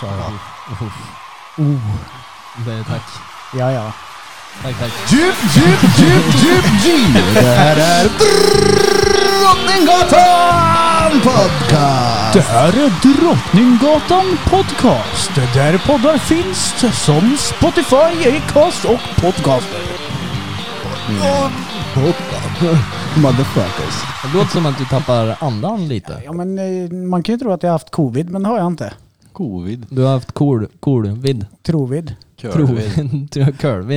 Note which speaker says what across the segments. Speaker 1: Så ja.
Speaker 2: Uff.
Speaker 1: Oh,
Speaker 2: Det, tack.
Speaker 1: ja ja.
Speaker 2: Tack, tack.
Speaker 3: Djup, djup, djup, djup, djup. Det här är Drottninggatan Podcast.
Speaker 1: Det här är Drottninggatan Podcast. Där poddar finns som Spotify, Acast och Podcaster.
Speaker 3: Podcast. Motherfuckers.
Speaker 2: Det låter som att du tappar andan lite.
Speaker 1: Ja men eh, man kan ju tro att jag har haft covid, men det har jag inte.
Speaker 4: Covid.
Speaker 2: Du har haft cool, cool vid.
Speaker 1: Trovid.
Speaker 4: Körvid.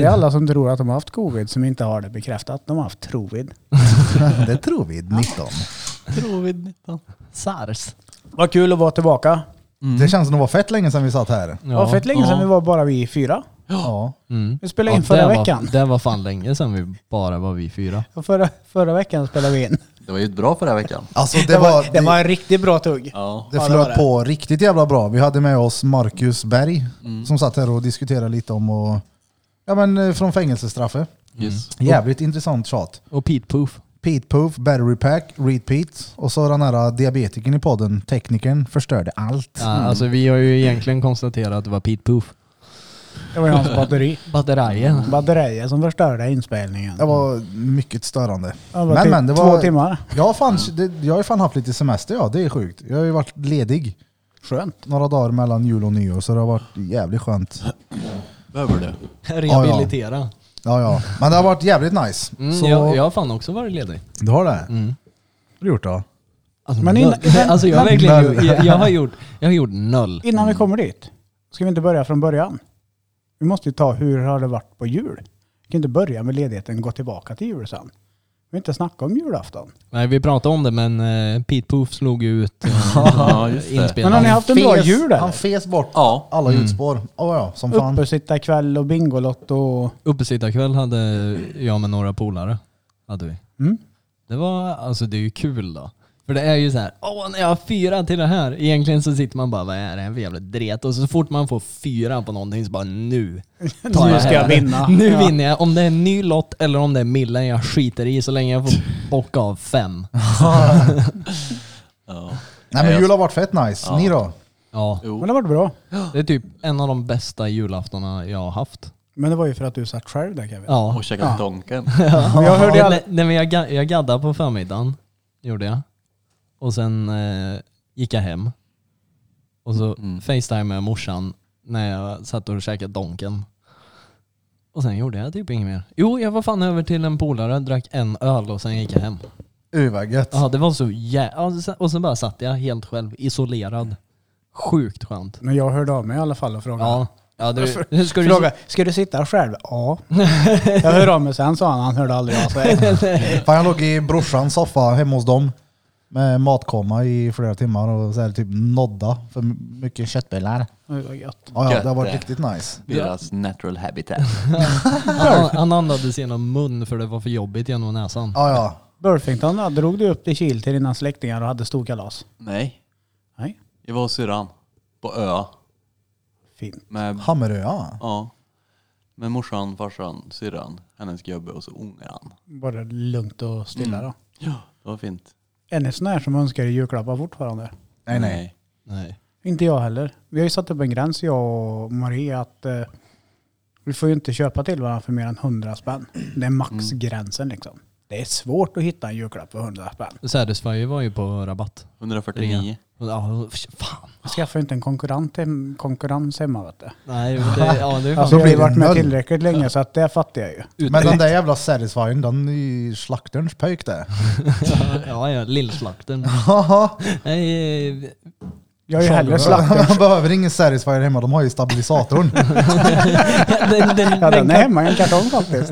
Speaker 1: Det är alla som tror att de har haft covid som inte har det bekräftat. De har haft trovid.
Speaker 3: Det tror vi, 19.
Speaker 2: Covid 19. Sars.
Speaker 1: Vad kul att vara tillbaka. Mm.
Speaker 3: Det känns som det var fett länge sedan vi satt här.
Speaker 1: Det var fett länge sedan vi var bara vi fyra.
Speaker 3: Ja.
Speaker 2: Mm.
Speaker 1: Vi spelade in
Speaker 2: Ja,
Speaker 1: förra
Speaker 2: det var,
Speaker 1: veckan.
Speaker 2: Det var fan länge sedan vi bara var vi fyra.
Speaker 1: Och Förra, förra veckan spelade vi in.
Speaker 4: Det var ju bra förra veckan.
Speaker 3: Alltså
Speaker 1: Det var, det var
Speaker 3: det,
Speaker 1: en riktigt bra tugg.
Speaker 4: Ja.
Speaker 3: det
Speaker 1: ja, det var
Speaker 3: flöt
Speaker 1: det.
Speaker 3: på riktigt jävla bra. Vi hade med oss Marcus Berg
Speaker 1: Mm.
Speaker 3: som satt här och diskuterade lite om och, ja, men, eh, från fängelsestraffet.
Speaker 4: Yes.
Speaker 1: Mm.
Speaker 3: Jävligt intressant tjat.
Speaker 2: Och Pete Poof.
Speaker 3: Pete Poof, Battery Pack, Reed Pete och så den här eh, diabetikern i podden, teknikern, förstörde allt.
Speaker 2: Ja, Alltså vi har ju egentligen konstaterat att det var Pete Poof. Mm.
Speaker 1: Det var ju hans batteri.
Speaker 2: Batterijen.
Speaker 1: Batteriet som förstörde inspelningen.
Speaker 3: Det var mycket störande.
Speaker 1: Ja, det var
Speaker 3: men,
Speaker 1: typ
Speaker 3: men det
Speaker 1: Två
Speaker 3: var,
Speaker 1: timmar.
Speaker 3: jag, har fan, det, jag har ju fan haft lite semester ja, det är sjukt. Jag har ju varit ledig
Speaker 1: Skönt.
Speaker 3: några dagar mellan jul och nyår så det har varit jävligt skönt.
Speaker 4: Behöver du?
Speaker 2: Rehabilitera.
Speaker 3: Ja, ja. Men det har varit jävligt nice.
Speaker 2: Mm,
Speaker 3: så,
Speaker 2: jag, jag har fan också varit ledig.
Speaker 3: Du har det?
Speaker 2: Mm.
Speaker 3: Har du gjort det?
Speaker 1: Men
Speaker 2: Alltså, men
Speaker 1: innan-
Speaker 2: alltså jag, har
Speaker 3: men-
Speaker 2: verkligen,
Speaker 3: men-
Speaker 2: gjort- jag, jag, har gjort, jag har gjort noll.
Speaker 1: Innan vi kommer dit, ska vi inte börja från början? Vi måste ju ta hur har det varit på jul? Vi kan inte börja med ledigheten och gå tillbaka till jul sen. Vi vill inte snacka om julafton.
Speaker 2: Nej, vi pratade om det men eh, Pete Poof slog ut eh,
Speaker 4: Ja, just det.
Speaker 2: inspelningen.
Speaker 1: Men har ni haft en bra jul
Speaker 3: Han
Speaker 1: eller?
Speaker 3: fes bort
Speaker 4: Ja.
Speaker 3: alla ljudspår. Ja, ja, som fan.
Speaker 1: Uppesittarkväll och Bingolotto och...
Speaker 2: Uppesittarkväll hade jag med några polare. Hade vi.
Speaker 1: Mm.
Speaker 2: Det var, alltså det är ju kul då. För det är ju så här, åh när jag har fyra till det här. Egentligen så sitter man bara, vad är det här för jävla dret? Och så fort man får fyra på någonting så bara nu. tar
Speaker 1: Nu ska jag
Speaker 2: hem
Speaker 1: vinna.
Speaker 2: det. Nu
Speaker 1: Ja.
Speaker 2: vinner jag. Om det är en ny lott eller om det är millen jag skiter i så länge jag får bocka av fem.
Speaker 4: ja.
Speaker 3: Nej men jul har varit fett nice. Ni då?
Speaker 2: Ja,
Speaker 1: Men det har varit bra.
Speaker 2: det är typ en av de bästa julaftona jag har haft.
Speaker 1: Men det var ju för att du satt själv där Kevin.
Speaker 2: Ja.
Speaker 4: Och käkat donken.
Speaker 1: Men Jag hörde ju alla...
Speaker 2: Nej, nej men jag, ga- jag gaddade på förmiddagen, gjorde jag. Och sen eh, gick jag hem. Och så
Speaker 4: Mm.
Speaker 2: facetimade jag morsan när jag satt och käkade donken. Och sen gjorde jag typ inget mer. Jo, jag var fan över till en polare, drack en öl och sen gick jag hem.
Speaker 3: Uh, vad gött.
Speaker 2: Ja, det var så jävla... Och sen bara satt jag helt själv, isolerad. Sjukt skönt.
Speaker 1: Men jag hörde av mig i alla fall och frågade.
Speaker 2: Ja. Ja, du, hur ska du...
Speaker 1: Fråga, ska du sitta själv? Ja. Jag hör av mig sen sa han, han hörde aldrig av sig.
Speaker 3: Fan, jag låg i brorsans soffa hemma hos dem med matkomma i flera timmar och så här, typ nodda för mycket köttbullar.
Speaker 1: Det var gött.
Speaker 3: Ja, ja, det har varit
Speaker 4: Gött
Speaker 3: riktigt nice.
Speaker 4: Deras natural habitat.
Speaker 2: Han, han andades genom mun för det var för jobbigt genom näsan.
Speaker 3: Ja, ja.
Speaker 1: Burfington då, drog du upp till Kil till dina släktingar och hade storkalas?
Speaker 4: Nej.
Speaker 1: Nej.
Speaker 4: Jag var hos syrran. På ö.
Speaker 1: Fint.
Speaker 4: Med,
Speaker 3: Hammarö, ja.
Speaker 4: ja. Med morsan, farsan, syrran, hennes gubbe och så ångeran.
Speaker 1: Bara lugnt och stilla
Speaker 2: Mm.
Speaker 1: då.
Speaker 4: Ja, det var fint.
Speaker 1: Är ni sån här som önskar er julklappar fortfarande?
Speaker 3: Nej, nej.
Speaker 2: Nej.
Speaker 1: Inte jag heller. Vi har ju satt upp en gräns jag och Marie att eh, vi får ju inte köpa till varandra för mer än 100 spänn. Det är maxgränsen
Speaker 2: Mm.
Speaker 1: liksom. Det är svårt att hitta en julklapp för 100 spänn.
Speaker 2: Satisfyer var ju på rabatt.
Speaker 4: 149.
Speaker 2: Ja, fan.
Speaker 1: Jag skaffar ju inte en konkurrent hem, konkurrens hemma vet du.
Speaker 2: Nej, det, ja, det är fan.
Speaker 1: Alltså, jag har ju
Speaker 3: blir det
Speaker 1: varit med
Speaker 3: noll.
Speaker 1: tillräckligt länge så att det fattar jag ju.
Speaker 3: Men den där jävla satisfyern, den är ju slakterns pöjk det.
Speaker 2: Ja, ja, lillslaktern.
Speaker 3: Haha.
Speaker 2: Nej, eh,
Speaker 1: Jag är ju hellre slakter.
Speaker 3: Man behöver ingen satisfyer hemma, de har ju stabilisatorn.
Speaker 2: den, den,
Speaker 1: Ja,
Speaker 2: den
Speaker 1: den är hemma i en kartong faktiskt.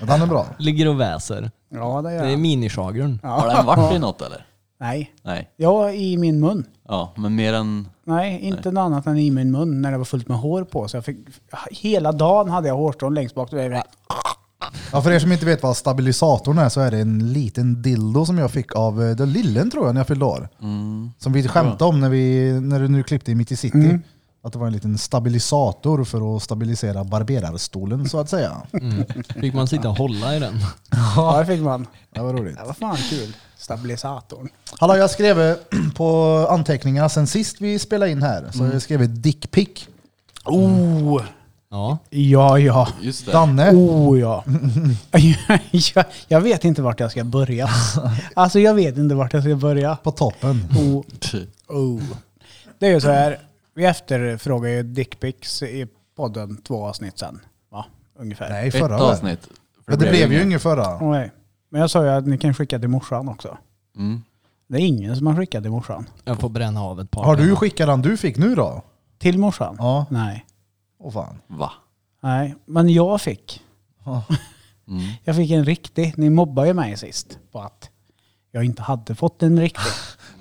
Speaker 3: Men den är bra.
Speaker 2: ligger och väser.
Speaker 1: Ja, det
Speaker 2: Det
Speaker 1: gör
Speaker 2: är
Speaker 1: jag.
Speaker 2: minischagrun.
Speaker 4: Har den varit i något eller?
Speaker 1: Nej,
Speaker 4: Nej.
Speaker 1: Ja, i min mun.
Speaker 4: Ja, men mer än...
Speaker 1: Nej, inte något annat än i min mun när det var fullt med hår på. Så jag fick, hela dagen hade jag hårstrån längst bak. Det var-
Speaker 3: Ja, för er som inte vet vad stabilisatorn är så är det en liten dildo som jag fick av eh, den lillen tror jag när jag fyllde år.
Speaker 4: Mm.
Speaker 3: Som vi skämtade om när, vi, när du nu klippte i Mitt i City. Att det var en liten stabilisator för att stabilisera barberarstolen så att säga.
Speaker 2: Mm. Fick man sitta och hålla i den?
Speaker 1: Ja, det fick man.
Speaker 3: Det var roligt.
Speaker 1: Det var fan kul. Stabilisatorn.
Speaker 3: Hallå, jag skrev eh, på anteckningarna sen sist vi spelade in här. Så jag skrev dickpick.
Speaker 1: Oh,
Speaker 2: Ja.
Speaker 1: ja, ja.
Speaker 4: Just det.
Speaker 3: Danne.
Speaker 1: Oh ja. jag, jag vet inte vart jag ska börja. Alltså jag vet inte vart jag ska börja.
Speaker 3: På toppen.
Speaker 1: Oh, oh. Det är ju så här, vi efterfrågar ju dickpics i podden två avsnitt sen. Va? Ungefär.
Speaker 3: Nej,
Speaker 4: Ett
Speaker 3: förra var det.
Speaker 4: avsnitt. För
Speaker 3: Men det blev ju
Speaker 4: inget.
Speaker 3: inget förra.
Speaker 1: Nej. Men jag sa ju att ni kan skicka till morsan också.
Speaker 4: Mm.
Speaker 1: Det är ingen som har skickat till morsan.
Speaker 2: Jag får bränna av ett par.
Speaker 3: Har du skickat den du fick nu då?
Speaker 1: Till morsan?
Speaker 3: Ja.
Speaker 1: Nej.
Speaker 3: Åh fan.
Speaker 4: Va?
Speaker 1: Nej, men jag fick.
Speaker 3: Ja.
Speaker 4: Mm.
Speaker 1: Jag fick en riktig. Ni mobbade ju mig sist på att jag inte hade fått en riktig.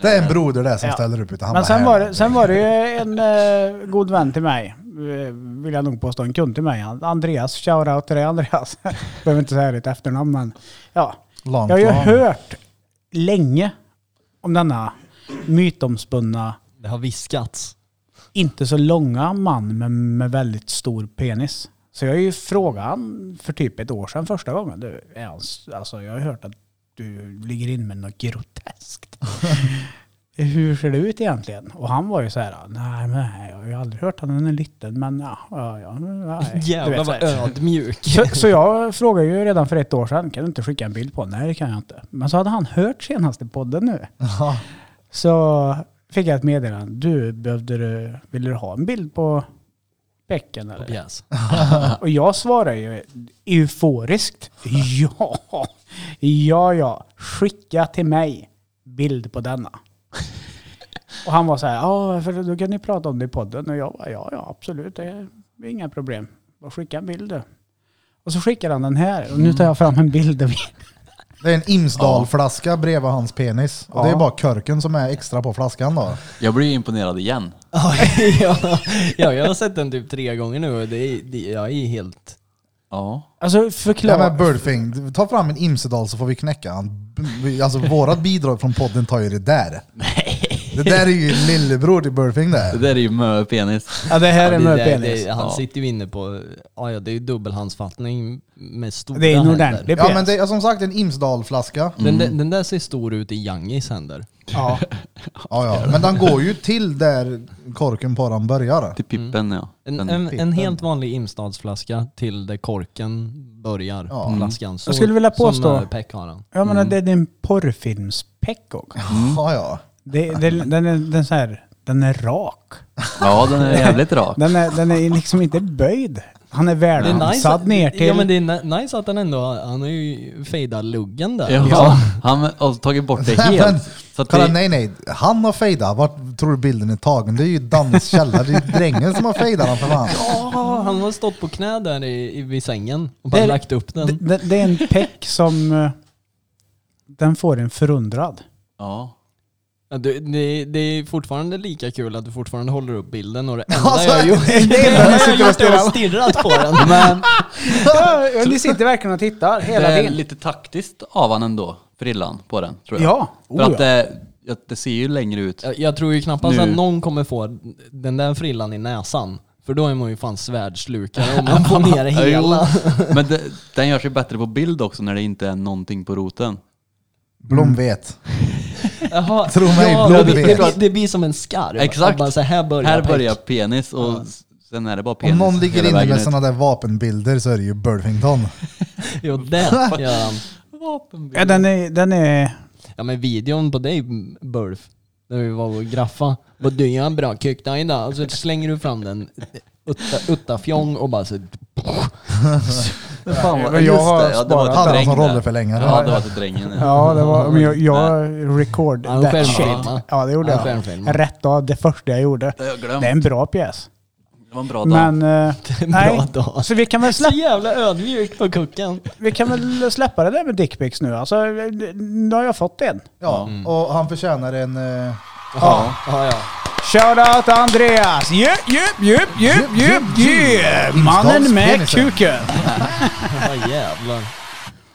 Speaker 3: Det är en broder där som
Speaker 1: Ja.
Speaker 3: ställer upp. Utan han
Speaker 1: Men
Speaker 3: bara,
Speaker 1: sen
Speaker 3: här.
Speaker 1: var, det, sen var det ju en eh, god vän till mig, eh, vill jag nog påstå, en kund till mig. Han- Andreas, shoutout till dig Andreas. Behöver inte säga ditt efternamn men ja.
Speaker 3: Långt,
Speaker 1: Jag har ju
Speaker 3: långt.
Speaker 1: hört länge om denna mytomspunna,
Speaker 2: Det har viskats.
Speaker 1: inte så långa man men med väldigt stor penis. Så jag har ju frågat han för typ ett år sedan första gången. Du, är han, s- alltså jag har hört att du ligger in med något groteskt hur ser det ut egentligen? Och han var ju så här, nej men jag har ju aldrig hört att den är liten, men ja, ja, ja nej. Du
Speaker 2: Jävlar
Speaker 1: vet, så
Speaker 2: vad
Speaker 1: här.
Speaker 2: ödmjuk.
Speaker 1: så, så jag frågade ju redan för ett år sedan, kan du inte skicka en bild på? Nej det kan jag inte. Men så hade han hört senaste podden nu.
Speaker 3: Ja.
Speaker 1: Så fick jag ett meddelande, du behövde du, ville du ha en bild på bäcken eller?
Speaker 2: Pjäs.
Speaker 1: Och jag svarar ju euforiskt. Ja, ja, ja. Skicka till mig bild på denna. Och han var så här, ja, för då kan ni prata om det i podden. Och jag bara, ja, ja, absolut, det är inga problem. Bara skicka en bild du. Och så skickar han den här. Och nu tar jag fram en bild. där vi-
Speaker 3: Det är en Imsdalflaska bredvid hans penis. Och det är
Speaker 1: Ja.
Speaker 3: bara körken som är extra på flaskan då.
Speaker 4: Jag blir imponerad igen.
Speaker 2: ja, ja, jag har sett den typ tre gånger nu och det är, det, jag är helt...
Speaker 4: Ja.
Speaker 1: Alltså
Speaker 3: Ja,
Speaker 1: förklara.
Speaker 3: men Birdfing, ta fram en Imsedal så får vi knäcka han. B- Alltså vårat bidrag från podden tar ju det där. Det där är ju lillebror till Birdfing
Speaker 4: Det
Speaker 3: där.
Speaker 4: där är ju mö penis.
Speaker 1: Ja, det här är
Speaker 2: Ja, det
Speaker 1: en
Speaker 2: där-
Speaker 1: penis.
Speaker 2: det- Han
Speaker 4: Ja.
Speaker 2: sitter ju inne på... Ja, ja, det är ju dubbelhandsfattning med stora
Speaker 1: Det är en
Speaker 2: händer.
Speaker 1: ordentlig
Speaker 3: Ja
Speaker 1: penis.
Speaker 3: men det är som sagt en Imsdalflaska.
Speaker 2: Den, den, den där ser stor ut i Yangees händer.
Speaker 1: Ja.
Speaker 3: Ja, ja. Men den går ju till där korken på den börjar.
Speaker 4: Till Pippen ja.
Speaker 2: En,
Speaker 4: Den,
Speaker 2: en, en
Speaker 3: pippen.
Speaker 2: helt vanlig Imstadsflaska till där korken börjar
Speaker 3: Ja.
Speaker 2: på
Speaker 3: Mm.
Speaker 2: flaskan. Så,
Speaker 1: Jag skulle vilja påstå-
Speaker 2: Som eh, Peck har den.
Speaker 1: Jag menar, det är en porrfilmspeck också.
Speaker 4: Mm.
Speaker 3: Ja, ja.
Speaker 1: Det, det, den, är, den, är så här, den är rak.
Speaker 4: ja den är jävligt rak.
Speaker 1: Den är, den är liksom inte böjd. Han är
Speaker 2: Det är nice,
Speaker 1: välansad
Speaker 2: att-
Speaker 1: ner till...
Speaker 2: Ja men det är ni- nice att han ändå, har- han har ju fejdat luggen där.
Speaker 4: Ja. Han har tagit bort det
Speaker 3: Men,
Speaker 4: helt. Så att
Speaker 3: Kolla,
Speaker 4: det,
Speaker 3: nej nej, han har fejdat. Vart tror du bilden är tagen? Det är ju Dannes källare. Det är ju drängen som har fejdat den för fan.
Speaker 2: Ja, han har stått på knä där i, i, vid sängen
Speaker 1: Det
Speaker 2: och bara
Speaker 1: är-
Speaker 2: lagt upp den.
Speaker 1: Det- det- det är en peck som... eh, Den får en förundrad.
Speaker 4: ja.
Speaker 2: Ja, du, det, det är fortfarande lika kul att du fortfarande håller upp bilden och det enda
Speaker 3: Alltså,
Speaker 2: jag har gjort
Speaker 3: det är
Speaker 2: det
Speaker 3: när
Speaker 2: enda
Speaker 3: jag
Speaker 2: jag
Speaker 3: sitter
Speaker 2: har gjort
Speaker 3: och
Speaker 2: är att stirrat på den. Men,
Speaker 1: Ja, ni sitter verkligen och tittar hela
Speaker 4: det är
Speaker 1: tiden.
Speaker 4: lite taktiskt av han ändå, frillan på den tror jag.
Speaker 1: Ja,
Speaker 4: För
Speaker 1: oh,
Speaker 4: att
Speaker 1: ja.
Speaker 4: det, att det ser ju längre ut.
Speaker 2: jag, jag tror ju knappast
Speaker 4: Nu.
Speaker 2: att någon kommer få den där frillan i näsan. För då är man ju fan svärdslukare om man får ner
Speaker 4: Ja, jo.
Speaker 2: hela.
Speaker 4: Men det, den gör sig bättre på bild också när det inte är någonting på roten.
Speaker 3: Blom vet.
Speaker 2: Jaha,
Speaker 3: Tro mig,
Speaker 2: det,
Speaker 3: blod
Speaker 2: blir- det,
Speaker 3: vet.
Speaker 2: blir- det blir som en skarv.
Speaker 4: Exakt.
Speaker 2: Att man, så här börjar
Speaker 4: Här
Speaker 2: peck.
Speaker 4: börjar penis och s- sen är det bara penis.
Speaker 3: Om någon ligger
Speaker 4: Mm. hela
Speaker 3: inne
Speaker 4: vägen
Speaker 3: med
Speaker 4: ut.
Speaker 3: sådana där vapenbilder så är det ju Birdfington.
Speaker 2: Jo, det gör han.
Speaker 1: ja den, är, den är...
Speaker 2: Ja men videon på dig Burf, när vi var och graffa. Vad du gör en bra kuk där idag. Och så slänger du fram den utta, uttafjong och bara så...
Speaker 4: Fan,
Speaker 1: Men jag har sparat-
Speaker 4: till
Speaker 3: Hade han som
Speaker 4: drängen där.
Speaker 3: rolleförlängare.
Speaker 4: Ja, det var till drängen. Ja.
Speaker 1: Ja, det var... Men jag, jag record
Speaker 2: Han
Speaker 1: that
Speaker 2: skärmfilmar.
Speaker 1: shit. Ja, det gjorde
Speaker 2: Han
Speaker 1: jag.
Speaker 2: skärmfilmar.
Speaker 1: Rätt av det första jag gjorde.
Speaker 4: Det har jag glömt.
Speaker 1: Det är en bra pjäs.
Speaker 4: Det var en bra dag.
Speaker 1: Men... eh,
Speaker 2: en bra
Speaker 1: Nej,
Speaker 2: dag.
Speaker 1: så vi kan väl
Speaker 2: Så
Speaker 1: släppa
Speaker 2: jävla ödmjuk på kucken.
Speaker 1: Vi kan väl släppa det där med dickpics nu. Alltså, nu har jag fått en.
Speaker 3: Ja, och han förtjänar en... eh,
Speaker 2: Ja. ja, ja.
Speaker 1: Shoutout Andreas! Jupp, jupp, jupp, jupp, jupp, jupp! Mannen med
Speaker 3: Imsdalspenisen.
Speaker 1: kuken!
Speaker 2: Ja, jävlar.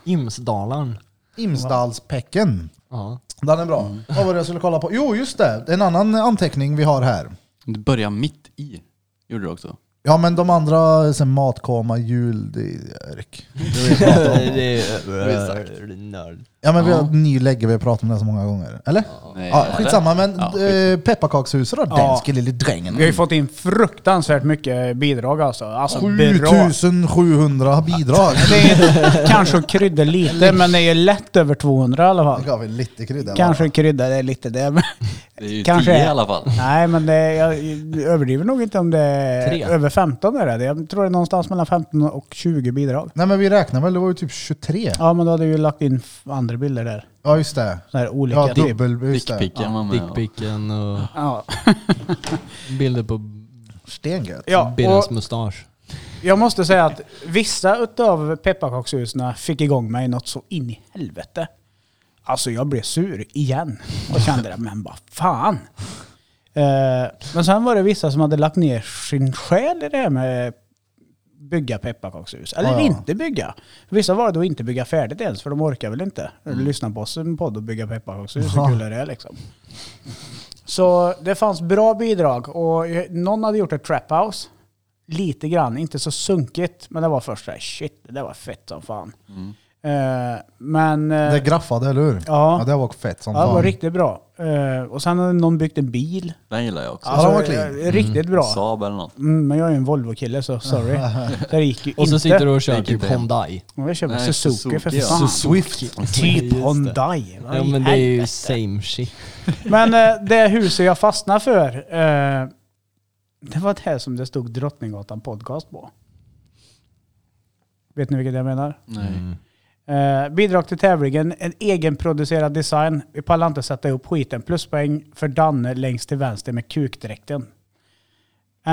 Speaker 2: Imsdalarn.
Speaker 3: Imsdalspäcken.
Speaker 2: Ja.
Speaker 3: Den är bra. Vad var det jag skulle kolla på? Jo, just det. En annan anteckning vi har här.
Speaker 4: Du börjar mitt i. Gjorde du också?
Speaker 3: Ja men de andra, eh, sen matkoma, jul, det är Erik. Det vet jag inte om.
Speaker 2: Det är nörd.
Speaker 3: Ja men vi har
Speaker 4: Ja.
Speaker 3: ny lägge, vi har pratat om det så många gånger. Eller?
Speaker 4: Nej,
Speaker 3: Ja,
Speaker 4: eller?
Speaker 3: skitsamma men
Speaker 4: Ja,
Speaker 3: eh, pepparkakshuset då? Den
Speaker 1: Ja.
Speaker 3: skulle lille drängen.
Speaker 1: Vi har ju fått in fruktansvärt mycket bidrag alltså. alltså bra.
Speaker 3: 7700 bidrag.
Speaker 1: Det är kanske kryddar lite, men det är ju lätt över 200 i alla
Speaker 3: Det
Speaker 1: fall.
Speaker 3: gav vi lite krydda. va?
Speaker 1: Kanske kryddar det lite det, men
Speaker 4: Det är ju
Speaker 1: Kanske.
Speaker 4: Kanske. tio i alla fall.
Speaker 1: nej men det, är- jag överdriver nog inte om det är
Speaker 2: Tre.
Speaker 1: över 15 är det. Jag tror det är någonstans mellan 15 och 20 bidrag.
Speaker 3: Nej men vi räknar väl, det var ju typ 23.
Speaker 1: Ja men då hade du ju lagt in f- andra bilder där.
Speaker 3: Ja just det.
Speaker 1: Sådana här olika
Speaker 3: Ja,
Speaker 1: typ.
Speaker 3: dubbel... Just det.
Speaker 4: Dickpicken var med. och-
Speaker 2: Dickpicken och
Speaker 1: Ja.
Speaker 2: bilder på
Speaker 3: Stengött.
Speaker 1: ja, och
Speaker 2: Birras mustasch.
Speaker 1: jag måste säga att vissa utav pepparkakshusen fick igång mig något så in i helvete. Alltså jag blev sur igen och kände det, men vad fan. Eh, men sen var det vissa som hade lagt ner sin själ i det här med bygga pepparkakshus. Eller
Speaker 3: Ja, ja.
Speaker 1: inte bygga. Vissa var det då inte bygga färdigt ens, för de orkar väl inte. Lyssna på oss en podd och bygga pepparkakshus, hur
Speaker 3: Mm. Ja.
Speaker 1: kul är det liksom? Så det fanns bra bidrag och någon hade gjort ett trap house. Lite grann, inte så sunkigt, men det var först såhär shit, det där var fett som fan.
Speaker 4: mm.
Speaker 1: Eh, men... eh,
Speaker 3: Det graffade, eller hur?
Speaker 1: Ja.
Speaker 3: det var fett som
Speaker 1: Ja, det var
Speaker 3: fan.
Speaker 1: riktigt bra. Eh, och sen har någon byggt en bil.
Speaker 4: Den gillar jag också.
Speaker 3: Ja, den var clean.
Speaker 1: eh, Riktigt bra.
Speaker 4: Saab eller något.
Speaker 1: Mm, men jag är ju en Volvo-kille så sorry. Det gick ju
Speaker 2: Och så
Speaker 1: inte.
Speaker 2: sitter du och kör
Speaker 4: Det gick
Speaker 2: typ
Speaker 4: inte hem.
Speaker 2: Hyundai.
Speaker 1: Och Jag köper
Speaker 4: Nej,
Speaker 1: Suzuki,
Speaker 4: Suzuki,
Speaker 1: för
Speaker 4: ja.
Speaker 1: fan.
Speaker 3: Swift.
Speaker 1: Typ
Speaker 2: Just det.
Speaker 1: Hyundai. Vad
Speaker 2: Ja
Speaker 1: i
Speaker 2: men det är ju
Speaker 1: helvete?
Speaker 2: same shit.
Speaker 1: Men eh, det huset jag fastnade för, eh, det var det här som det stod Drottninggatan podcast på. Vet ni vilket jag menar?
Speaker 4: Nej.
Speaker 1: Eh, bidrag till tävlingen, en egenproducerad design. Vi pallar inte sätta ihop skiten. Pluspoäng för Danne längst till vänster med kukdräkten.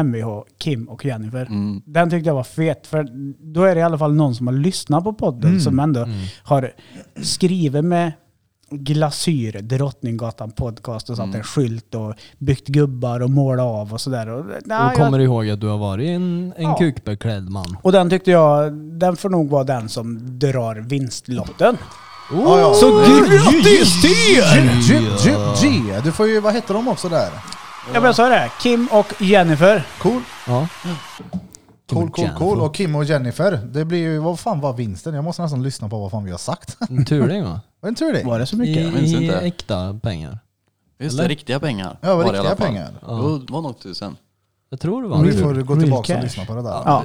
Speaker 1: Mvh, Kim och Jennifer.
Speaker 4: Mm.
Speaker 1: Den tyckte jag var fet, för då är det i alla fall någon som har lyssnat på podden som ändå har skrivit med glasyr, Drottninggatan podcast och satt
Speaker 2: Mm.
Speaker 1: en skylt och byggt gubbar och målat av och sådär. Och, nej,
Speaker 2: Och
Speaker 1: jag-
Speaker 2: kommer du ihåg att du har varit en, en
Speaker 1: Ja.
Speaker 2: kukbeklädd man?
Speaker 1: och den tyckte jag, den får nog vara den som drar vinstlotten.
Speaker 3: Ja, ja.
Speaker 1: Så grattis till er!
Speaker 3: G, G, G. Du får ju, vad heter de också där?
Speaker 1: Ja men jag sa det, Kim och Jennifer.
Speaker 3: Cool.
Speaker 2: Ja.
Speaker 3: Cool, cool,
Speaker 2: Jennifer.
Speaker 3: cool. Och Kim och Jennifer. Det blir ju, vad fan var vinsten? Jag måste nästan lyssna på vad fan vi har sagt.
Speaker 2: En turning va?
Speaker 3: Var det en tur det?
Speaker 1: Var det så
Speaker 2: I,
Speaker 1: mycket?
Speaker 4: minns
Speaker 2: i
Speaker 4: inte.
Speaker 2: äkta pengar.
Speaker 4: Just
Speaker 2: Eller?
Speaker 4: det, riktiga pengar.
Speaker 3: Ja, det
Speaker 4: i
Speaker 3: var riktiga
Speaker 4: alla fall.
Speaker 3: pengar.
Speaker 4: Ja. Det var nog tusen.
Speaker 2: Jag tror det var
Speaker 3: Vi
Speaker 2: en
Speaker 3: får
Speaker 2: tur.
Speaker 3: gå
Speaker 1: Real
Speaker 3: tillbaka och
Speaker 1: cash.
Speaker 3: lyssna på det där.
Speaker 1: Ja.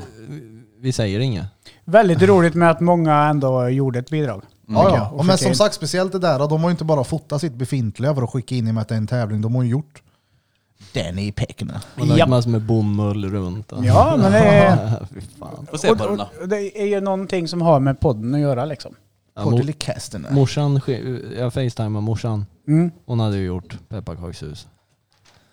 Speaker 2: Vi säger inget.
Speaker 1: Väldigt roligt med att många ändå gjorde ett bidrag.
Speaker 3: Ja,
Speaker 1: tycker
Speaker 3: ja.
Speaker 1: jag, och
Speaker 3: Och men
Speaker 1: skicka
Speaker 3: som
Speaker 1: in.
Speaker 3: sagt, speciellt det där, de har ju inte bara fotat sitt befintliga för att skicka in i och med att det är en tävling. De har ju gjort den i Pekne.
Speaker 2: Och lagt
Speaker 1: Japp.
Speaker 2: massor med bomull runt. och-
Speaker 1: Ja, men det är,
Speaker 2: Fy fan.
Speaker 4: Får se på den
Speaker 1: och,
Speaker 4: då.
Speaker 1: och, det är ju någonting som har med podden att göra liksom.
Speaker 2: Ja, mo-
Speaker 3: Portelicasten.
Speaker 2: morsan, sk- jag facetimade morsan.
Speaker 1: Mm.
Speaker 2: Hon hade ju gjort pepparkakshus.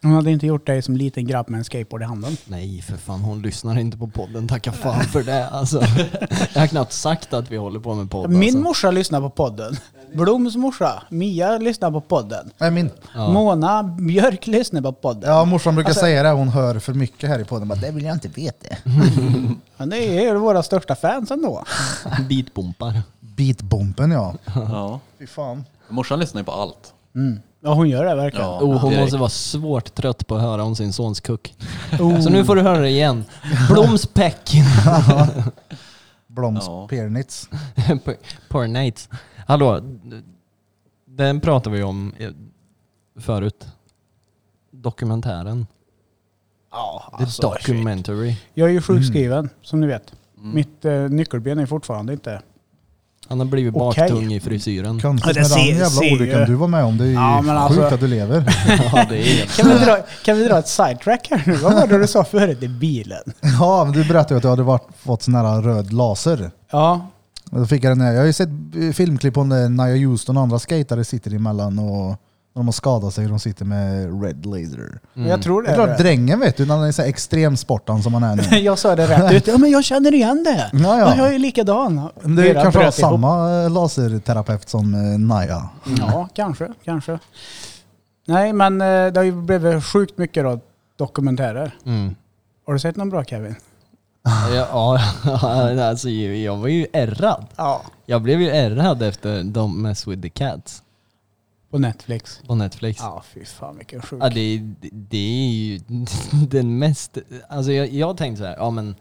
Speaker 1: Hon hade inte gjort det som liten grabb med en skateboard i handen.
Speaker 2: Nej för fan, hon lyssnar inte på podden. Tacka fan för det alltså. Jag har knappt sagt att vi håller på med podd.
Speaker 1: Min
Speaker 2: alltså.
Speaker 1: morsa lyssnar på podden. Bloms morsa, Mia lyssnar på podden.
Speaker 3: Nej, min.
Speaker 1: Mona Björk lyssnar på podden.
Speaker 3: Ja, morsan brukar
Speaker 1: Alltså-
Speaker 3: säga det, hon hör för mycket här i podden. Bara, det vill jag inte veta.
Speaker 1: Men det är ju våra största fans ändå.
Speaker 2: Bitbompar.
Speaker 3: Beatbomben ja.
Speaker 4: Ja.
Speaker 3: Fy fan.
Speaker 4: Morsan lyssnar ju på allt.
Speaker 1: Mm. Ja, hon gör det verkligen.
Speaker 4: Ja,
Speaker 2: Oh, hon
Speaker 4: direkt.
Speaker 2: måste vara svårt trött på att höra om sin sons kuck.
Speaker 1: Oh.
Speaker 2: Så nu får du höra det igen. Bloms peck.
Speaker 3: Bloms
Speaker 4: Ja.
Speaker 3: Pernitz.
Speaker 2: P- Poor Nates. Hallå, den pratade vi om eh, förut. Dokumentären.
Speaker 1: Ja,
Speaker 2: The
Speaker 1: alltså,
Speaker 2: documentary.
Speaker 1: Jag är ju sjukskriven, som ni vet. Mitt eh, nyckelben är fortfarande inte...
Speaker 2: Han har blivit
Speaker 1: Okej.
Speaker 2: baktung i frisyren.
Speaker 1: Ja,
Speaker 3: Konstigt
Speaker 1: det
Speaker 3: med den
Speaker 1: ser-
Speaker 3: jävla
Speaker 1: ser ju.
Speaker 3: olyckan du var med om. Det är ju
Speaker 1: Ja, men
Speaker 3: sjukt
Speaker 1: alltså-
Speaker 3: att du lever.
Speaker 2: Ja, det är helt...
Speaker 1: Kan vi dra, kan vi dra ett sidetrack här nu? Vad var det du sa förut? Det är bilen.
Speaker 3: Ja, men du berättade ju att du hade varit, fått sån här röd laser.
Speaker 1: Ja,
Speaker 3: Och Då fick jag, den här, jag har ju sett eh, filmklipp om när Nia Houston och andra skatare sitter emellan och när de har skadat sig och de sitter med red laser.
Speaker 2: mm,
Speaker 1: jag tror
Speaker 3: Det
Speaker 1: Mm. det.
Speaker 3: är klart
Speaker 1: Är
Speaker 3: drängen vet du, när han är så här extremsportan som han är nu.
Speaker 1: det. Jag sa det rätt ut. Ja, men jag känner igen det.
Speaker 3: Ja, ja.
Speaker 1: jag är likadan.
Speaker 3: Men Det är ju
Speaker 1: Era
Speaker 3: kanske
Speaker 1: bröt
Speaker 3: var
Speaker 1: ihop.
Speaker 3: samma eh, laserterapeut som eh, Nia.
Speaker 1: Ja, kanske. Kanske. Nej, men eh, det har ju blivit sjukt mycket då, dokumentärer.
Speaker 2: Mm.
Speaker 1: Har du sett någon bra Kevin?
Speaker 2: Ja, ja, alltså jag var ju ärrad.
Speaker 1: Ja.
Speaker 2: Jag blev ju ärrad efter Don't mess with the cats.
Speaker 1: På Netflix.
Speaker 2: på Netflix.
Speaker 1: Ja, fy fan vilken sjuk.
Speaker 2: Ja, det, det- det är ju den mest... Alltså jag, jag tänkte så här, ja men...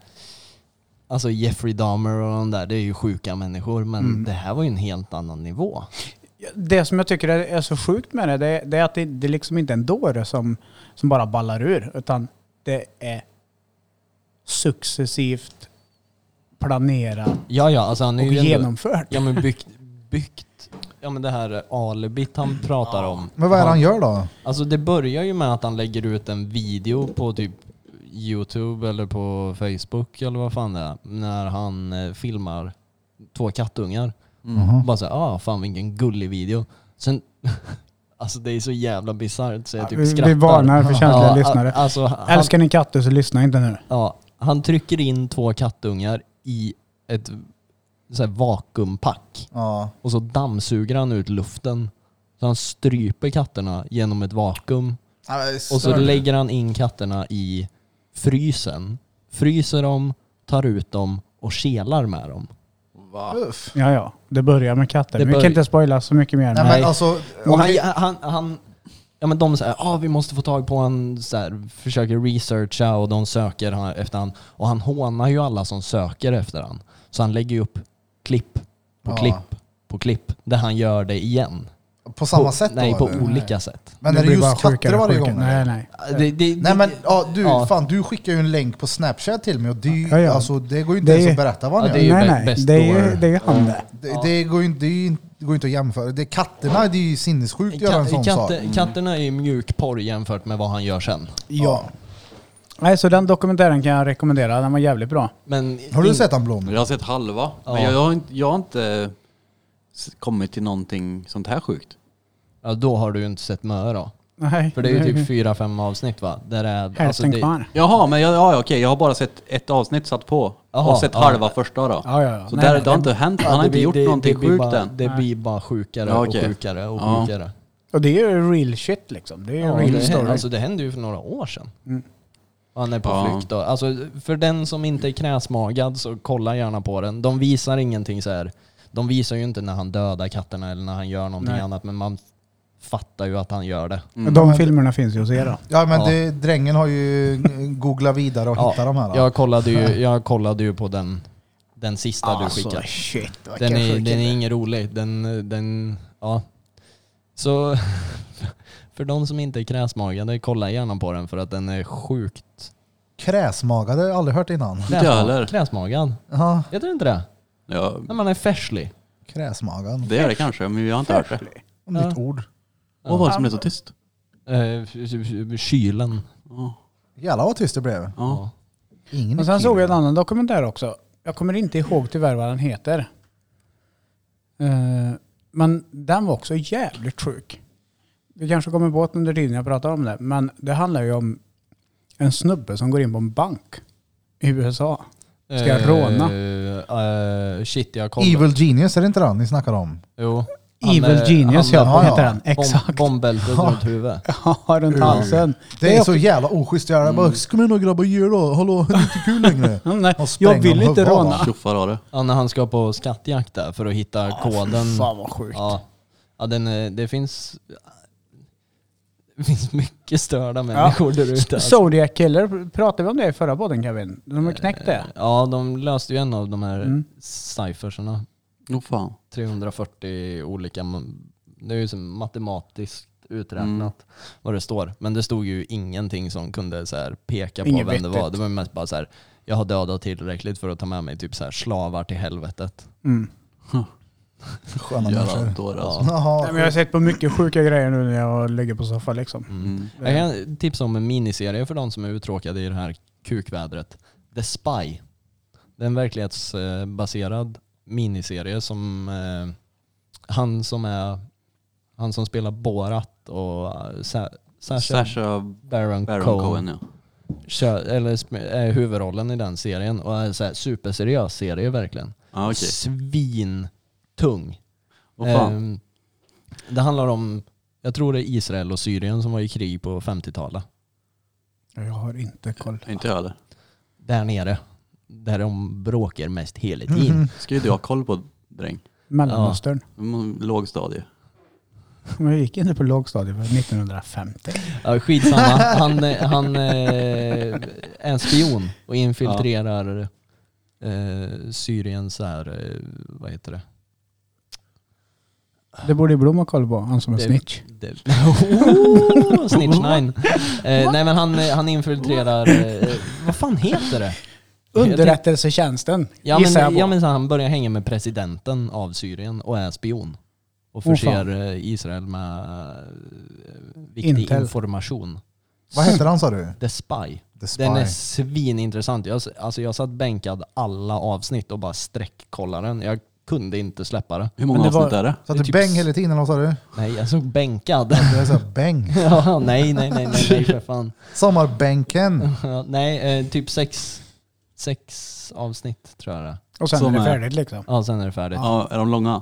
Speaker 2: Alltså Jeffrey Dahmer och de där, det är ju sjuka människor. Men
Speaker 1: Mm.
Speaker 2: det här var ju en helt annan nivå.
Speaker 1: Det som jag tycker är, är så sjukt med det, det, det är att det, det är liksom inte är en dåre som, som bara ballar ur, utan det är successivt planerat
Speaker 2: Ja, ja, alltså han är
Speaker 1: och
Speaker 2: ju ändå,
Speaker 1: genomfört.
Speaker 2: Ja men byggt, byggt... Ja men det här alibit han pratar om.
Speaker 3: Men vad är det han gör då?
Speaker 2: Alltså det börjar ju med att han lägger ut en video på typ Youtube eller på Facebook eller vad fan det är. När han eh, filmar två kattungar.
Speaker 3: Mhm.
Speaker 2: Bara såhär, ah fan vilken gullig video. Sen, alltså det är så jävla bisarrt så jag
Speaker 1: Ja,
Speaker 2: typ
Speaker 1: vi- vi
Speaker 2: skrattar.
Speaker 1: varnar för känsliga
Speaker 2: a-
Speaker 1: lyssnare.
Speaker 2: Alltså, han,
Speaker 1: Älskar ni katter så lyssna inte nu.
Speaker 2: ja, han trycker in två kattungar i ett så här, vakuumpack.
Speaker 3: Ja.
Speaker 2: Och så dammsuger han ut luften. Så han stryper katterna genom ett vakuum.
Speaker 3: Ja, men det är
Speaker 2: Och så
Speaker 3: stört.
Speaker 2: lägger han in katterna i frysen. Fryser dem, tar ut dem och kelar med dem.
Speaker 4: Va?
Speaker 3: Uff.
Speaker 1: Ja, ja. Det börjar med katter.
Speaker 2: Det
Speaker 1: Vi
Speaker 2: börjar-
Speaker 1: kan inte spoila så mycket mer.
Speaker 3: Nej,
Speaker 1: men-
Speaker 2: Nej.
Speaker 3: men alltså,
Speaker 2: Och han, han, han, ja men de säger ah, vi måste få tag på han, så här, försöker researcha och de söker han- efter han. Och han hånar ju alla som söker efter han. Så han lägger ju upp klipp på
Speaker 3: Ja.
Speaker 2: klipp på klipp där han gör det igen.
Speaker 3: på samma
Speaker 2: på,
Speaker 3: sätt
Speaker 2: Nej,
Speaker 3: då,
Speaker 2: på
Speaker 3: eller?
Speaker 2: olika sätt.
Speaker 3: Men
Speaker 1: det
Speaker 3: är det
Speaker 1: blir bara
Speaker 3: just katter
Speaker 1: sjukare och
Speaker 3: varje
Speaker 1: sjukare.
Speaker 3: gång?
Speaker 1: Nej,
Speaker 3: eller?
Speaker 1: nej.
Speaker 2: Det, det,
Speaker 3: Nej men ja, du,
Speaker 2: Ja.
Speaker 3: Fan, du skickar ju en länk på snapchat till mig och det, är ju-
Speaker 1: Ja, ja.
Speaker 3: Alltså, det går ju
Speaker 1: Det
Speaker 3: inte
Speaker 1: är
Speaker 3: ens
Speaker 1: ju-
Speaker 3: att berätta vad
Speaker 2: Ja,
Speaker 3: han
Speaker 2: det är
Speaker 3: gör.
Speaker 2: ju
Speaker 1: nej, nej.
Speaker 2: bä- bäst
Speaker 1: Det är ju,
Speaker 2: år.
Speaker 1: det är ju han det.
Speaker 3: Det, det, går ju, inte- det, är ju inte- det går ju inte att jämföra. Det, katterna, det är ju sinnessjukt att göra en sån
Speaker 2: Katte-
Speaker 3: sak.
Speaker 2: katte- Katterna är ju mjukporr jämfört med vad han gör sen.
Speaker 3: Ja.
Speaker 1: Nej, så den dokumentären kan jag rekommendera. Den var jävligt bra.
Speaker 2: Men
Speaker 3: Har du
Speaker 2: in-
Speaker 3: sett han Blom?
Speaker 4: Jag har sett halva,
Speaker 2: Ja.
Speaker 4: men jag, jag, har inte, jag har inte s- kommit till någonting sånt här sjukt.
Speaker 2: Ja, då har du ju inte sett Mö då.
Speaker 1: Nej.
Speaker 2: För det är ju typ fyra, fem avsnitt va? Där är, alltså,
Speaker 1: Hälften
Speaker 2: det,
Speaker 1: kvar.
Speaker 4: Jaha, men jag, ja, ja, okej, jag har bara sett ett avsnitt satt på
Speaker 2: Jaha,
Speaker 4: och sett
Speaker 2: ja.
Speaker 4: halva första då.
Speaker 1: Ja, ja, ja.
Speaker 4: Så
Speaker 1: Nej,
Speaker 4: där,
Speaker 1: nej,
Speaker 4: det har
Speaker 1: det-
Speaker 4: inte hänt,
Speaker 2: Ja,
Speaker 4: han har
Speaker 2: det
Speaker 4: inte
Speaker 2: blir-
Speaker 4: gjort
Speaker 2: det-
Speaker 4: någonting
Speaker 2: det blir
Speaker 4: sjukt
Speaker 2: bara,
Speaker 4: än.
Speaker 2: Det blir bara sjukare
Speaker 4: Ja, okej.
Speaker 2: och sjukare och
Speaker 4: Ja.
Speaker 2: sjukare.
Speaker 1: Och det är ju real shit liksom. Det är ju
Speaker 2: Ja,
Speaker 1: real
Speaker 2: det,
Speaker 1: story.
Speaker 2: hände, alltså, det hände ju för några år sedan.
Speaker 1: Mm.
Speaker 2: Och Han är på
Speaker 4: Ja.
Speaker 2: flykt då. Alltså, för den som inte är kräsmagad så kolla gärna på den. De visar ingenting så här. De visar ju inte när han dödar katterna eller när han gör någonting
Speaker 1: Nej.
Speaker 2: annat men man fattar ju att han gör det.
Speaker 4: Mm.
Speaker 1: De filmerna finns ju hos er då.
Speaker 3: Ja men
Speaker 2: Ja.
Speaker 3: Det, drängen har ju googlat vidare och
Speaker 2: Ja,
Speaker 3: hittat de här.
Speaker 2: Jag kollade ju, jag kollade ju på den, den sista
Speaker 4: Alltså,
Speaker 2: du skickade.
Speaker 1: Alltså, shit.
Speaker 2: Den
Speaker 1: vilken
Speaker 2: är,
Speaker 1: sjuk
Speaker 2: den
Speaker 1: kille.
Speaker 2: är ingen rolig. Den, den, ja. Så för de som inte är kräsmagade, kolla gärna på den för att den är sjukt
Speaker 3: Kräsmagade, jag har aldrig hört innan.
Speaker 4: Inte jag heller.
Speaker 2: kräsmagad.
Speaker 3: Ja,
Speaker 2: Heter det inte det?
Speaker 4: Ja,
Speaker 2: När man är färslig.
Speaker 3: kräsmagan.
Speaker 4: det är det kanske, men vi har inte hört det.
Speaker 3: Nytt ord.
Speaker 4: Vad var det som blev så tyst?
Speaker 2: Eh, kylen.
Speaker 4: Ja.
Speaker 3: Jävlar vad tyst det blev.
Speaker 4: Ja.
Speaker 3: Ingen
Speaker 1: Och sen
Speaker 3: kille.
Speaker 1: såg jag en annan dokumentär också. Jag kommer inte ihåg tyvärr vad den heter. Eh, Men den var också jävligt sjuk. Vi kanske kommer på att under tiden jag pratar om det. Men det handlar ju om en snubbe som går in på en bank i USA. Ska jag råna?
Speaker 2: Eh, eh, shit, jag kollade.
Speaker 3: Evil Genius, är det inte den ni snackar om?
Speaker 2: Jo.
Speaker 1: Evil
Speaker 2: är-
Speaker 1: Genius
Speaker 2: han
Speaker 1: ja,
Speaker 2: är-
Speaker 1: vad
Speaker 3: ja,
Speaker 1: heter
Speaker 3: ja.
Speaker 1: den? Exakt.
Speaker 2: Bomb, bombbältet runt huvudet.
Speaker 1: Ja, runt halsen.
Speaker 3: Det är
Speaker 1: också-
Speaker 3: så jävla oschysst att göra. Jag bara, kom igen då grabbar, gör då. Hallå, det är inte kul längre.
Speaker 1: Mm, Nej,
Speaker 3: Och
Speaker 1: jag
Speaker 3: spräng
Speaker 1: vill
Speaker 3: dem
Speaker 1: inte
Speaker 3: huvudet av
Speaker 1: råna.
Speaker 3: dem.
Speaker 4: Tjoffar har det.
Speaker 2: Ja, när han ska på skattjakt där för att hitta koden.
Speaker 1: Fan vad sjukt.
Speaker 2: Ja, ja den, är- det finns... Det finns mycket störda människor där ute. alltså.
Speaker 1: Zodiac Killer, pratade vi om det i förra podden Kevin? De har knäckt det.
Speaker 2: Ja, de löste ju en av de här
Speaker 1: Mm.
Speaker 2: cipherserna.
Speaker 4: Åh fan.
Speaker 2: 340 olika... m- Det är ju som matematiskt uträknat
Speaker 1: Mm.
Speaker 2: vad det står. Men det stod ju ingenting som kunde så här peka på
Speaker 1: Inget
Speaker 2: vem det var.
Speaker 1: vettigt.
Speaker 2: Det var ju mest bara så här, jag har dödat tillräckligt för att ta med mig typ så här slavar till helvetet.
Speaker 1: Mm.
Speaker 3: Sköna
Speaker 4: Jävla
Speaker 3: människor.
Speaker 4: dåre
Speaker 2: Ja.
Speaker 4: alltså.
Speaker 1: Nej, men jag
Speaker 3: Jaha.
Speaker 1: har sett på mycket sjuka grejer nu när jag ligger på soffan liksom.
Speaker 4: Mm.
Speaker 2: Jag kan tipsa om en miniserie för de som är uttråkade i det här kukvädret. The Spy. Det är en verklighetsbaserad miniserie som eh, han som är han som spelar Borat och eh, Sa- Sacha
Speaker 4: Sasha
Speaker 2: Baron,
Speaker 4: Baron
Speaker 2: Cohen,
Speaker 4: Cohen ja.
Speaker 2: Kör, eller, sp- är huvudrollen i den serien och är så här superseriös serie verkligen.
Speaker 4: Ja, okej.
Speaker 2: Svintung.
Speaker 4: Åh fan.
Speaker 2: Ehm, det handlar om, jag tror det är Israel och Syrien som var i krig på 50-talet.
Speaker 1: Jag har inte koll.
Speaker 4: Inte jag heller.
Speaker 2: där nere. Där de bråkar mest hela
Speaker 1: Mm.
Speaker 2: tiden.
Speaker 4: Ska ju du ha koll på dräng.
Speaker 1: Mellanöstern.
Speaker 4: Mm, Lågstadie.
Speaker 1: Men jag gick inte på lågstadiet för 1950.
Speaker 2: Ja, skitsamma. Han, eh, han eh, är en spion och infiltrerar eh, Syriens så här, eh, vad heter det?
Speaker 1: Det borde ju Blom ha koll på, han som är
Speaker 2: Det-
Speaker 1: snitch.
Speaker 2: det- Oh, Snitch 9. Eh, nej men han, eh, han infiltrerar, eh, vad fan heter det?
Speaker 1: Underrättelsetjänsten
Speaker 2: Ja
Speaker 1: gissar jag
Speaker 2: men,
Speaker 1: på.
Speaker 2: ja, men så han börjar hänga med presidenten av Syrien och är spion. Och
Speaker 1: Åh,
Speaker 2: förser
Speaker 1: fan.
Speaker 2: eh, Israel med eh, viktig
Speaker 1: Intel.
Speaker 2: information.
Speaker 3: Vad heter han sa du?
Speaker 2: The Spy.
Speaker 3: The Spy.
Speaker 2: Den är svinintressant. Jag, alltså jag satt bänkad alla avsnitt och bara sträckkollade den. Jag kunde inte släppa det.
Speaker 4: Hur många
Speaker 1: Men det var-
Speaker 4: avsnitt är det?
Speaker 3: Så att
Speaker 2: det är
Speaker 3: du
Speaker 2: typ
Speaker 3: bäng
Speaker 2: s-
Speaker 3: hela tiden eller vad sa du?
Speaker 2: Nej, jag såg bänkad.
Speaker 3: Det är såhär bäng.
Speaker 2: ja, nej, nej, nej, nej, nej för fan.
Speaker 3: Sommarbänken.
Speaker 2: Ja, nej, eh, typ sex, sex avsnitt tror jag det är.
Speaker 1: och sen
Speaker 4: Som
Speaker 1: är det
Speaker 4: är-
Speaker 1: färdigt liksom.
Speaker 2: Ja, sen är det färdigt.
Speaker 4: Ja, är de långa?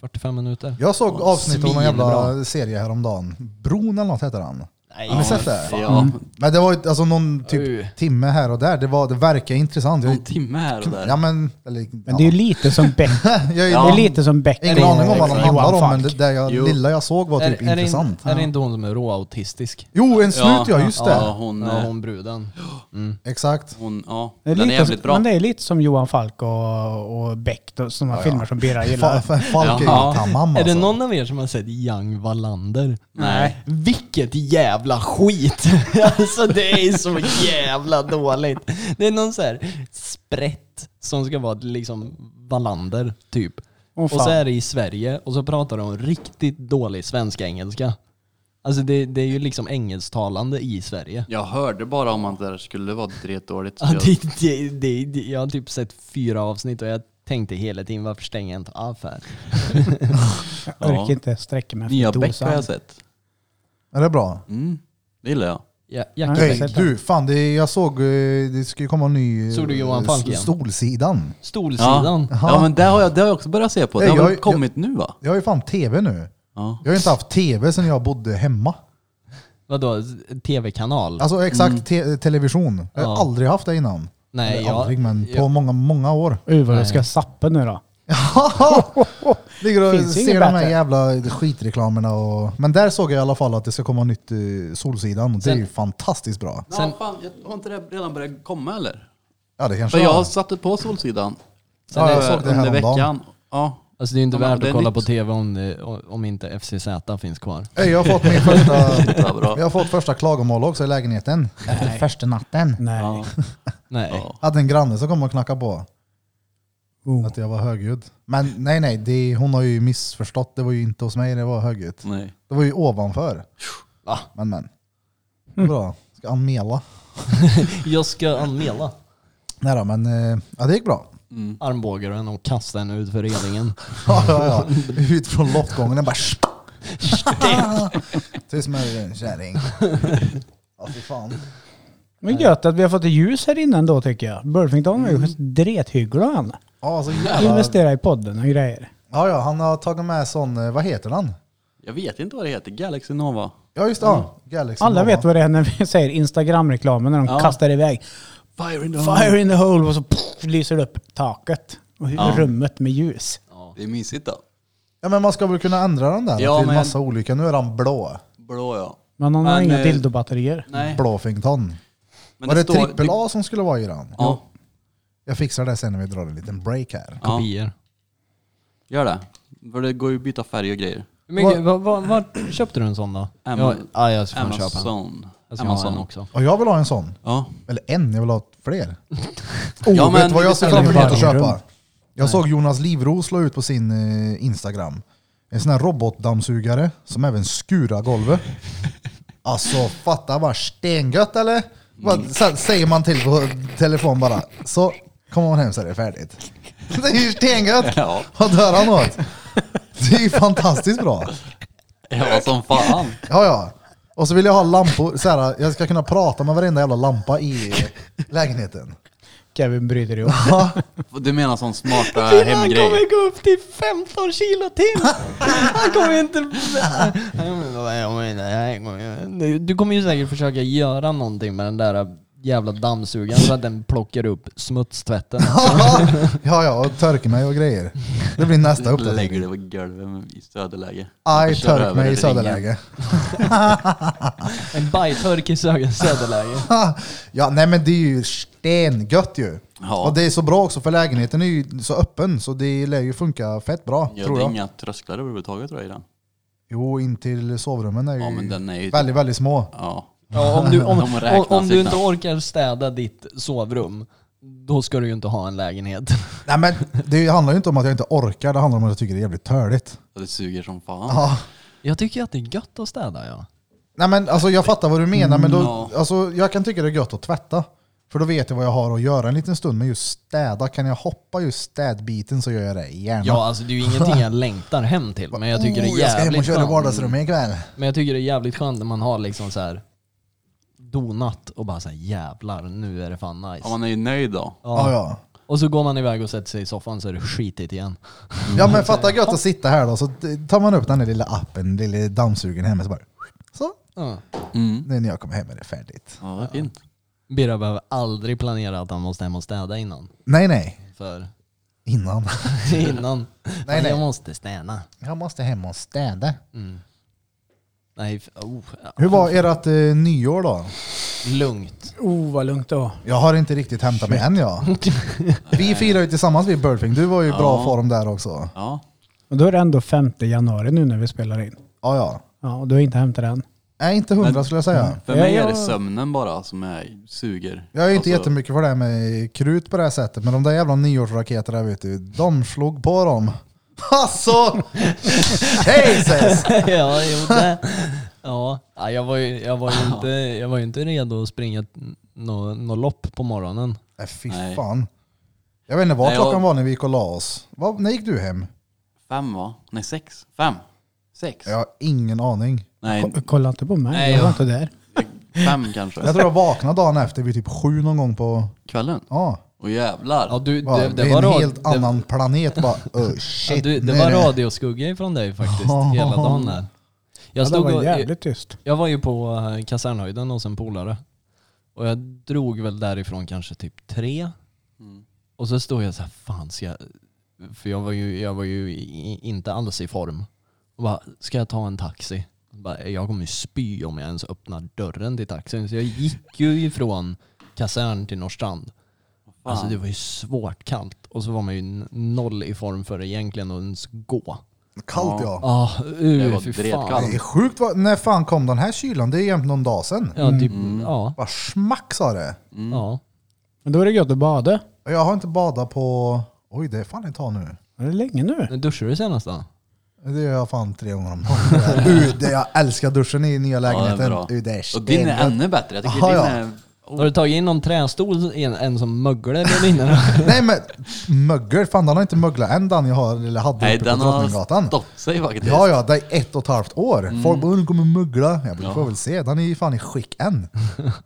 Speaker 2: 45 minuter.
Speaker 3: Jag såg avsnitt av någon jävla
Speaker 2: Svinbra.
Speaker 3: serie häromdagen. Bron eller något heter han.
Speaker 2: Nej,
Speaker 3: Har ni sett det?
Speaker 4: Ja,
Speaker 2: Mm.
Speaker 3: Men det var ju alltså någon typ
Speaker 2: Oj.
Speaker 3: timme här och där. Det, var, det verkar intressant.
Speaker 4: någon
Speaker 3: Jag,
Speaker 4: timme här och där.
Speaker 3: ja men... Eller,
Speaker 1: Men det är ju
Speaker 3: ja.
Speaker 1: lite som Beck.
Speaker 3: jag, är-
Speaker 1: Det är lite som Beck.
Speaker 3: Ingen aning om vad den
Speaker 1: Johan
Speaker 3: handlar om, men
Speaker 1: Falk.
Speaker 3: det, det jag,
Speaker 4: Jo.
Speaker 3: lilla jag såg var typ
Speaker 2: är, är, det, in-
Speaker 3: intressant.
Speaker 2: är det inte hon som är råautistisk?
Speaker 3: Jo, en snut ja,
Speaker 4: Ja,
Speaker 3: just det.
Speaker 4: Ja, hon,
Speaker 2: Ja,
Speaker 4: eh,
Speaker 2: hon bruden. Mm.
Speaker 3: Exakt.
Speaker 4: hon, ja.
Speaker 1: Det är
Speaker 4: Den är
Speaker 1: lite,
Speaker 4: jävligt bra.
Speaker 1: Men det är lite som Johan Falk och, och Beck, då, sådana
Speaker 3: Ja, ja.
Speaker 1: filmer som Birra
Speaker 3: Fa-
Speaker 1: gillar.
Speaker 3: fa- Falk är
Speaker 4: Jaha.
Speaker 3: ju tamam
Speaker 2: Är det
Speaker 3: alltså.
Speaker 2: någon av er som har sett Young Wallander?
Speaker 4: Nej.
Speaker 2: Vilket jävla skit! alltså det är så jävla dåligt. Det är någon så här sprätt som ska vara liksom Wallander typ.
Speaker 1: Åh,
Speaker 2: och
Speaker 1: fan.
Speaker 2: så är det i Sverige och så pratar de riktigt dålig svenska-engelska. Alltså det, det är ju liksom engelsktalande i Sverige.
Speaker 4: Jag hörde bara om att det där skulle vara dretdåligt. så
Speaker 2: Ja,
Speaker 4: jag-
Speaker 2: det, det, det, det, jag har typ sett fyra avsnitt och jag tänkte hela tiden varför stänger jag inte av för?
Speaker 1: Jag
Speaker 4: Ja.
Speaker 1: orkar inte sträcka mig
Speaker 4: Nya alltså.
Speaker 1: efter
Speaker 4: Beck har
Speaker 1: dosan.
Speaker 4: jag sett.
Speaker 3: Är det bra?
Speaker 4: Mm. Det gillar jag.
Speaker 2: Ja,
Speaker 1: Nej.
Speaker 2: Jack Beck.
Speaker 3: Hej,
Speaker 1: sett den.
Speaker 3: du, fan det, jag såg, eh, det ska ju komma en ny... eh,
Speaker 2: Såg du Johan Falk igen?
Speaker 3: Stolsidan.
Speaker 2: Stolsidan.
Speaker 4: Ja, ja men det har, jag, det har jag också börjat se på. Det
Speaker 3: Nej,
Speaker 4: har väl
Speaker 3: jag-
Speaker 4: kommit nu va?
Speaker 3: Jag har ju fan tv nu.
Speaker 4: Ja.
Speaker 3: Jag har ju inte haft tv sedan jag bodde hemma.
Speaker 2: Vadå? TV-kanal?
Speaker 3: Alltså exakt, te- television. Jag har
Speaker 2: Ja.
Speaker 3: aldrig haft det innan.
Speaker 2: Nej,
Speaker 3: Eller
Speaker 2: jag-
Speaker 3: aldrig, men på
Speaker 2: jag-
Speaker 3: många, många år.
Speaker 1: Uh, vad du ska sappa nu då.
Speaker 3: Ligger och
Speaker 1: Finns ju
Speaker 3: ser
Speaker 1: inget
Speaker 3: de här
Speaker 1: bättre.
Speaker 3: jävla skitreklamerna och... Men där såg jag i alla fall att det ska komma nytt eh, Solsidan och det är
Speaker 2: Sen-
Speaker 3: ju fantastiskt bra.
Speaker 4: Sen, fan, jag, har inte det redan börjat komma eller?
Speaker 3: Ja det kanske
Speaker 4: För
Speaker 3: var.
Speaker 4: jag satte på Solsidan.
Speaker 2: Sen
Speaker 3: Ja,
Speaker 2: är-
Speaker 3: jag såg det
Speaker 4: under
Speaker 3: häromdagen.
Speaker 4: veckan. Ja.
Speaker 2: Alltså det är ju inte
Speaker 4: Ja, men
Speaker 2: värt
Speaker 4: det
Speaker 2: att
Speaker 4: är
Speaker 2: kolla
Speaker 4: nytt.
Speaker 2: på TV om, det, om inte FCZ finns kvar.
Speaker 3: Ey, Jag har fått min första,
Speaker 4: Ja, bra.
Speaker 3: jag har fått första klagomål också i lägenheten. Efter första natten.
Speaker 1: Nej.
Speaker 4: Ja.
Speaker 2: Nej.
Speaker 4: Ja.
Speaker 3: Hade en granne som kom och knackade på.
Speaker 1: Oh.
Speaker 3: Att jag var högljudd. Men nej nej, det, hon har ju missförstått. Det var ju inte hos mig det var högljutt.
Speaker 4: Nej.
Speaker 3: Det var ju ovanför.
Speaker 2: Va?
Speaker 3: Men men.
Speaker 1: Hmm.
Speaker 3: Bra. Ska anmäla.
Speaker 2: Jag ska anmäla
Speaker 3: Nej då, men eh, ja, det gick bra.
Speaker 4: Mm.
Speaker 2: armbågaren och kasta henne ut för redingen.
Speaker 3: Ja, ja, ja. Ut från loftgången den bara... Tyst med dig din kärring. Ja fy fan.
Speaker 1: Men gött att vi har fått ett ljus här inne ändå tycker jag. Burfington är
Speaker 3: Mm.
Speaker 1: ju drethygglig han.
Speaker 3: Ja, så jävla...
Speaker 1: Investera i podden och grejer.
Speaker 3: ja, ja, han har tagit med sån, eh, vad heter han?
Speaker 4: Jag vet inte vad det heter. Galaxy Nova.
Speaker 3: Ja just det, ja. Galaxy
Speaker 1: Mm. Alla
Speaker 3: Nova.
Speaker 1: vet vad det är när vi säger Instagram-reklamen när de
Speaker 4: Ja.
Speaker 1: kastar iväg.
Speaker 4: Fire in the
Speaker 1: Fire in the hole och så pff, lyser det upp taket och
Speaker 4: Ja.
Speaker 1: rummet med ljus.
Speaker 4: Det är mysigt då.
Speaker 3: Ja men man ska väl kunna ändra den där
Speaker 4: Ja,
Speaker 3: till
Speaker 4: men-
Speaker 3: massa olika. Nu är han blå.
Speaker 4: Blå ja.
Speaker 1: Men han har
Speaker 4: Men,
Speaker 1: inga
Speaker 4: eh,
Speaker 1: dildobatterier.
Speaker 4: Nej.
Speaker 3: Blåfington.
Speaker 4: Men
Speaker 3: Var det
Speaker 4: står-
Speaker 3: trippel A som skulle vara i den?
Speaker 4: Ja.
Speaker 3: Jag fixar det sen när vi drar en liten break här.
Speaker 4: Ja.
Speaker 2: Kopior.
Speaker 4: Gör det. För det går ju att byta färg och grejer.
Speaker 2: Hur mycket, vad, vad, vad köpte du en sån då?
Speaker 4: Am-
Speaker 2: ja, ja, jag ska fan köpa en.
Speaker 4: Amazon.
Speaker 2: Alltså, jag har en också.
Speaker 3: Och jag vill ha en sån.
Speaker 4: Ja.
Speaker 3: Eller en, jag vill ha fler. Oh,
Speaker 4: Ja,
Speaker 3: vet
Speaker 4: men
Speaker 3: du vad jag
Speaker 4: det
Speaker 3: skulle
Speaker 1: kan
Speaker 3: vilja
Speaker 1: ju
Speaker 3: att
Speaker 1: vara en
Speaker 3: köpa?
Speaker 1: rum.
Speaker 3: Jag såg Jonas Livros slå ut på sin eh, Instagram. En sån här robotdammsugare som även skurar golvet. Alltså fatta bara stengött eller? Bara, så, säger man till på telefon bara. Så kommer man hem så är det färdigt. Det är ju stengött!
Speaker 4: Ja.
Speaker 3: Vad dör han åt? Det är ju fantastiskt bra.
Speaker 4: Ja som fan.
Speaker 3: Ja, ja. Och så vill jag ha lampor, så här, jag ska kunna prata med varenda jävla lampa i lägenheten.
Speaker 1: Kevin bryter ihop.
Speaker 3: Ja,
Speaker 4: Du menar sån smarta
Speaker 2: Han
Speaker 4: Äh, hemgrej?
Speaker 2: kommer gå upp till 15 kilo till! Han kommer inte... Du kommer ju säkert försöka göra någonting med den där jävla dammsugaren så att den plockar upp smutstvätten.
Speaker 3: ja, ja, och törk mig och grejer. Det blir nästa uppdatering.
Speaker 4: Lägger det på golvet i söderläge.
Speaker 3: Aj,
Speaker 4: Kör
Speaker 3: törk
Speaker 4: över
Speaker 3: mig i
Speaker 4: ringen.
Speaker 3: söderläge.
Speaker 2: En bajtörk i sögen söderläge.
Speaker 3: Ja, nej men det är ju stengött ju.
Speaker 4: Ja.
Speaker 3: Och det är så bra också för lägenheten är ju så öppen så det lär ju funka fett bra,
Speaker 4: Ja,
Speaker 3: tror
Speaker 4: det är
Speaker 3: jag.
Speaker 4: inga trösklar överhuvudtaget tror jag i den.
Speaker 3: Jo, in till sovrummen är ju
Speaker 4: Ja men den är ju...
Speaker 3: väldigt, väldigt små.
Speaker 4: Ja.
Speaker 2: Ja, om du, om,
Speaker 4: De räknas
Speaker 2: om du inte
Speaker 4: knappt.
Speaker 2: orkar städa ditt sovrum, då ska du ju inte ha en lägenhet.
Speaker 3: Nej men det handlar ju inte om att jag inte orkar, det handlar om att jag tycker det är jävligt töligt.
Speaker 4: Ja, Det suger som fan.
Speaker 3: Ja.
Speaker 2: Jag tycker att det är gött att städa ja.
Speaker 3: Nej men alltså jag fattar vad du menar, men då,
Speaker 2: Mm,
Speaker 4: Ja.
Speaker 3: alltså, jag kan tycka det är gött att tvätta. För då vet jag vad jag har att göra en liten stund, men just städa, kan jag hoppa just städbiten så gör jag det gärna.
Speaker 2: Ja, alltså det är ju ingenting jag längtar hem till, men jag tycker det
Speaker 3: Oh,
Speaker 2: är
Speaker 3: jag ska hem och
Speaker 2: jävligt
Speaker 3: köra
Speaker 2: skönt.
Speaker 3: vardagsrummet ikväll.
Speaker 2: Men jag tycker det är jävligt skönt när man har liksom så här donat och bara så här jävlar, nu är det fan nice.
Speaker 4: Ja, man är ju nöjd då.
Speaker 3: Ja.
Speaker 2: Ja.
Speaker 3: Ja, ja.
Speaker 2: Och så går man iväg och sätter sig i soffan så är det skitigt igen.
Speaker 3: men fatta gött att sitta här då, så tar man upp den där lilla appen, den lilla dammsugaren hemma, så bara så.
Speaker 2: Ja.
Speaker 4: Mm.
Speaker 3: Nu när jag kommer hem är det färdigt.
Speaker 4: Ja, det är fint.
Speaker 2: Birra behöver aldrig planera att han måste hem och städa innan.
Speaker 3: Nej nej,
Speaker 2: För
Speaker 3: innan.
Speaker 2: innan.
Speaker 3: Nej,
Speaker 2: nej,
Speaker 3: nej.
Speaker 2: Jag måste städa.
Speaker 3: Jag måste hem och städa.
Speaker 2: Mm. Nej, f- oh, ja.
Speaker 3: Hur var ert eh, nyår då?
Speaker 2: lugnt.
Speaker 1: Oh vad lugnt det var.
Speaker 3: Jag har inte riktigt hämtat mig än jag. Vi firar ju tillsammans vid Birdfing. Du var ju i bra
Speaker 4: Ja.
Speaker 3: form där också.
Speaker 4: Ja.
Speaker 1: Och då är det ändå 5 januari nu när vi spelar in.
Speaker 3: Ja, ja.
Speaker 1: Ja, och du har inte hämtat den.
Speaker 3: Nej, inte hundra
Speaker 4: Men-
Speaker 3: skulle jag säga.
Speaker 4: För
Speaker 1: Ja,
Speaker 4: mig är
Speaker 1: jag-
Speaker 4: det sömnen bara som är, suger.
Speaker 3: Jag är ju inte
Speaker 4: Alltså,
Speaker 3: jättemycket för det här med krut på det här sättet, men de där jävla nyårsraketerna vet du, de slog på dem. Alltså! Jesus!
Speaker 2: ja, jo, det. ja, Ja, jag var ju, jag var ju, inte, jag var ju inte redo att springa något nå lopp på morgonen.
Speaker 3: Nej, fy
Speaker 4: Nej.
Speaker 3: fan. Jag vet inte vad
Speaker 4: Nej,
Speaker 3: klockan
Speaker 4: jag-
Speaker 3: var när vi gick och la oss. Vad, när gick du hem?
Speaker 4: Fem va? Nej sex. Fem. Sex?
Speaker 3: Jag har ingen aning.
Speaker 4: Nej,
Speaker 1: Ko- Kolla inte på mig,
Speaker 4: Nej,
Speaker 1: jag var
Speaker 4: ja.
Speaker 1: inte där.
Speaker 4: fem kanske.
Speaker 3: Jag tror jag vaknade dagen efter vid typ sju någon gång på...
Speaker 4: Kvällen?
Speaker 3: Ja.
Speaker 4: Och jävlar.
Speaker 2: Ja, du,
Speaker 3: Bara,
Speaker 2: det,
Speaker 3: det,
Speaker 2: det
Speaker 3: är
Speaker 2: var
Speaker 3: en
Speaker 2: rad-
Speaker 3: helt
Speaker 2: det-
Speaker 3: annan planet bara. Oh,
Speaker 2: Ja,
Speaker 3: shit,
Speaker 2: du,
Speaker 3: nu
Speaker 2: det
Speaker 3: är
Speaker 2: var radioskugga från dig faktiskt hela dagen där. Jag,
Speaker 1: Ja, det
Speaker 2: stod
Speaker 1: var
Speaker 2: och, jag,
Speaker 1: jävligt tyst.
Speaker 2: jag var ju på eh, kasernhöjden hos en polare. Och jag drog väl därifrån kanske typ tre.
Speaker 4: Mm.
Speaker 2: Och så stod jag så här, fan ska jag... För jag var ju, jag var ju i, inte alls i form. Och bara, ska jag ta en taxi? Och Bara, jag kommer ju spy om jag ens öppnar dörren till taxin. Så jag gick ju ifrån kasern till Norrstrand.
Speaker 4: Fan.
Speaker 2: Alltså det var ju svårt kallt. Och så var man ju n- noll i form för egentligen att ens gå.
Speaker 3: Kallt ja.
Speaker 2: Ja,
Speaker 4: Det
Speaker 2: uh,
Speaker 4: var
Speaker 2: fy fan.
Speaker 4: dretkallt.
Speaker 3: Det är sjukt vad, när fan kom den här kylan? Det är jämt någon dag sedan.
Speaker 2: Ja, typ,
Speaker 4: Mm.
Speaker 2: ja,
Speaker 3: Bara smack sa det.
Speaker 2: ja.
Speaker 1: Men då är det gött att bada.
Speaker 3: Och Jag har inte badat på... Oj, det är fan ett tag nu.
Speaker 1: Det är länge nu.
Speaker 2: Men Duschade du senast då?
Speaker 3: Det gör jag fan tre gånger om dagen. Uh, det, jag älskar duschen i nya
Speaker 4: Ja,
Speaker 3: lägenheten.
Speaker 4: det är bra.
Speaker 3: Uh, det är
Speaker 4: Och din är
Speaker 3: stengött.
Speaker 4: ännu bättre. Jag tycker
Speaker 3: Aha,
Speaker 4: din
Speaker 3: ja.
Speaker 4: är...
Speaker 2: Har du tagit in någon trästol, en, en som möglar där inne? då?
Speaker 3: Nej men mögel, fan den har inte möglat än den jag har, eller hade
Speaker 4: Nej
Speaker 3: uppe på
Speaker 4: den har
Speaker 3: Drottninggatan.
Speaker 4: stått sig faktiskt.
Speaker 3: Ja ja, det är ett och ett halvt år.
Speaker 4: Mm.
Speaker 3: Folk bara "Åh, kommer mögla. Jag bara, får väl se, den är ju fan i skick än.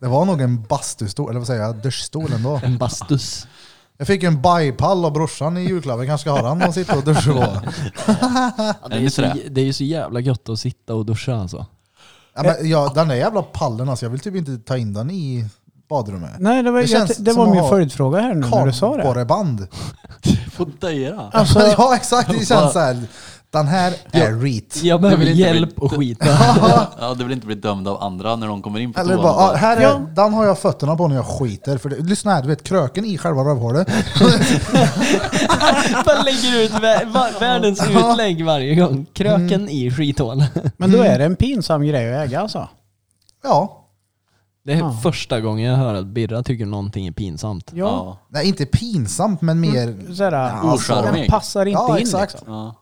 Speaker 3: Det var nog en bastustol, eller vad säger jag, duschstol ändå.
Speaker 2: En bastus.
Speaker 3: Jag fick en bajpall av brorsan i julklapp, jag kanske ska ha den och sitta och duscha på.
Speaker 2: Ja, det,
Speaker 4: Är
Speaker 2: är
Speaker 4: ni
Speaker 2: så,
Speaker 4: trä?
Speaker 2: det är ju så jävla gött att sitta och duscha alltså.
Speaker 3: Ja, men, ja, den där jävla pallen alltså, jag vill typ inte ta in den i badrummet.
Speaker 1: Nej, det var,
Speaker 3: Det känns
Speaker 1: jätte, det
Speaker 3: som
Speaker 1: var
Speaker 3: att
Speaker 1: min
Speaker 3: ha
Speaker 1: följdfråga här nu när du sa det.
Speaker 3: Kardborreband.
Speaker 4: Få döja.
Speaker 1: Alltså,
Speaker 3: ja exakt, det känns såhär. Den här är reet.
Speaker 2: Jag behöver
Speaker 4: vill inte
Speaker 2: hjälp och skita.
Speaker 4: Ja, du vill inte bli dömd av andra när de kommer in på
Speaker 3: Eller
Speaker 4: toan.
Speaker 3: bara, ah, här är,
Speaker 1: Ja.
Speaker 3: den har jag fötterna på när jag skiter. För det, lyssna här, du vet kröken i själva rövhålet.
Speaker 2: Bara lägger ut vä- va- världens utlägg varje gång. Kröken i skithålet.
Speaker 1: Men då
Speaker 3: Mm.
Speaker 1: är det en pinsam grej att äga alltså.
Speaker 3: Ja.
Speaker 2: Det är
Speaker 1: Ja.
Speaker 2: första gången jag hör att Birra tycker någonting är pinsamt.
Speaker 1: Ja.
Speaker 3: Nej, inte pinsamt men mer...
Speaker 1: Såhär, alltså, den
Speaker 4: Ocharmig.
Speaker 1: passar inte
Speaker 3: Ja,
Speaker 1: in
Speaker 3: exakt.
Speaker 1: liksom.
Speaker 4: Ja.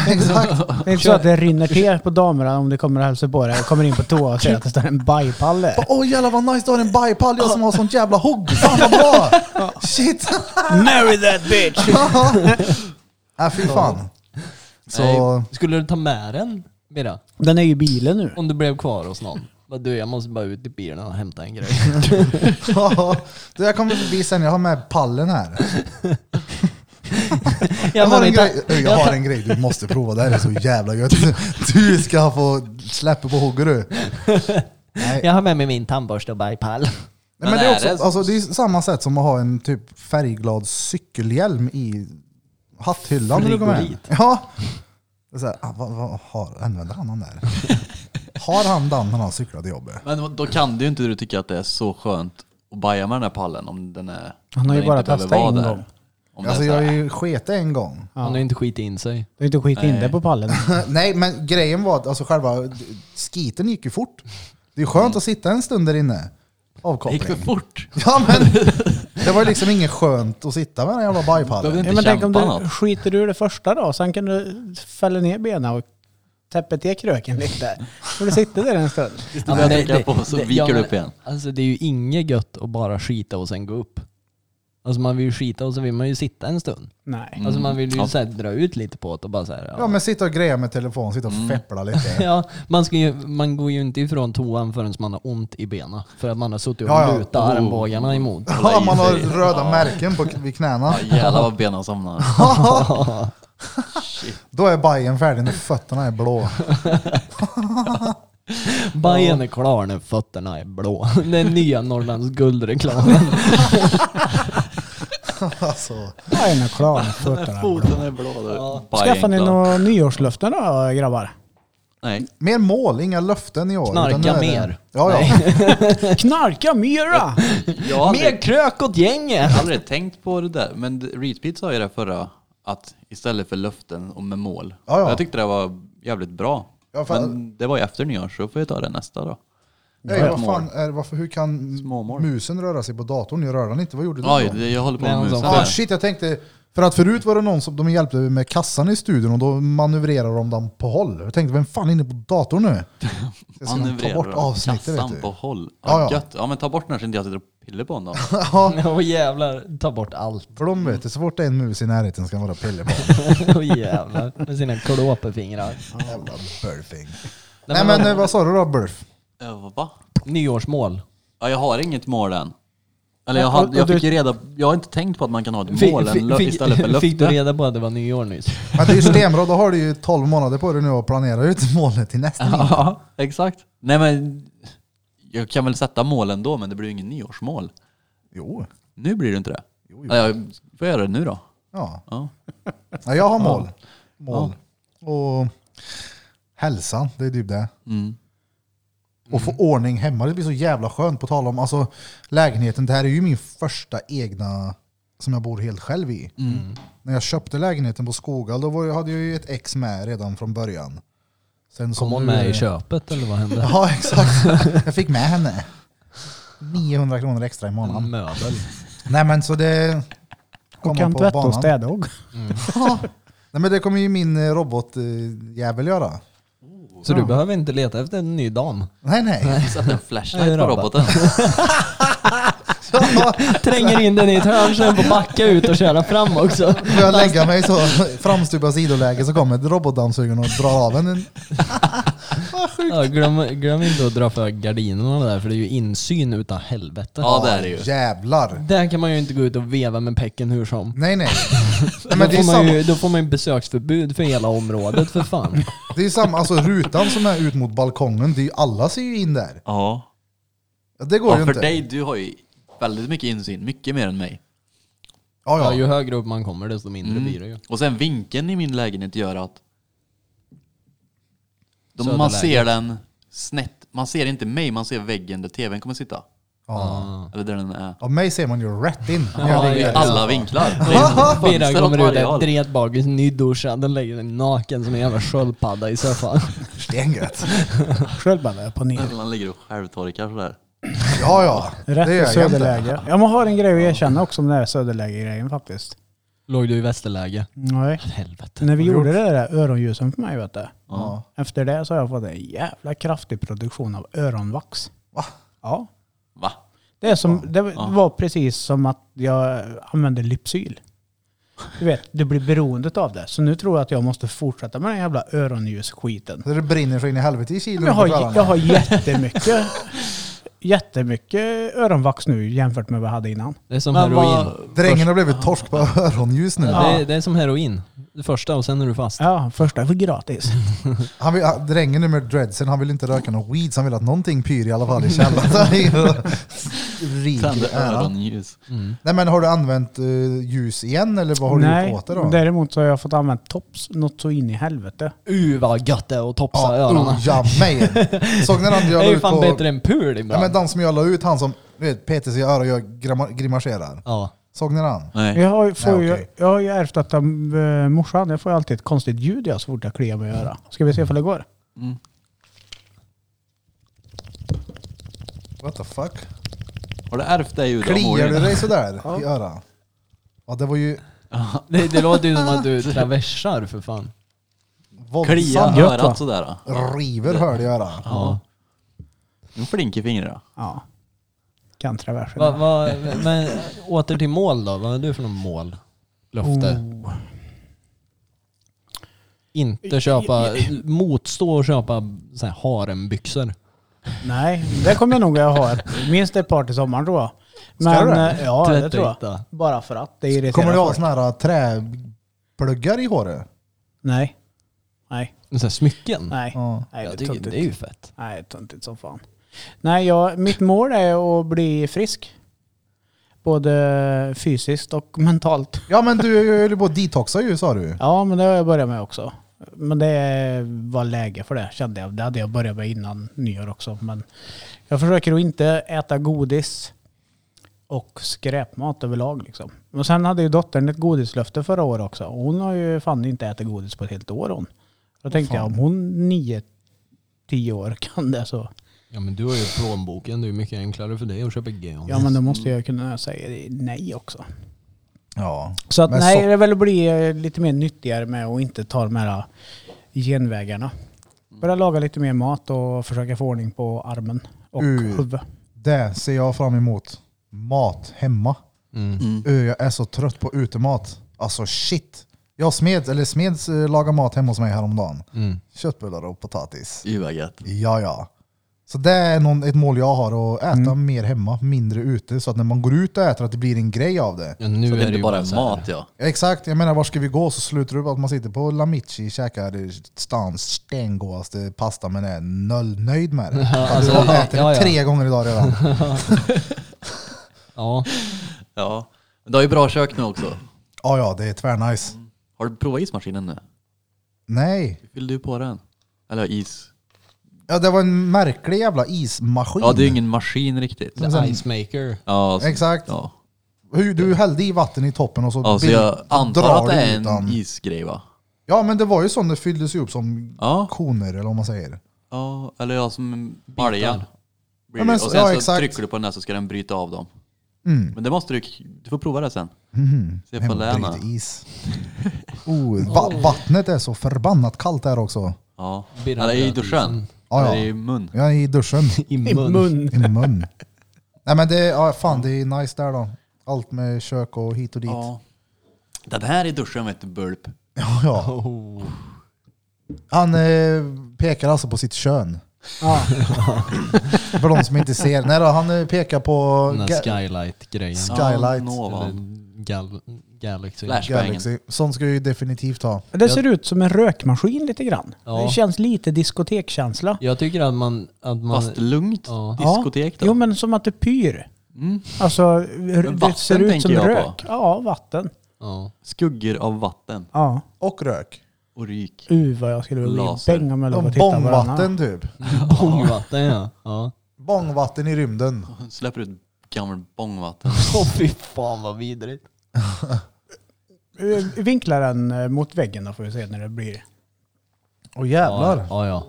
Speaker 3: Exakt.
Speaker 1: Det är inte så att det rinner till på damerna om det kommer och hälsar på dig och kommer in på toa och ser att det står en bajpall där.
Speaker 3: Åh jävlar vad nice, du har en bajpall, jag som har sånt jävla hugg. Fan vad bra! Shit!
Speaker 1: Marry that bitch!
Speaker 3: Ja, Äh, fy fan. Så...
Speaker 2: Nej, skulle du ta med den, Birra?
Speaker 1: Den är ju i bilen nu.
Speaker 2: Om du blev kvar hos någon? Bara, Du, jag måste bara ut i bilen och hämta en grej.
Speaker 3: Ja, du, jag kommer förbi sen, jag har med pallen här. Jag har,
Speaker 2: men
Speaker 3: en
Speaker 2: vi tar-
Speaker 3: grej, Ö, jag har en grej du måste prova, det här är så jävla gött. Du ska få släppa på hugget du. Nej,
Speaker 2: Jag har med mig min tandborste och bajpall.
Speaker 3: Nej, men det är också, Alltså, det är samma sätt som att ha en typ färgglad cykelhjälm i hatthyllan när du kommer hem.
Speaker 2: Frigolit.
Speaker 3: Ja. Det är så här, ah, vad, vad har, använder han den där? har han den när han cyklar till jobbet?
Speaker 4: Men då kan du ju inte du tycka att det är så skönt att baja med den här pallen om den är...
Speaker 1: Han har
Speaker 4: den
Speaker 1: ju bara
Speaker 4: inte behöver
Speaker 1: testat
Speaker 4: vara
Speaker 1: en
Speaker 4: där.
Speaker 1: gång.
Speaker 4: Om
Speaker 3: Alltså
Speaker 4: det
Speaker 3: jag
Speaker 4: är
Speaker 3: är
Speaker 4: jag...
Speaker 3: ju skete en gång.
Speaker 2: Han har inte skitit in sig.
Speaker 1: Du har inte skit in dig på pallen.
Speaker 3: Nej men grejen var att alltså, själva skiten gick ju fort. Det är skönt att sitta en stund där inne.
Speaker 4: Det gick för
Speaker 3: Avkoppling.
Speaker 4: fort.
Speaker 3: Ja men det var ju liksom inget skönt att sitta med den jävla bajpallen.
Speaker 4: Behövde
Speaker 1: Ja, men tänk om
Speaker 4: kämpa
Speaker 1: du
Speaker 4: något.
Speaker 1: skiter ur det första då, sen kan du fälla ner benen och täppa till kröken lite. Och du sitter där en stund.
Speaker 4: Ja, men jag tänker på, så viker
Speaker 2: ja,
Speaker 4: du
Speaker 2: men
Speaker 4: upp igen.
Speaker 2: Alltså det är ju inget gött att bara skita och sen gå upp. Alltså man vill ju skita och så vill man ju sitta en stund.
Speaker 1: Nej.
Speaker 2: Alltså man vill ju
Speaker 4: Mm. Ja.
Speaker 2: så här, dra ut lite på det och bara så här,
Speaker 3: Ja men sitta och greja med telefon, sitta och
Speaker 4: Mm.
Speaker 3: feppla lite.
Speaker 2: Ja, man, ska ju, man går ju inte ifrån toan förrän man har ont i benen. För att man har suttit och
Speaker 3: Ja, ja.
Speaker 2: lutat
Speaker 4: Oh.
Speaker 2: armbågarna emot.
Speaker 3: Ja, man har röda märken på, vid knäna.
Speaker 4: Ja, jävlar vad benen somnar.
Speaker 3: Då är bajen färdig när fötterna är blå.
Speaker 2: Bajen är klar när fötterna är blå. Den nya Norrlands guldreklamen.
Speaker 3: Alltså,
Speaker 1: Jag är nog klar med fötterna.
Speaker 4: Foten är blå. du. Bajen
Speaker 1: Skaffar ni
Speaker 4: klar.
Speaker 1: några nyårslöften då grabbar?
Speaker 4: Nej.
Speaker 3: mer mål, inga löften i år.
Speaker 2: Knarka
Speaker 3: utan nu är det-
Speaker 2: mer.
Speaker 3: Ja, ja.
Speaker 1: Knarka mera!
Speaker 4: Jag har aldrig,
Speaker 2: Mer krök åt gänget!
Speaker 4: jag har aldrig tänkt på det där. Men Reedpeed sa ju det förra, att istället för löften och med mål.
Speaker 3: Ja, ja.
Speaker 4: Jag tyckte det var jävligt bra.
Speaker 3: Ja, fan.
Speaker 4: men det var ju efter nyår så får vi ta det nästa då.
Speaker 3: Nej, vad fan är, varför, hur kan
Speaker 4: Småmål.
Speaker 3: musen röra sig på datorn? Jag rör den inte. Vad gjorde du då?
Speaker 4: Oj, det- jag håller på
Speaker 2: Nej,
Speaker 4: med
Speaker 2: han sa-
Speaker 4: musen.
Speaker 3: Ah,
Speaker 4: där.
Speaker 3: shit, jag tänkte... För att förut var det någon som de hjälpte med kassan i studion och då manövrerade de den på håll. Jag tänkte, vem fan är inne på datorn nu? Jag ska ta
Speaker 4: Manövrera
Speaker 3: bort avsnittet vet
Speaker 4: kassan
Speaker 3: du.
Speaker 4: på håll.
Speaker 3: Ja,
Speaker 4: Ja,
Speaker 3: ja.
Speaker 4: Gött. ja men ta bort den så inte jag sitter och pillar på den då.
Speaker 2: Åh jävlar, ta bort allt.
Speaker 3: För de vet, det, så fort det är en mus i närheten ska de vara piller på.
Speaker 2: Åh jävlar, med sina klåpefingrar.
Speaker 3: Jävla burfing.
Speaker 2: Nej,
Speaker 3: Nej men eh, vad sa du då, burf?
Speaker 4: Eh, Va?
Speaker 2: Nyårsmål.
Speaker 4: Ja, jag har inget mål än. Eller jag, hade, jag
Speaker 1: Och du-
Speaker 4: fick ju reda jag har inte tänkt på att man kan ha ett
Speaker 2: Fick-
Speaker 4: mål än
Speaker 2: fick-
Speaker 4: lö-
Speaker 2: fick-
Speaker 4: istället för löfte.
Speaker 2: Fick du reda på att det var nyår nyss?
Speaker 3: Men det är ju stenbra, då har du ju 12 månader på dig nu att planera ut målet till nästa gång.
Speaker 4: Ja, exakt. Nej men, jag kan väl sätta mål ändå men det blir ju ingen nyårsmål.
Speaker 3: Jo.
Speaker 4: Nu blir det inte det.
Speaker 3: Jo, jo.
Speaker 4: Eller, jag får jag göra det nu då.
Speaker 3: Ja.
Speaker 4: Ja.
Speaker 3: ja, jag har mål. Mål. Och hälsan, det är typ det.
Speaker 4: Mm.
Speaker 3: Och
Speaker 2: Mm.
Speaker 3: få ordning hemma, det blir så jävla skönt på tal om alltså, lägenheten. Det här är ju min första egna som jag bor helt själv i.
Speaker 2: Mm.
Speaker 3: När jag köpte lägenheten på Skogal, då var, jag- hade jag ju ett ex med redan från början. Sen som
Speaker 2: Kom hon
Speaker 3: nu
Speaker 2: med
Speaker 3: är-
Speaker 2: i köpet eller vad hände?
Speaker 3: Ja, exakt. Jag fick med henne. 900 kronor extra i månaden.
Speaker 2: Möbel.
Speaker 3: Nej men så det...
Speaker 1: Och
Speaker 3: komma
Speaker 1: kan
Speaker 3: på
Speaker 1: tvätta och
Speaker 3: banan.
Speaker 1: städa och.
Speaker 3: Ja. Nej men det kommer ju min eh, robotjävel göra.
Speaker 2: Så du behöver inte leta efter en ny dam.
Speaker 3: Nej nej.
Speaker 4: Sätta en
Speaker 2: Det är
Speaker 4: flashlight på
Speaker 2: rabat.
Speaker 4: roboten.
Speaker 2: Tränger in den i ett hörn sen får backa ut och köra fram också.
Speaker 3: Får jag lägga mig så framstupa sidoläge så kommer robotdammsugaren och drar av en. en.
Speaker 2: Ja, glöm, glöm inte att dra för gardinerna där för det är ju insyn utan helvete.
Speaker 4: Ja det är det ju.
Speaker 3: Jävlar.
Speaker 2: Där kan man ju inte gå ut och veva med pecken hur som.
Speaker 3: Nej nej. nej
Speaker 2: Då
Speaker 3: men det är
Speaker 2: får, man
Speaker 3: samma,
Speaker 2: ju, då får man ju besöksförbud för hela området för fan.
Speaker 3: det är samma, alltså rutan som är ut mot balkongen, det är ju, alla ser ju in där.
Speaker 4: Ja.
Speaker 3: Ja, Det går
Speaker 4: ja
Speaker 3: ju
Speaker 4: för
Speaker 3: inte.
Speaker 4: dig, du har ju väldigt mycket insyn. Mycket mer än mig.
Speaker 3: Ja,
Speaker 2: Ja, Mm.
Speaker 3: ja.
Speaker 2: ju högre upp man kommer desto mindre blir det ju.
Speaker 4: Mm. Och sen vinkeln i min lägenhet gör att de, man
Speaker 2: Söderläge.
Speaker 4: ser den snett. Man ser inte mig, man ser väggen där tvn kommer sitta.
Speaker 3: Ja.
Speaker 2: Ah.
Speaker 4: Eller där den är.
Speaker 3: Av mig ser man ju rätt in.
Speaker 2: Ja,
Speaker 3: Jag
Speaker 2: det
Speaker 4: I
Speaker 3: ligger
Speaker 2: är
Speaker 3: där.
Speaker 4: alla vinklar. Det är liksom
Speaker 2: Ah, Birra
Speaker 4: fönster åt
Speaker 2: kommer ut
Speaker 4: varje
Speaker 2: där,
Speaker 4: håll.
Speaker 2: dretbakis, nyduschad, den lägger sig naken som en jävla sköldpadda i soffan.
Speaker 3: Stengött.
Speaker 1: Sköldpadda upp och ner.
Speaker 4: Han ligger och självtorkar sådär.
Speaker 3: Ja ja.
Speaker 1: Rätt
Speaker 3: Det
Speaker 1: i
Speaker 3: gör jag inte.
Speaker 1: söderläge. Jag har en grej att erkänna också om den här söderläge-grejen faktiskt.
Speaker 2: Låg du i västerläge?
Speaker 1: Nej.
Speaker 2: Helvete.
Speaker 1: När vi gjorde det där öronljusen för mig vet du.
Speaker 3: Ja.
Speaker 1: Efter det så har jag fått en jävla kraftig produktion av öronvax.
Speaker 3: Va?
Speaker 1: Ja.
Speaker 4: Va?
Speaker 1: Det, är som, det var precis som att jag använde Lypsyl. Du vet, du blir beroendet av det. Så nu tror jag att jag måste fortsätta med den jävla öronljusskiten.
Speaker 3: Så det brinner så in i helvete i Chile
Speaker 1: Jag har,
Speaker 3: på kvällarna.
Speaker 1: jag har jättemycket, jättemycket öronvax nu jämfört med vad jag hade innan.
Speaker 2: Det är som
Speaker 4: Men vad-
Speaker 2: heroin.
Speaker 3: Drängen har blivit torsk på öronljus nu.
Speaker 2: Ja. Det, är, det är som heroin. Det första och sen är du fast.
Speaker 1: Ja, första var gratis.
Speaker 3: Han vill, han- drängen nu med dreadsen, han vill inte röka någon weed, så han vill att någonting pyr i alla fall i källaren. rik
Speaker 4: Tände
Speaker 3: ära.
Speaker 4: öronljus.
Speaker 2: Mm.
Speaker 3: Nej men har du använt eh, ljus igen eller vad har du
Speaker 1: Nej,
Speaker 3: gjort åt det då?
Speaker 1: däremot så har jag fått använda tops något så in i helvete.
Speaker 2: Uh vad gött det är att topsa
Speaker 3: Ja,
Speaker 2: öronen.
Speaker 3: oh, ja, man. Såg ni den
Speaker 2: Det är
Speaker 3: jag la
Speaker 2: ju
Speaker 3: ut
Speaker 2: fan
Speaker 3: på...
Speaker 2: bättre än pul
Speaker 3: Ja,
Speaker 2: ibland.
Speaker 3: men den som jag la ut, han som du vet, petar sig i örat och gör grima- grimaserar.
Speaker 2: ja.
Speaker 3: Såg ni den?
Speaker 4: Nej.
Speaker 1: Jag har, ju- får
Speaker 3: Nej,
Speaker 1: ju,
Speaker 3: okej.
Speaker 1: jag har ju ärvt att äh, morsan, jag får ju alltid ett konstigt ljud jag så fort jag kliar mig i örat. Ska vi se ifall det går?
Speaker 4: Mm.
Speaker 3: What the fuck?
Speaker 4: Har du ärvt det ljudet av
Speaker 3: Kliar du
Speaker 4: Morgan?
Speaker 3: dig sådär i örat? Ja, det var ju
Speaker 2: Det, det låter ju som att du traversar för fan.
Speaker 4: Klia
Speaker 3: våldsamt.
Speaker 1: Gött, va?
Speaker 4: örat sådär. då.
Speaker 3: River hörde jag i örat.
Speaker 2: Ja.
Speaker 4: Du är flink i fingrarna.
Speaker 1: Ja. Kan traversen.
Speaker 2: Va, va, men åter till mål då. Vad är du för någon mål? Löfte?
Speaker 1: Oh.
Speaker 2: Inte köpa, motstå och köpa så här harembyxor.
Speaker 1: Nej, det kommer jag nog att ha ett, minst ett par till sommaren tror jag.
Speaker 3: Ska
Speaker 1: Men,
Speaker 3: du det?
Speaker 1: eh, Ja, det tror jag.
Speaker 2: Tvättäta.
Speaker 1: Bara för att det irriterar
Speaker 3: Kommer du ha
Speaker 1: folk.
Speaker 3: såna här äh, träpluggar i håret?
Speaker 1: Nej. Nej.
Speaker 2: Så här smycken?
Speaker 1: Nej.
Speaker 3: Ja.
Speaker 1: Nej, det
Speaker 2: jag
Speaker 1: är
Speaker 2: tycker,
Speaker 1: tuntigt.
Speaker 2: det är ju fett.
Speaker 1: Nej, töntigt som fan. Nej, jag, mitt mål är att bli frisk. Både fysiskt och mentalt.
Speaker 3: Ja men du höll ju på att detoxa ju sa du.
Speaker 1: Ja, men det har jag börjat med också. Men det var läge för det kände jag. Det hade jag börjat med innan nyår också. Men jag försöker att inte äta godis och skräpmat överlag. Liksom. Och sen hade ju dottern ett godislöfte förra året också. Och Hon har ju fan inte ätit godis på ett helt år hon. Då tänkte jag om hon nio, tio år kan det så
Speaker 2: Ja men du har ju plånboken, det är ju mycket enklare för dig att köpa geon.
Speaker 1: Ja men då måste jag kunna säga nej också.
Speaker 3: Ja.
Speaker 1: Så att
Speaker 3: Men
Speaker 1: nej,
Speaker 3: så-
Speaker 1: det är väl att bli eh, lite mer nyttigare med att inte ta de här eh, genvägarna.
Speaker 4: Mm.
Speaker 1: Börja laga lite mer mat och försöka få ordning på armen och
Speaker 4: Mm.
Speaker 3: Uh.
Speaker 1: huvudet.
Speaker 3: Det ser jag fram emot. Mat hemma.
Speaker 2: Mm.
Speaker 3: Ö, Jag är så trött på utemat. Alltså shit. Jag smed, eller smeds eh, lagar mat hemma hos mig häromdagen.
Speaker 2: Mm.
Speaker 3: Köttbullar och potatis.
Speaker 4: Gud vad gött.
Speaker 3: Ja, ja. Så det är någon, ett mål jag har, att äta mer hemma, mindre ute. Så att när man går ut och äter att det blir en grej av det.
Speaker 2: Ja, nu
Speaker 4: Så det
Speaker 2: är
Speaker 4: är
Speaker 2: det
Speaker 4: inte
Speaker 2: ju
Speaker 4: bara
Speaker 2: så här-
Speaker 4: mat ja.
Speaker 3: Exakt, jag menar var ska vi gå så slutar du upp att man sitter på Lamichi och käkar stans stengodaste pasta men är nollnöjd med det.
Speaker 2: Ja,
Speaker 3: Alltså,
Speaker 2: alltså,
Speaker 3: du äter
Speaker 2: ja,
Speaker 3: det
Speaker 2: ja.
Speaker 3: tre gånger idag redan.
Speaker 2: Ja.
Speaker 4: Ja. Men du har ju bra kök nu också.
Speaker 3: Ja, ja, det är tvärnice.
Speaker 4: Har du provat ismaskinen nu?
Speaker 3: Nej,
Speaker 4: Hur fyllde du på den? Eller is?
Speaker 3: ja, det var en märklig jävla ismaskin.
Speaker 4: Ja, det är ju ingen maskin riktigt.
Speaker 2: The Ice Maker.
Speaker 4: Ja, så,
Speaker 3: Exakt.
Speaker 4: Ja.
Speaker 3: Hur, du hällde i vatten i toppen och så,
Speaker 4: ja, så
Speaker 3: bild-
Speaker 4: jag antar
Speaker 3: drar
Speaker 4: att det
Speaker 3: du
Speaker 4: är
Speaker 3: ut
Speaker 4: en
Speaker 3: den.
Speaker 4: isgrej va?
Speaker 3: Ja, men det var ju sån, det fylldes ju upp som
Speaker 4: Ja.
Speaker 3: koner eller vad man säger.
Speaker 4: Ja, eller ja, som en balja.
Speaker 3: Ja, men
Speaker 4: och
Speaker 3: så-
Speaker 4: sen
Speaker 3: ja,
Speaker 4: så
Speaker 3: exakt.
Speaker 4: trycker du på den där så ska den bryta av dem.
Speaker 3: Mm.
Speaker 4: Men det måste du, du får prova det sen.
Speaker 3: Mhm.
Speaker 4: Se på
Speaker 3: Hemma
Speaker 4: Lena.
Speaker 3: bryter is. Oh, va vattnet är så förbannat kallt där också.
Speaker 4: Ja.
Speaker 2: Birra
Speaker 4: Eller i
Speaker 2: bröt
Speaker 4: duschen.
Speaker 2: isen.
Speaker 3: Ja,
Speaker 4: Eller
Speaker 3: ja.
Speaker 4: i mun.
Speaker 3: Jag är i duschen.
Speaker 2: I
Speaker 1: I
Speaker 2: mun.
Speaker 1: mun.
Speaker 3: I mun. Nej men det, ja, fan det är nice där då. Allt med kök och hit och dit. Ja,
Speaker 4: Ja. Den här i duschen vet du, bulp.
Speaker 3: ja.
Speaker 2: Oh.
Speaker 3: Han eh, pekar alltså på sitt kön.
Speaker 1: Ja.
Speaker 3: För de som inte ser. Nej då, han eh, pekar på
Speaker 2: Den
Speaker 3: Ga-
Speaker 2: här skylight-grejen.
Speaker 3: Ja. Skylight.
Speaker 4: Ja, Nova.
Speaker 2: Eller gal Galaxy.
Speaker 4: Flash.
Speaker 3: Galaxy. Sånt ska jag ju definitivt ha.
Speaker 1: Det ser ut som en rökmaskin lite grann.
Speaker 2: Ja.
Speaker 1: Det känns lite diskotekkänsla.
Speaker 2: Jag tycker att man... Att man
Speaker 4: Fast lugnt.
Speaker 2: ja.
Speaker 4: Diskotek då.
Speaker 1: Jo men som att det pyr.
Speaker 4: Mm.
Speaker 1: Alltså r- det
Speaker 4: vatten
Speaker 1: ser ut
Speaker 4: tänker
Speaker 1: som
Speaker 4: jag på.
Speaker 1: rök. Ja, vatten.
Speaker 2: Ja.
Speaker 4: Skuggor av vatten
Speaker 1: Ja.
Speaker 3: Och rök.
Speaker 4: och ryk.
Speaker 1: Uh vad jag skulle bli
Speaker 4: Laser.
Speaker 1: bäng om jag låg
Speaker 3: De
Speaker 1: och tittade på den här.
Speaker 3: Bångvatten typ.
Speaker 2: Bångvatten ja. ja.
Speaker 3: Bångvatten i rymden.
Speaker 4: Släpper ut gammal bångvatten.
Speaker 2: Åh fy fan vad vidrigt.
Speaker 1: Eh, Vinkla den eh, mot väggen då får vi se när det blir.
Speaker 3: Och jävlar.
Speaker 2: Ja, ja, ja.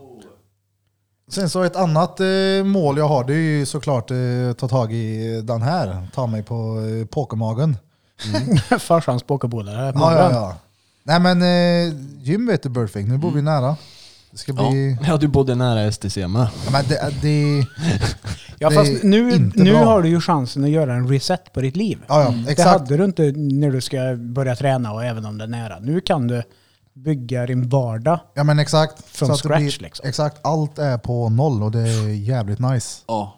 Speaker 3: Sen så ett annat eh, mål jag har det är ju såklart eh, ta tag i eh, den här. Ta mig på eh, pokermagen.
Speaker 1: Farsans pokebollar.
Speaker 3: Ja, ja, ja. Nej men eh, gym vet du Burfing, nu bor
Speaker 1: Mm.
Speaker 3: vi nära. Det ska bli...
Speaker 2: Ja du bodde nära STC med.
Speaker 3: Ja. Men det, det,
Speaker 1: Ja,
Speaker 3: Det
Speaker 1: fast
Speaker 3: är
Speaker 1: nu,
Speaker 3: inte
Speaker 1: nu
Speaker 3: bra.
Speaker 1: har du ju chansen att göra en reset på ditt liv.
Speaker 3: ja, ja
Speaker 1: Mm. Det
Speaker 3: exakt.
Speaker 1: hade du inte när du ska börja träna och även om det är nära. Nu kan du bygga din vardag.
Speaker 3: Ja men exakt.
Speaker 1: Från
Speaker 3: Så att det
Speaker 1: scratch, liksom.
Speaker 3: Exakt, allt är på noll och det är jävligt nice.
Speaker 4: Ja.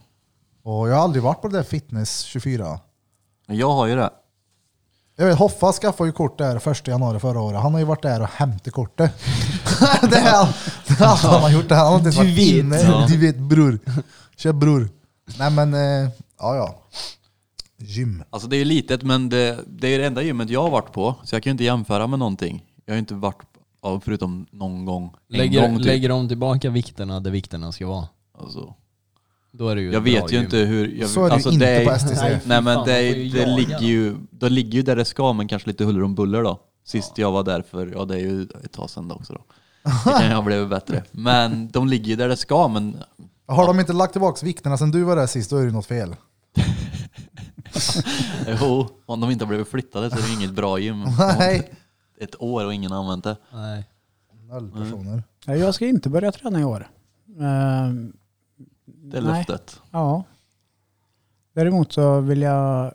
Speaker 3: Och jag har aldrig varit på det där fitness 24.
Speaker 4: Men Jag har ju det.
Speaker 3: Jag vet, Hoffa skaffade ju kort där första januari förra året. Han har ju varit där och hämtat kortet. det är all- det är allt han har gjort. Det. Han har inte ens
Speaker 2: Du
Speaker 3: varit
Speaker 2: vet.
Speaker 3: inne.
Speaker 4: Ja.
Speaker 3: Du vet bror. Kör bror. Nej men, eh, Ja, ja. Gym.
Speaker 4: Alltså det är ju litet men det, det är det enda gymmet jag har varit på så jag kan ju inte jämföra med någonting. Jag har ju inte varit ja, förutom någon gång. En
Speaker 2: Lägger,
Speaker 4: gång typ.
Speaker 2: lägger de tillbaka vikterna där vikterna ska vara,
Speaker 4: Alltså,
Speaker 2: då är det ju
Speaker 4: jag
Speaker 2: ett bra
Speaker 4: vet ju
Speaker 2: gym.
Speaker 4: inte hur... Jag, alltså,
Speaker 3: Så är det ju inte
Speaker 4: är-
Speaker 3: på STC.
Speaker 2: Nej,
Speaker 4: Nej,
Speaker 2: fy
Speaker 4: men
Speaker 2: fan,
Speaker 4: det,
Speaker 2: man
Speaker 4: är-
Speaker 2: får ju
Speaker 4: det
Speaker 2: jaga
Speaker 4: ligger ju det ligger ju där det ska men kanske lite huller om buller då. Sist jag var där för, ja det är ju ett tag sedan då också då. Det kan ju ha blivit bättre. Men de ligger ju där det ska men
Speaker 3: Har de inte lagt tillbaka vikterna sen du var där sist, då är det ju något fel.
Speaker 4: jo, om de inte har blivit flyttade så är det ju inget bra gym.
Speaker 3: Nej.
Speaker 4: Ett år och ingen har använt det.
Speaker 2: Nej.
Speaker 3: Noll
Speaker 2: Mm.
Speaker 3: personer.
Speaker 1: Nej, Jag ska inte börja träna i år. Ehm,
Speaker 4: Det är
Speaker 1: Nej.
Speaker 4: löftet.
Speaker 1: Ja. Däremot så vill jag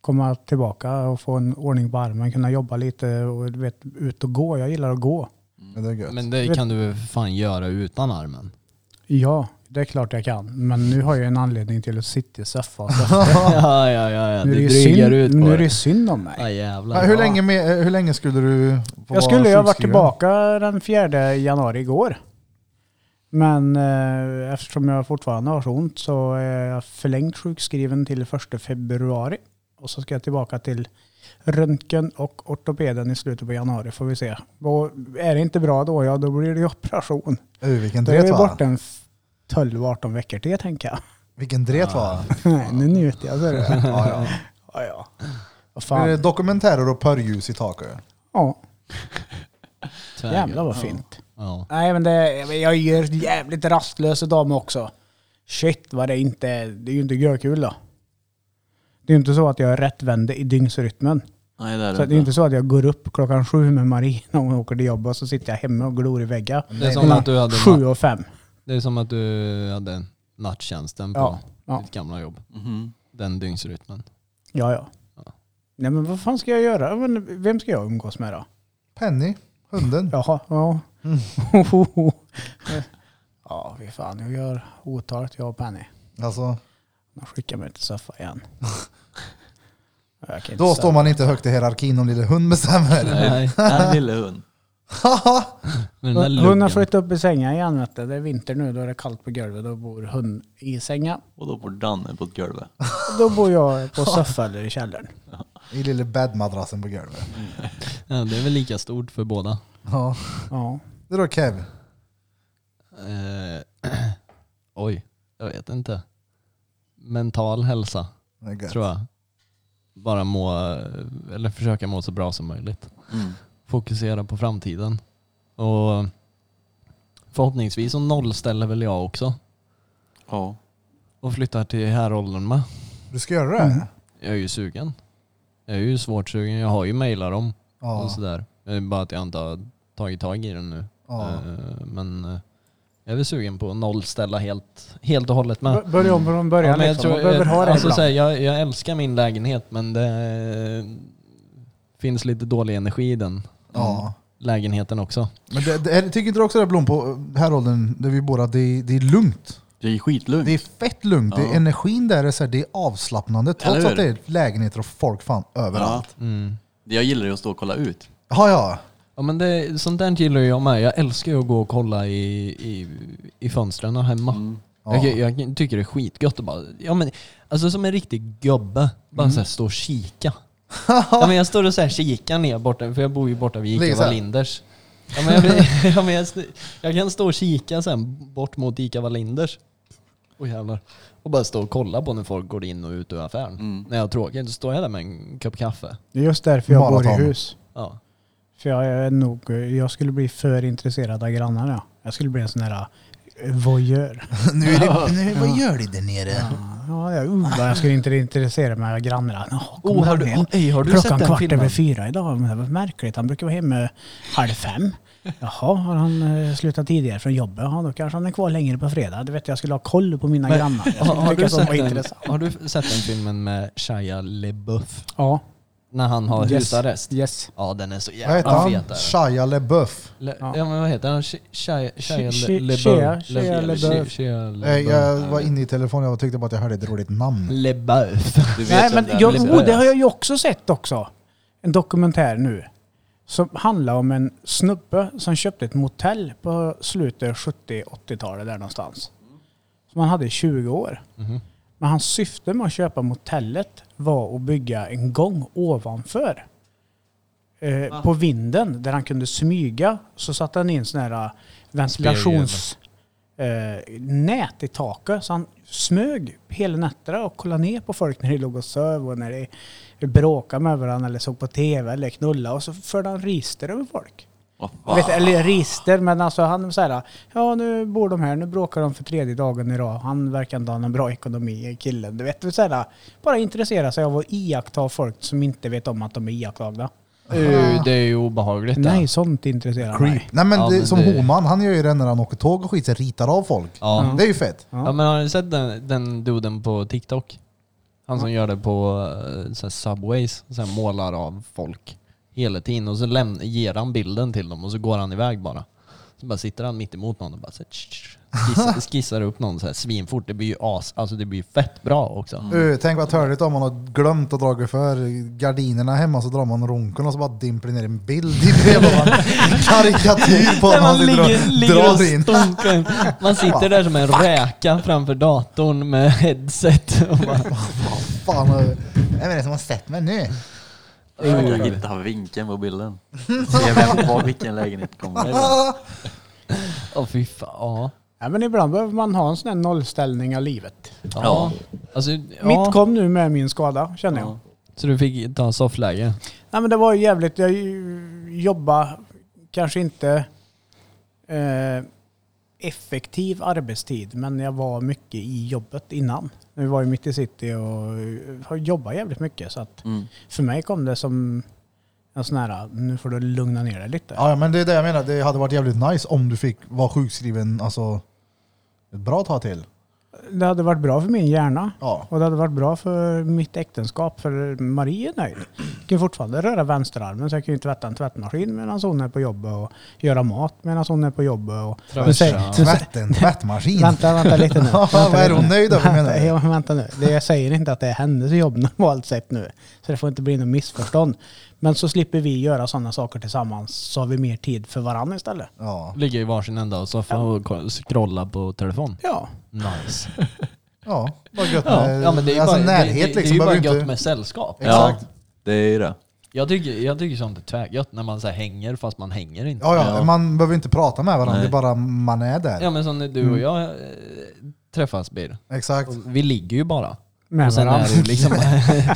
Speaker 1: komma tillbaka och få en ordning på armen, kunna jobba lite och du vet, ut och gå. Jag gillar att gå.
Speaker 3: Men det är gött.
Speaker 2: Men det kan du väl för fan göra utan armen?
Speaker 1: Ja, det är klart jag kan. Men nu har jag en anledning till att sitta i soffan.
Speaker 2: ja, ja, ja, ja.
Speaker 1: Nu är det
Speaker 2: Du
Speaker 1: ju
Speaker 2: drygar
Speaker 1: synd,
Speaker 2: ut på
Speaker 1: nu är det
Speaker 2: det.
Speaker 1: ju synd om mig.
Speaker 2: Ja, jävlar.
Speaker 3: Men hur, länge med, hur länge skulle du få
Speaker 1: Jag skulle ju ha varit
Speaker 3: sjukskriven?
Speaker 1: tillbaka den 4 januari igår. Men eh, eftersom jag fortfarande har så ont så är jag förlängt sjukskriven till 1 februari. Och så ska jag tillbaka till röntgen och ortopeden i slutet på januari får vi se. Och är det inte bra då, ja då blir det ju operation.
Speaker 3: Uh, vilken
Speaker 1: Då är
Speaker 3: dret
Speaker 1: vi
Speaker 3: va?
Speaker 1: borta en f- 12-18 veckor till tänker jag.
Speaker 3: Vilken dret va?
Speaker 1: Nej, nu njuter jag. Så är det.
Speaker 3: Ja, ja.
Speaker 1: Ja, ja. Vad
Speaker 3: Blir det
Speaker 1: fan.
Speaker 3: dokumentärer och pörljus i taket?
Speaker 1: Ja,
Speaker 2: Tvärgött.
Speaker 1: jävlar vad fint.
Speaker 2: Ja.
Speaker 1: Nej men det, jag är ju jävligt rastlös idag med också. Shit vad det inte är. Det är ju inte görkul då. Det är ju inte så att jag är rättvänd i dygnsrytmen.
Speaker 4: Nej, det är
Speaker 1: Så
Speaker 4: det
Speaker 1: det är ju
Speaker 4: inte.
Speaker 1: inte så att jag går upp klockan sju med Marie när hon åker till jobbet och så sitter jag hemma och glor i väggen.
Speaker 2: Det är som
Speaker 1: Mellan
Speaker 2: att du hade
Speaker 1: Sju och fem.
Speaker 2: Det är som att du hade natttjänsten på
Speaker 1: Ja, ja.
Speaker 2: ditt gamla jobb.
Speaker 4: Mhm.
Speaker 2: Den dygnsrytmen.
Speaker 1: Ja ja.
Speaker 2: Ja.
Speaker 1: Nej men vad fan ska jag göra? Ja, Men vem ska jag umgås med då?
Speaker 3: Penny, hunden.
Speaker 1: Jaha, ja.
Speaker 3: Mm.
Speaker 1: ja fy fan, jag gör otalet jag och Penny.
Speaker 3: Alltså,
Speaker 1: Hon skickar mig till soffan igen. Jag kan inte
Speaker 3: då
Speaker 1: ställa-
Speaker 3: står man inte högt i hierarkin om lille hund bestämmer.
Speaker 2: Nej.
Speaker 4: Den lille hund.
Speaker 2: Men den där
Speaker 1: Hon hon har
Speaker 2: luggen.
Speaker 1: flyttat upp i sängen igen vet du. Det är vinter nu, då är det kallt på golvet. Då bor hon i sängen.
Speaker 4: Och då bor Danne på ett golv.
Speaker 1: Då bor jag på soffan eller i källaren.
Speaker 3: I lille bäddmadrassen på golvet.
Speaker 2: Ja, det är väl lika stort för båda.
Speaker 3: Ja.
Speaker 1: Ja.
Speaker 3: Det då Kev.
Speaker 2: Eh, oj, jag vet inte. Mental hälsa,
Speaker 3: Det är gött.
Speaker 2: tror jag. Bara må, eller försöka må så bra som möjligt.
Speaker 4: Mm.
Speaker 2: Fokusera på framtiden. Och förhoppningsvis så nollställer väl jag också.
Speaker 4: Ja.
Speaker 2: Och flyttar till häråldern med.
Speaker 3: Du ska göra det?
Speaker 1: Mm.
Speaker 2: Jag är ju sugen. Jag är ju svårt sugen. Jag har ju mejlat dem och
Speaker 3: Ja.
Speaker 2: sådär. Det är bara att jag inte har tagit tag i den nu.
Speaker 3: ja.
Speaker 2: Eh, Men eh, jag är väl sugen på att nollställa helt, helt och hållet med.
Speaker 1: B- Börja om från
Speaker 2: Ja,
Speaker 1: början
Speaker 2: men jag,
Speaker 1: liksom.
Speaker 2: tror,
Speaker 1: Man behöver ha det
Speaker 2: alltså,
Speaker 1: ibland.
Speaker 2: såhär, jag, jag älskar min lägenhet men det eh, finns lite dålig energi i den mm.
Speaker 3: ja.
Speaker 2: lägenheten också.
Speaker 3: Men det, det, är- tycker inte du också det Blom, på eh, här åldern där vi bor, att det, det är lugnt?
Speaker 4: Det är skitlugnt.
Speaker 3: Det är fett lugnt. Det
Speaker 4: Ja.
Speaker 3: är energin där, är så här, det är avslappnande. Trots
Speaker 4: Eller
Speaker 3: att
Speaker 4: hur?
Speaker 3: det är lägenheter och folk fan överallt.
Speaker 1: Mm.
Speaker 4: Det jag gillar är att stå och kolla ut.
Speaker 3: Ja, ja.
Speaker 2: Ja, men det, sånt där gillar jag med. Jag älskar ju att gå och kolla i, i, i fönstren här hemma.
Speaker 3: Mm.
Speaker 4: Mm,
Speaker 3: Ja.
Speaker 2: Jag, jag tycker det är skitgött att bara, ja, men, alltså som en riktig gubbe, bara
Speaker 3: Mm.
Speaker 2: så här stå och kika. ja, men jag står och så här kikar ner borta, för jag bor ju borta vid
Speaker 3: Ligger
Speaker 2: Ica
Speaker 3: så här.
Speaker 2: Wallinders. Ja, men jag, ja, men jag, jag kan stå och kika sen bort mot Ica Wallinders. Åh jävlar. Och bara stå och kolla på när folk går in och ut ur affären.
Speaker 4: Mm.
Speaker 2: När jag har tråkigt, så står jag där med en kopp kaffe.
Speaker 1: Det är just därför jag bor
Speaker 3: Maraton.
Speaker 1: i hus.
Speaker 2: Ja.
Speaker 1: För jag är nog, jag skulle bli för intresserad av grannarna. Jag skulle bli en sån här eh, voyeur.
Speaker 3: nu är det, nu, vad gör du där nere?
Speaker 1: Ja, jag, uh, vad jag skulle inte intressera mig av grannarna. Ja, kommer
Speaker 2: Oh, har
Speaker 1: han
Speaker 2: du,
Speaker 1: hem?
Speaker 2: ej, har du sett
Speaker 1: Klockan
Speaker 2: den
Speaker 1: kvart
Speaker 2: filmen?
Speaker 1: över fyra idag. Men det var märkligt. Han brukar vara hemma halv fem. Jaha, har han eh, slutat tidigare från jobbet? Ja, då kanske han är kvar längre på fredag. Du vet, jag skulle ha koll på mina
Speaker 2: Men-
Speaker 1: grannar. Jag
Speaker 2: Har,
Speaker 1: skulle tycka
Speaker 2: har, du
Speaker 1: att de
Speaker 2: sett
Speaker 1: var
Speaker 2: den,
Speaker 1: intressant.
Speaker 2: har du sett den filmen med Shia LeBeouf?
Speaker 1: Ja.
Speaker 2: När han har
Speaker 1: Yes.
Speaker 2: husarrest?
Speaker 1: Yes.
Speaker 2: Ja den är så
Speaker 3: Vad heter
Speaker 2: jävla fet.
Speaker 3: han?
Speaker 2: där.
Speaker 3: Shia LeBeouf.
Speaker 2: Le, ja.
Speaker 1: Ja.
Speaker 2: men vad heter han? Shi- Shia Shia
Speaker 1: Shi-
Speaker 2: Le-
Speaker 1: Shi-
Speaker 2: LeBeouf?
Speaker 1: Shia- Shia
Speaker 2: Le-
Speaker 1: LeBeouf.
Speaker 2: Shia
Speaker 3: Eh,
Speaker 2: LeBeouf.
Speaker 3: Jag var inne i telefonen och tyckte bara att jag hörde ett roligt namn.
Speaker 2: LeBeouf.
Speaker 4: Du vet
Speaker 1: Nej,
Speaker 4: vem
Speaker 1: men
Speaker 4: det är,
Speaker 1: jag,
Speaker 4: liksom.
Speaker 1: oh, det har jag ju också sett också. En dokumentär nu. Som handlar om en snubbe som köpte ett motell på slutet 70-80-talet där någonstans. Som han hade i 20 år. Men hans syfte med att köpa motellet var att bygga en gång ovanför. Eh, på vinden där han kunde smyga. Så satte han in sådana här ventilationsnät eh, nät i taket. Så han smög hela nätterna och kollade ner på folk när de låg och söv och när de bråkade med varandra eller såg på tv eller knullade. Och så förde han register över folk.
Speaker 4: Vad fan?
Speaker 1: Vet, eller register, men alltså han så här, ja nu bor de här, nu bråkar de för tredje dagen i rad. Han verkar inte ha någon bra ekonomi, killen. Du vet, så här, bara intressera sig av att iaktta folk som inte vet om att de är iakttagna.
Speaker 2: Uh, det är ju obehagligt. det.
Speaker 1: Nej, sånt intresserar mig.
Speaker 3: Nej men,
Speaker 2: Ja,
Speaker 3: det,
Speaker 2: men
Speaker 3: som
Speaker 2: det-
Speaker 3: Homan, han gör ju det när han åker tåg och skit, så ritar av folk.
Speaker 2: Ja.
Speaker 3: Det är ju fett.
Speaker 2: Ja. men har ni sett den, den duden på TikTok? Han som gör det på eh, så här Subways, så här målar av folk hela tiden och så läm- ger han bilden till dem och så går han iväg bara. Så bara sitter han mitt emot någon och bara så här, tsch, tsch, skissar, skissar upp någon så här svinfort. Det blir ju as, alltså det blir ju fett bra också.
Speaker 3: Uh, tänk vad törligt om man har glömt att dra för gardinerna hemma så drar man runken och så bara dimper det ner en bild i det. Bara en karikatyr på
Speaker 2: Där
Speaker 3: att man
Speaker 2: man
Speaker 3: sitter
Speaker 2: ligger,
Speaker 3: och drar
Speaker 2: ligger
Speaker 3: in.
Speaker 2: och stonkar. Man sitter där som en räka framför datorn med headset. Och bara,
Speaker 3: Fan, vad- vem är det som har sett mig nu?
Speaker 4: Jag hittar vinkeln på bilden. Se vem, var, vilken lägenhet kommer ifrån.
Speaker 2: åh fy fan. Ja.
Speaker 1: Ja, men ibland behöver man ha en sån här nollställning av livet.
Speaker 2: ja. Alltså, ja.
Speaker 1: Mitt kom nu med min skada, känner jag.
Speaker 4: Ja.
Speaker 2: Så du fick ta soffläge?
Speaker 1: Nej men det var ju jävligt. Jag ju- jobbade kanske inte eh, effektiv arbetstid, men jag var mycket i jobbet innan. Vi var ju mitt i city och eh, har jobbat jävligt mycket. Så att
Speaker 4: Mm.
Speaker 1: för mig kom det som en sån här, nu får du lugna ner dig lite.
Speaker 3: Ja, ja, men det är det jag menar. Det hade varit jävligt nice om du fick vara sjukskriven alltså, ett bra tag till.
Speaker 1: Det hade varit bra för min hjärna.
Speaker 3: Ja.
Speaker 1: Och det hade varit bra för mitt äktenskap, för Marie är nöjd. Jag kan ju fortfarande röra vänsterarmen, så jag kan ju tvätta en tvättmaskin medan hon är på jobbet och göra mat medan hon är på jobbet. Och,
Speaker 2: Tvätta.
Speaker 1: Men säg-
Speaker 3: Tvätten, tvättmaskin.
Speaker 1: Vänta, vänta lite nu.
Speaker 3: Ja,
Speaker 1: Vänta
Speaker 3: vad är
Speaker 1: lite
Speaker 3: hon
Speaker 1: nu.
Speaker 3: nöjd över, menar du?
Speaker 1: Ja, men vänta nu. Det jag säger inte att det är hennes jobb normalt sett nu. Så det får inte bli något missförstånd. Men så slipper vi göra sådana saker tillsammans så har vi mer tid för varandra istället.
Speaker 3: Ja.
Speaker 2: Ligger i varsin ända av soffan och ko- scrolla på telefon.
Speaker 1: Ja.
Speaker 2: Nice.
Speaker 3: Ja, vad gött
Speaker 2: Ja,
Speaker 3: med
Speaker 2: ja men det är ju
Speaker 3: alltså,
Speaker 2: bara,
Speaker 3: närhet
Speaker 2: det, det, det är
Speaker 3: liksom.
Speaker 2: ju bara
Speaker 3: behöver
Speaker 2: gött
Speaker 3: inte...
Speaker 2: med sällskap.
Speaker 4: Ja,
Speaker 3: Exakt.
Speaker 4: det är ju det.
Speaker 2: Jag tycker, jag tycker sånt är tvärgött när man så här hänger fast man hänger inte.
Speaker 3: ja, ja,
Speaker 4: Ja.
Speaker 3: man behöver inte prata med varandra,
Speaker 4: Nej.
Speaker 3: det är bara man är där.
Speaker 2: Ja men som när du
Speaker 3: Mm.
Speaker 2: och jag eh, träffas Bir.
Speaker 3: Exakt.
Speaker 2: Vi ligger ju bara.
Speaker 1: Med
Speaker 2: Och sen är
Speaker 1: varandra.
Speaker 2: det ju liksom...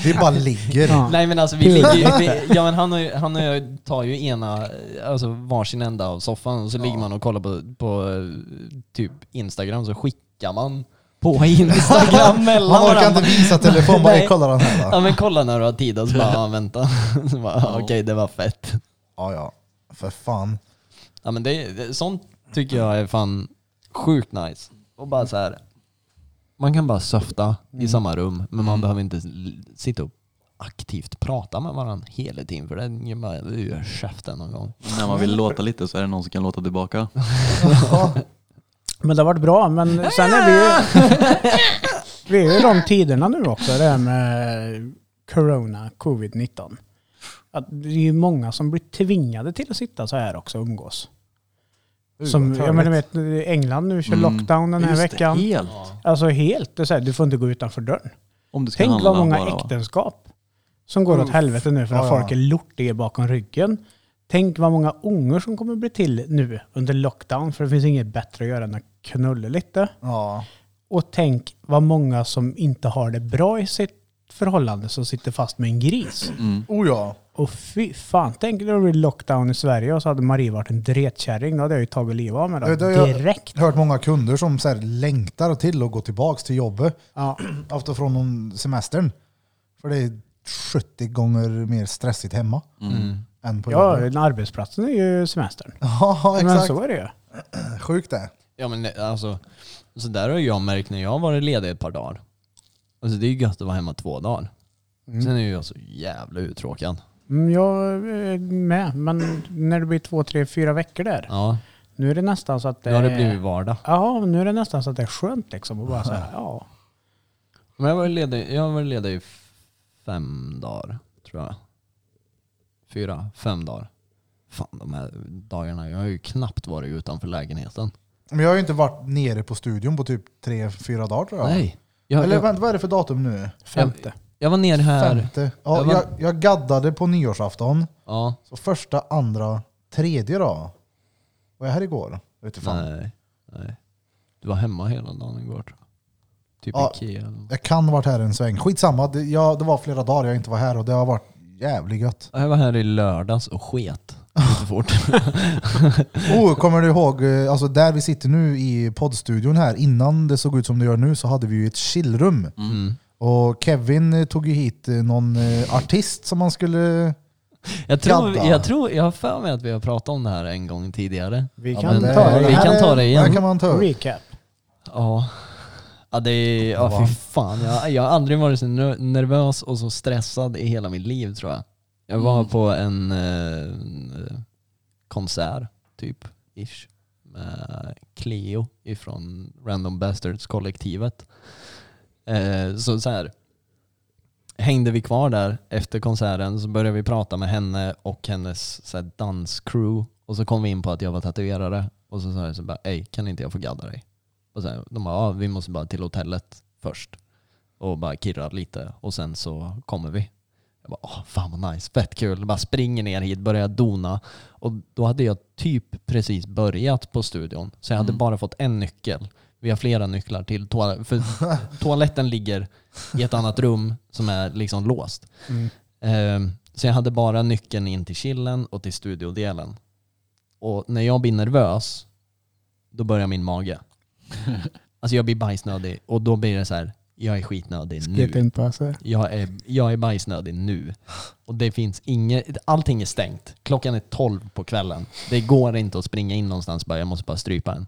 Speaker 3: Vi bara ligger.
Speaker 1: Ja.
Speaker 2: Nej men alltså vi ligger ju... Vi, ja men han och, han och jag tar ju ena, alltså varsin ända av soffan och så ligger man och kollar på, på eh, typ Instagram så skickar man på Instagram mellan
Speaker 3: Man orkar
Speaker 2: varandra.
Speaker 3: inte visa telefon, bara
Speaker 2: Nej.
Speaker 3: kolla den här då.
Speaker 2: Ja men kolla när du har tid och så bara, ja, vänta. Så bara, ja, Okej, det var fett.
Speaker 3: Ja, ja. För fan.
Speaker 2: Ja men det, det, sånt tycker jag är fan sjukt nice. Och bara så här. man kan bara söfta i samma rum, men man behöver inte l- sitta och aktivt prata med varandra hela tiden för det är bara ur käften någon gång.
Speaker 4: När man vill låta lite så är det någon som kan låta tillbaka.
Speaker 1: Men det har varit bra. Men sen är vi ju... vi är ju i de tiderna nu också, det här med corona, covid-19. Att det är ju många som blir tvingade till att sitta så här också och umgås.
Speaker 3: Uh,
Speaker 1: Som,
Speaker 3: vad
Speaker 1: jag menar,
Speaker 3: trevligt.
Speaker 1: vet, England nu kör
Speaker 4: Mm.
Speaker 1: lockdown den här
Speaker 4: Just det,
Speaker 1: veckan.
Speaker 4: Helt.
Speaker 1: Alltså helt. Det är så här, du får inte gå utanför dörren.
Speaker 4: Om du ska
Speaker 1: Tänk
Speaker 4: handla
Speaker 1: vad många
Speaker 4: bara, va?
Speaker 1: äktenskap som går åt helvete nu för att
Speaker 3: Ja, ja.
Speaker 1: folk är lortiga bakom ryggen. Tänk vad många ungar som kommer bli till nu under lockdown för det finns inget bättre att göra än att knulla lite.
Speaker 3: Ja.
Speaker 1: Och tänk vad många som inte har det bra i sitt förhållande som sitter fast med en gris.
Speaker 4: Mm.
Speaker 3: Oh ja.
Speaker 1: Och fy fan, tänk när det blir lockdown i Sverige och så hade Marie varit en dretkärring. Då hade jag ju tagit livet av mig då,
Speaker 3: Det- det har jag-
Speaker 1: direkt.
Speaker 3: Hört många kunder som så här, längtar till att gå tillbaka till jobbet
Speaker 1: Ja.
Speaker 3: efter från någon semestern. För det är 70 gånger mer stressigt hemma än på
Speaker 1: Mm. Ja,
Speaker 3: jobbet.
Speaker 1: den arbetsplatsen är ju semestern.
Speaker 3: Ja,
Speaker 1: Men
Speaker 3: exakt.
Speaker 1: så är det ju.
Speaker 3: Sjukt det.
Speaker 2: Ja men det- alltså, så där har jag märkt när jag har varit ledig ett par dagar. Alltså det är ju gött att vara hemma två dagar. Sen är ju jag så jävla uttråkad.
Speaker 1: Mm, Jag är med, men när det blir två, tre, fyra veckor där.
Speaker 2: Ja,
Speaker 1: Nu är det nästan så att det
Speaker 2: nu har det
Speaker 1: är-
Speaker 2: blivit vardag.
Speaker 1: Ja, nu är det nästan så att det är skönt liksom. Och bara så här, ja.
Speaker 2: Men jag var ledig, jag var ledig i f- fem dagar, tror jag. Fyra, fem dagar. Fan de här dagarna, jag har ju knappt varit utanför lägenheten.
Speaker 3: Men jag har ju inte varit nere på studion på typ tre fyra dagar tror jag.
Speaker 2: Nej. Jag,
Speaker 3: Eller
Speaker 2: jag,
Speaker 3: vänta, vad är det för datum nu?
Speaker 1: Femte.
Speaker 2: jag var ner här.
Speaker 3: Femte. Ja,
Speaker 2: Jag var-
Speaker 3: jag, jag gaddade på nyårsafton.
Speaker 2: Ja,
Speaker 3: Så första, andra, tredje då. Var jag här igår? Jag vet inte fan.
Speaker 2: nej, nej. Du var hemma hela dagen igår tror jag. Typ
Speaker 3: Ja.
Speaker 2: Ikea eller något.
Speaker 3: Jag kan ha varit här en sväng. Skitsamma, det, jag, det var flera dagar jag inte var här och det har varit jävligt gött.
Speaker 2: Jag var här i lördags och sket lite fort.
Speaker 3: Oh, kommer du ihåg, eh, alltså där vi sitter nu i poddstudion här, innan det såg ut som det gör nu så hade vi ju ett chillrum.
Speaker 2: Mm.
Speaker 3: Och Kevin eh, tog ju hit eh, någon eh, artist som man skulle...
Speaker 2: Jag tror,
Speaker 3: Gadda.
Speaker 2: jag tror, jag har för mig att vi har pratat om det här en gång tidigare.
Speaker 1: Vi
Speaker 2: Ja,
Speaker 1: kan
Speaker 2: men-
Speaker 1: ta
Speaker 2: vi
Speaker 1: det.
Speaker 2: kan
Speaker 3: här är-
Speaker 2: ta det igen.
Speaker 3: Det här kan man ta upp.
Speaker 1: Recap.
Speaker 2: Ja. Ja, det är, ja fy fan. Jag, jag har aldrig varit så ner- nervös och så stressad i hela mitt liv tror jag. Jag var
Speaker 4: Mm.
Speaker 2: på en eh, en, eh, konsert, typ, ish, med Cleo ifrån Random Bastards-kollektivet. Eh, så så här hängde vi kvar där efter konserten så började vi prata med henne och hennes så här, danscrew och så kom vi in på att jag var tatuerare och så sa jag så bara, ej kan inte jag få gadda dig? Och sen, de bara, ja, vi måste bara till hotellet först och bara kirra lite och sen så kommer vi. Jag bara, åh, fan vad nice, fett kul. Bara springer ner hit, börjar dona. Och då hade jag typ precis börjat på studion. Så jag hade
Speaker 4: Mm.
Speaker 2: bara fått en nyckel. Vi har flera nycklar till toaletten. För toaletten ligger i ett annat rum som är liksom låst.
Speaker 1: Mm.
Speaker 2: Ehm, Så jag hade bara nyckeln in till chillen och till studiodelen. Och när jag blir nervös, då börjar min mage. Alltså jag blir bajsnödig och då blir det så här, jag är skitnödig nu.
Speaker 1: Get in på sig.
Speaker 2: Jag är, jag är bajsnödig nu. Och det finns inget, allting är stängt. Klockan är 12 på kvällen. Det går inte att springa in någonstans bara, jag måste bara strypa en.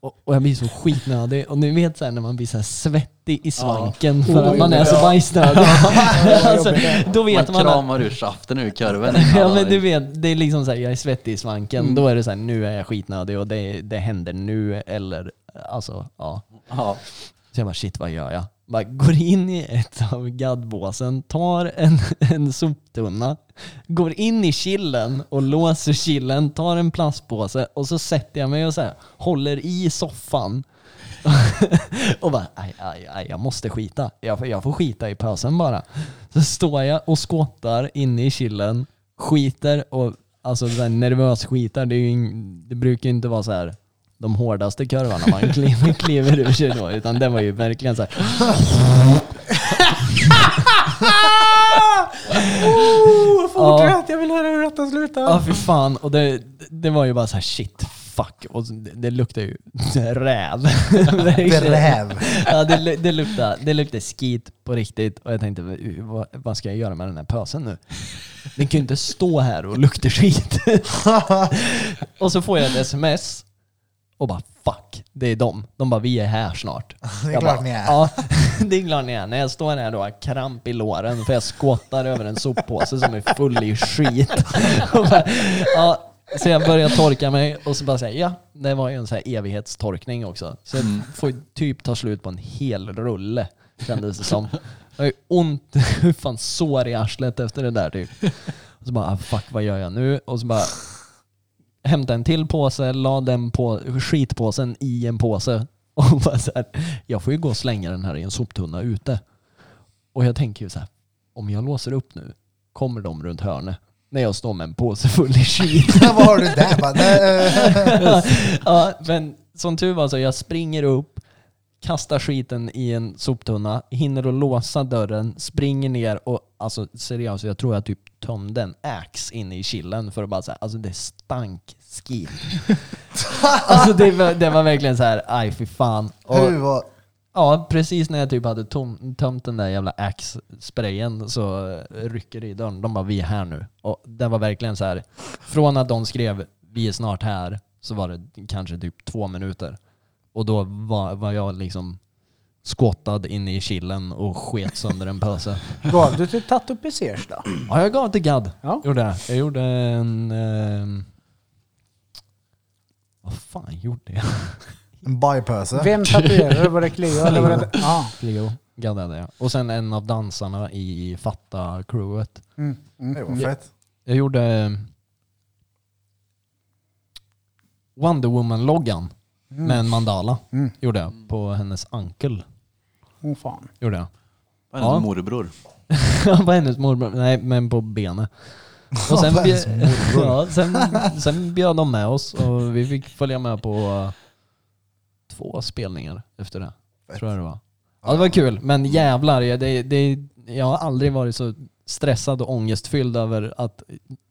Speaker 2: Och, och jag blir så skitnödig. Och ni vet så här, när man blir så här svettig i svanken för att man är så bajsnödig. alltså, då vet
Speaker 4: Man
Speaker 2: man, att,
Speaker 4: kramar ur saften ur korven.
Speaker 2: Ja men du vet, det är liksom såhär, jag är svettig i svanken. Då är det såhär, nu är jag skitnödig och det, det händer nu eller alltså ja.
Speaker 4: Ja.
Speaker 2: Så jag bara shit vad gör jag? Bara går in i ett av gaddbåsen, tar en, en soptunna, går in i killen och låser killen, tar en plastpåse och så sätter jag mig och så här, håller i soffan. och bara aj, aj, aj, jag måste skita. Jag, får- jag får skita i pösen bara. Så står jag och skåtar inne i killen, skiter och alltså så här, nervös skitar. Det, är ju, ing- det brukar ju inte vara så här de hårdaste kurvorna man kliver, kliver ur sig då, utan det var ju verkligen så här.
Speaker 1: Fortsätt, jag vill höra hur detta
Speaker 2: Ja,
Speaker 1: slutar.
Speaker 2: för fan. Och det, det var ju bara så här shit, fuck. Och det, det luktar ju räv. Verkligen.
Speaker 3: Dräv.
Speaker 2: Ja, det, lu- det luktar det luktar skit på riktigt. Och jag tänkte, vad, vad ska jag göra med den här pösen nu? Den kan ju inte stå här och lukta skit. och så får jag ett sms och bara fuck, det är dem. De bara, vi är här snart.
Speaker 3: Det är
Speaker 2: Jag
Speaker 3: klart
Speaker 2: bara,
Speaker 3: ni är.
Speaker 2: Ja, det är klart ni är. När jag står här då har jag kramp i låren för jag skottar över en soppåse som är full i skit. Och bara, ja, så jag börjar torka mig och så bara säger ja, det var ju en så här evighetstorkning också. Så jag
Speaker 3: Mm.
Speaker 2: får ju typ ta slut på en hel rulle kändes det som. Jag har ju ont, fan sår i arslet efter det där typ. Och så bara ah, fuck vad gör jag nu? Och så bara hämtade en till påse, la den på skitpåsen i en påse och bara så här, jag får ju gå och slänga den här i en soptunna ute. Och jag tänker ju så här, om jag låser upp nu, kommer de runt hörnet när jag står med en påse full i skit?
Speaker 3: Vad har du där? Bara, nej, eh.
Speaker 2: ja, men som tur var så, jag springer upp, kastar skiten i en soptunna, hinner att låsa dörren, springer ner och alltså seriöst, jag tror jag typ tömde en ax inne i killen för att bara säga, alltså det stank skit. alltså det var, det var verkligen så här, aj fy fan. Och,
Speaker 3: Hur var...
Speaker 2: Ja, precis när jag typ hade tom, tömt den där jävla Axe-sprayen så eh, rycker det i dörren. De bara, vi är här nu. Och det var verkligen så här, från att de skrev vi är snart här så var det kanske typ två minuter. Och då var, var jag liksom skottad inne i killen och sket sönder en pöse.
Speaker 1: Gav du till Tattoo Pesers då?
Speaker 2: Ja, jag gav till gadd.
Speaker 1: Ja.
Speaker 2: Gjorde jag. jag gjorde en... ehm, vad fan gjorde jag?
Speaker 3: En bajpöse.
Speaker 1: Vem tatuerade? Var det Cleo eller var det... Ja.
Speaker 2: Cleo gaddade jag. Och sen en av dansarna i Fatta-crewet.
Speaker 1: Mm.
Speaker 3: Det var
Speaker 1: Mm.
Speaker 3: fett.
Speaker 2: Jag gjorde eh, Wonder Woman-loggan med en mandala.
Speaker 1: Mm.
Speaker 2: Gjorde jag på hennes ankel.
Speaker 1: Åh fan.
Speaker 2: Gjorde jag.
Speaker 4: Vad är det
Speaker 2: Ja.
Speaker 4: med morbror?
Speaker 2: på hennes morbror. Nej, men på benet. Och sen,
Speaker 3: På hennes
Speaker 2: bjö- ja, sen, sen bjöd de med oss och vi fick följa med på eh, två spelningar efter det. Tror jag det var. Ja, det var kul. Men jävlar, jag- det, det, jag har aldrig varit så stressad och ångestfylld över att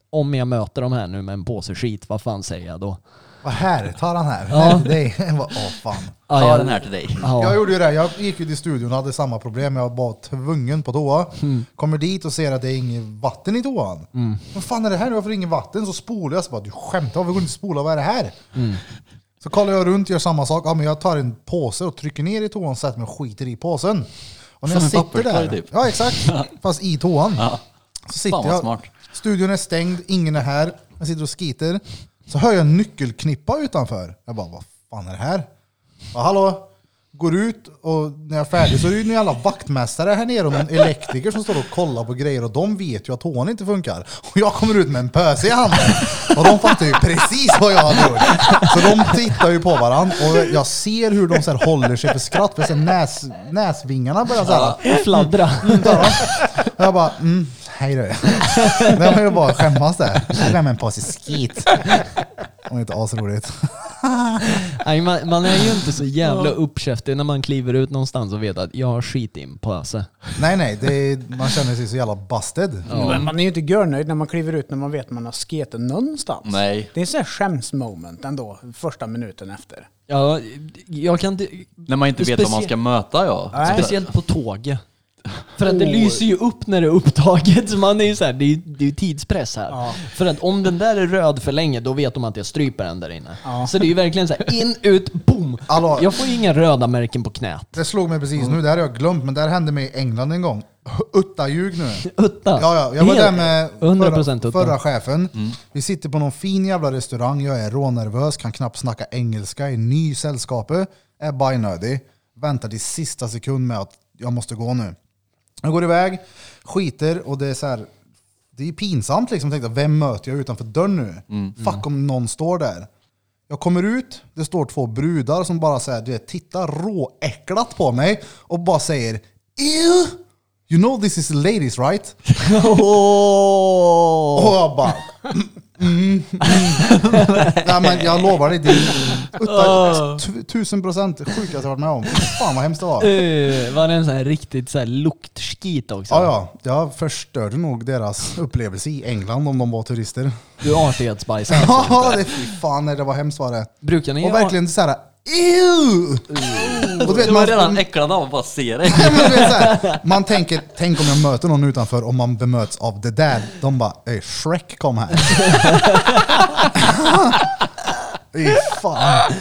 Speaker 2: om jag möter de här nu med en påse skit, vad fan säger jag då?
Speaker 3: Vad här, ta den här.
Speaker 2: Ja.
Speaker 3: Här till dig. Jag bara, Åh fan.
Speaker 2: Ja,
Speaker 4: Ta
Speaker 2: jag-
Speaker 4: den här till dig.
Speaker 3: Jag
Speaker 2: Ja,
Speaker 3: gjorde ju det, jag gick ju till studion och hade samma problem. Jag var bara tvungen på toa.
Speaker 4: Mm.
Speaker 3: Kommer dit och ser att det är inget vatten i toan. Vad fan är det här nu? Varför är det inget vatten? Så spolar jag. Så bara, du skämtar, varför går du inte spola? Vad är det här?
Speaker 4: Mm.
Speaker 3: Så kollar jag runt, gör samma sak. Ja, men jag tar en påse och trycker ner i toan, sätter mig och skiter i påsen. Och när
Speaker 4: Som
Speaker 3: jag
Speaker 4: en
Speaker 3: sitter
Speaker 4: papperskorg
Speaker 3: där,
Speaker 4: typ.
Speaker 3: ja exakt, fast i toan. Så sitter
Speaker 4: Fan, vad
Speaker 3: jag,
Speaker 4: smart.
Speaker 3: studion är stängd, ingen är här. Jag sitter och skiter. Så hör jag en nyckelknippa utanför. Jag bara, vad fan är det här? Bara, Hallå? Går ut och när jag är färdig så är det ju en jävla vaktmästare här nere och en elektriker som står och kollar på grejer och de vet ju att toan inte funkar. Och jag kommer ut med en pöse i handen och de fattar ju precis vad jag hade gjort. Så de tittar ju på varandra och jag ser hur de så här håller sig för skratt för jag ser näs, näsvingarna börjar så här
Speaker 2: fladdra.
Speaker 3: Ja. Jag bara, mm, hej du. Det var ju bara att skämmas där. Jag glömmer en påse skit. Det var inte asroligt.
Speaker 2: Nej, man, man är ju inte så jävla uppkäftig när man kliver ut någonstans och vet att jag har skit i en påse.
Speaker 3: Nej, nej, det är, man känner sig så jävla busted.
Speaker 1: Men man är ju inte görnöjd när man kliver ut när man vet att man har sketen någonstans.
Speaker 4: Nej.
Speaker 1: Det är så här skämsmoment ändå, första minuten efter.
Speaker 2: Ja, jag kan inte...
Speaker 4: När man inte vet vad man
Speaker 2: Specie-
Speaker 4: ska möta ja.
Speaker 1: Nej.
Speaker 2: Speciellt på tåg. För att det
Speaker 3: Oh.
Speaker 2: lyser ju upp när det är upptaget, så man är ju så här, det är ju det är ju tidspress här. För att om den där är röd för länge, då vet de att jag stryper den där inne. Så det är ju verkligen så här, in, ut, boom!
Speaker 3: Hallå.
Speaker 2: Jag får ju inga röda märken på knät.
Speaker 3: Det slog mig precis nu, det här har jag glömt, men det här hände mig i England en gång. Utta ljug nu.
Speaker 2: Utta!
Speaker 3: Ja, ja, jag var
Speaker 2: Helt
Speaker 3: där med
Speaker 2: 100%
Speaker 3: förra,
Speaker 2: utta.
Speaker 3: förra chefen. Vi sitter på någon fin jävla restaurang, jag är rånervös, kan knappt snacka engelska, är ny i sällskapet, är bajnödig. Väntar till sista sekund med att jag måste gå nu. Jag går iväg, skiter och det är så här. Det är pinsamt liksom. Tänkte, vem möter jag utanför dörren nu? Fuck om någon står där. Jag kommer ut, det står två brudar som bara så här, du vet, tittar råäcklat på mig och bara säger Ew! You know this is ladies right? Och jag bara... Mm, mm, mm. Nej, men jag lovar dig, det är utta- tu- tusen procent sjukaste jag varit med om. Fan vad hemskt det var.
Speaker 2: Eh, var det en sån här riktigt så här luktskit också?
Speaker 3: Ja, ja, jag förstörde nog deras upplevelse i England om de var turister.
Speaker 2: Du artighetsbajsar alltså.
Speaker 3: Ja, det fy fan nej, det var hemskt var det.
Speaker 2: Brukar ni
Speaker 3: Och verkligen såhär, ew! Och du vet,
Speaker 4: Du var
Speaker 3: man,
Speaker 4: redan äcklad av att bara se dig.
Speaker 3: Nej, men du vet, så här, man tänker, tänk om jag möter någon utanför och man bemöts av det där. De bara, "Ey, Shrek kom här. Fy fan.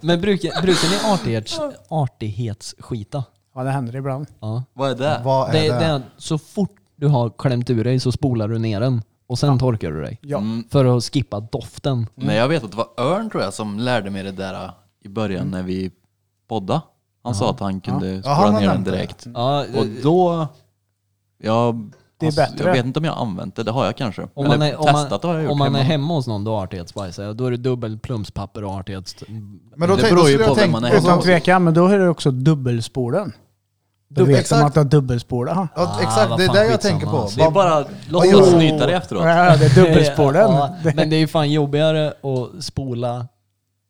Speaker 2: Men brukar, brukar ni artighets, artighetsskita?
Speaker 1: Ja, det händer ibland.
Speaker 2: Ja.
Speaker 4: Vad är det?
Speaker 3: Vad är
Speaker 2: Det,
Speaker 3: det?
Speaker 2: det är att så fort du har klämt ur dig så spolar du ner den och sen torkar du dig.
Speaker 1: Ja.
Speaker 2: För att skippa doften.
Speaker 4: Nej, jag vet att det var Örn tror jag som lärde mig det där äh, i början när vi podda. Han sa att han kunde
Speaker 3: Ja, han
Speaker 4: spola ner
Speaker 3: har
Speaker 4: den
Speaker 3: nämnt det.
Speaker 4: direkt.
Speaker 2: Ja,
Speaker 4: Och då... Jag, alltså,
Speaker 1: Det är bättre.
Speaker 4: jag vet inte om jag har använt det, det har jag kanske.
Speaker 2: om
Speaker 4: Eller
Speaker 2: man är, om man,
Speaker 4: testat har jag gjort
Speaker 2: om man är
Speaker 4: hemma.
Speaker 2: hemma hos någon då artighetsbajsar, då är det dubbel plumspapper och artighets...
Speaker 3: Men då,
Speaker 4: Det
Speaker 3: tänk-
Speaker 4: beror
Speaker 3: då
Speaker 4: ju
Speaker 3: skulle
Speaker 4: på
Speaker 3: jag
Speaker 4: vem
Speaker 3: tänkt-
Speaker 4: man är
Speaker 3: då-
Speaker 4: hemma
Speaker 1: Utan
Speaker 4: hos.
Speaker 1: tvekan, men då är det också dubbelspåren. Då
Speaker 3: Dubbel-
Speaker 1: vet man att det är dubbelspårda.
Speaker 3: Ja,
Speaker 2: Ah,
Speaker 3: Exakt,
Speaker 2: vad
Speaker 3: det är
Speaker 2: fan,
Speaker 3: det jag
Speaker 2: skitsamma.
Speaker 3: tänker på.
Speaker 4: Det är bara låtsas snyta dig efteråt.
Speaker 1: Ja, det är dubbelspården.
Speaker 2: Ja,
Speaker 1: Det-
Speaker 2: men det är ju fan jobbigare att spola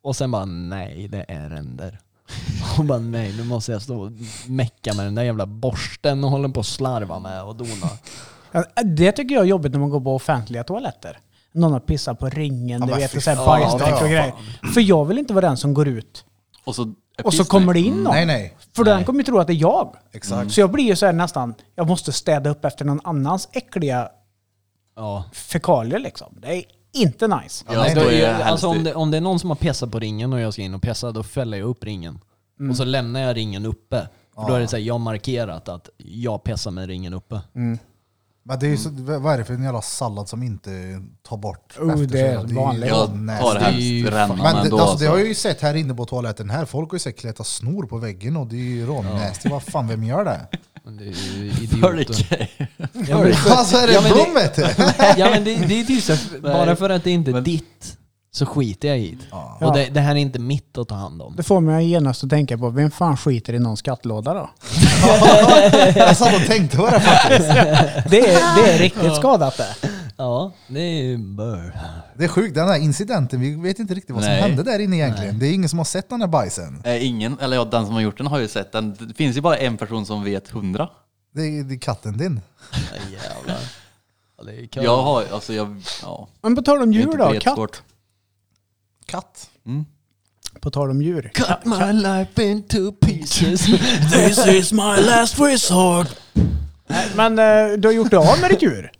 Speaker 2: och sen bara nej, det är ränder. Och bara nej, nu måste jag stå och mecka med den där jävla borsten och håller på och slarva med och dona.
Speaker 1: Ja, Det tycker jag är jobbigt när man går på offentliga toaletter. Någon har pissat på ringen,
Speaker 3: Ja,
Speaker 1: du
Speaker 3: men
Speaker 1: vet,
Speaker 3: fy
Speaker 1: och så här
Speaker 3: fan,
Speaker 1: bajsdäck
Speaker 3: ja,
Speaker 1: och grejer. För jag vill inte vara den som går ut
Speaker 4: Och så, är
Speaker 1: och så
Speaker 4: piss
Speaker 1: kommer
Speaker 4: nu.
Speaker 1: det in någon.
Speaker 3: Nej, nej.
Speaker 1: För den kommer ju tro att det är jag.
Speaker 3: Exakt.
Speaker 1: Så jag blir ju så här nästan, jag måste städa upp efter någon annans äckliga
Speaker 2: Ja.
Speaker 1: fekalier liksom. Det är inte nice.
Speaker 4: Ja,
Speaker 2: Nej,
Speaker 4: då
Speaker 2: då,
Speaker 4: är jag helst
Speaker 2: alltså om
Speaker 4: i-
Speaker 2: det, om det är någon som har pissat på ringen och jag ska in och pissa, då fäller jag upp ringen. Och så lämnar jag ringen uppe. För Då är det så här, jag har markerat att jag pissar med ringen uppe.
Speaker 3: Men det är ju så, vad är det för en jävla sallad som inte tar bort
Speaker 1: Oh,
Speaker 3: efter sig?
Speaker 1: det är
Speaker 3: ju
Speaker 1: vanligt.
Speaker 4: Jag
Speaker 3: nasty.
Speaker 4: tar
Speaker 2: Det är ju
Speaker 4: helst
Speaker 2: fan-
Speaker 4: rännan
Speaker 3: Men det,
Speaker 4: ändå.
Speaker 3: alltså, det har
Speaker 4: alltså.
Speaker 3: jag ju sett här inne på toaletten här. Folk har ju sett kläta snor på väggen och det är ju rånasty. Vad fan, vem gör det?
Speaker 2: Men det är ju
Speaker 4: För det
Speaker 2: idioter.
Speaker 4: kan-
Speaker 2: Ja, men-
Speaker 3: Alltså är det
Speaker 2: Ja, men det-
Speaker 3: dum vet du?
Speaker 2: Ja men det, det är ju så här, bara för att det inte är
Speaker 4: Men-
Speaker 2: ditt så skiter jag i det.
Speaker 3: Ja.
Speaker 2: Och det, det här är inte mitt att ta hand om.
Speaker 1: Det får mig genast att tänka på, vem fan skiter i någon skattlåda då?
Speaker 3: Jag satt
Speaker 4: Alltså,
Speaker 3: och tänkte på det faktiskt.
Speaker 1: Det är, det är riktigt skadat det.
Speaker 2: Ja, det är ju bör.
Speaker 3: Det är sjukt, den här incidenten, vi vet inte riktigt vad som
Speaker 4: Nej.
Speaker 3: hände där inne egentligen. Det är ingen som har sett den här bajsen.
Speaker 4: Eh, ingen, eller ja, den som har gjort den har ju sett den. Det finns ju bara en person som vet hundra.
Speaker 3: Det är, det är katten din.
Speaker 2: Ja, jävlar. Ja, det är kul.
Speaker 4: Jag har alltså jag, ja.
Speaker 1: Men på tal om
Speaker 4: det är
Speaker 1: djur
Speaker 4: inte
Speaker 1: då, katt.
Speaker 4: jättesvårt.
Speaker 3: Katt?
Speaker 4: Mm.
Speaker 1: På tal om djur.
Speaker 2: Cut my life into pieces.
Speaker 1: This is my last resort. Men eh, du har gjort dig av med ditt djur.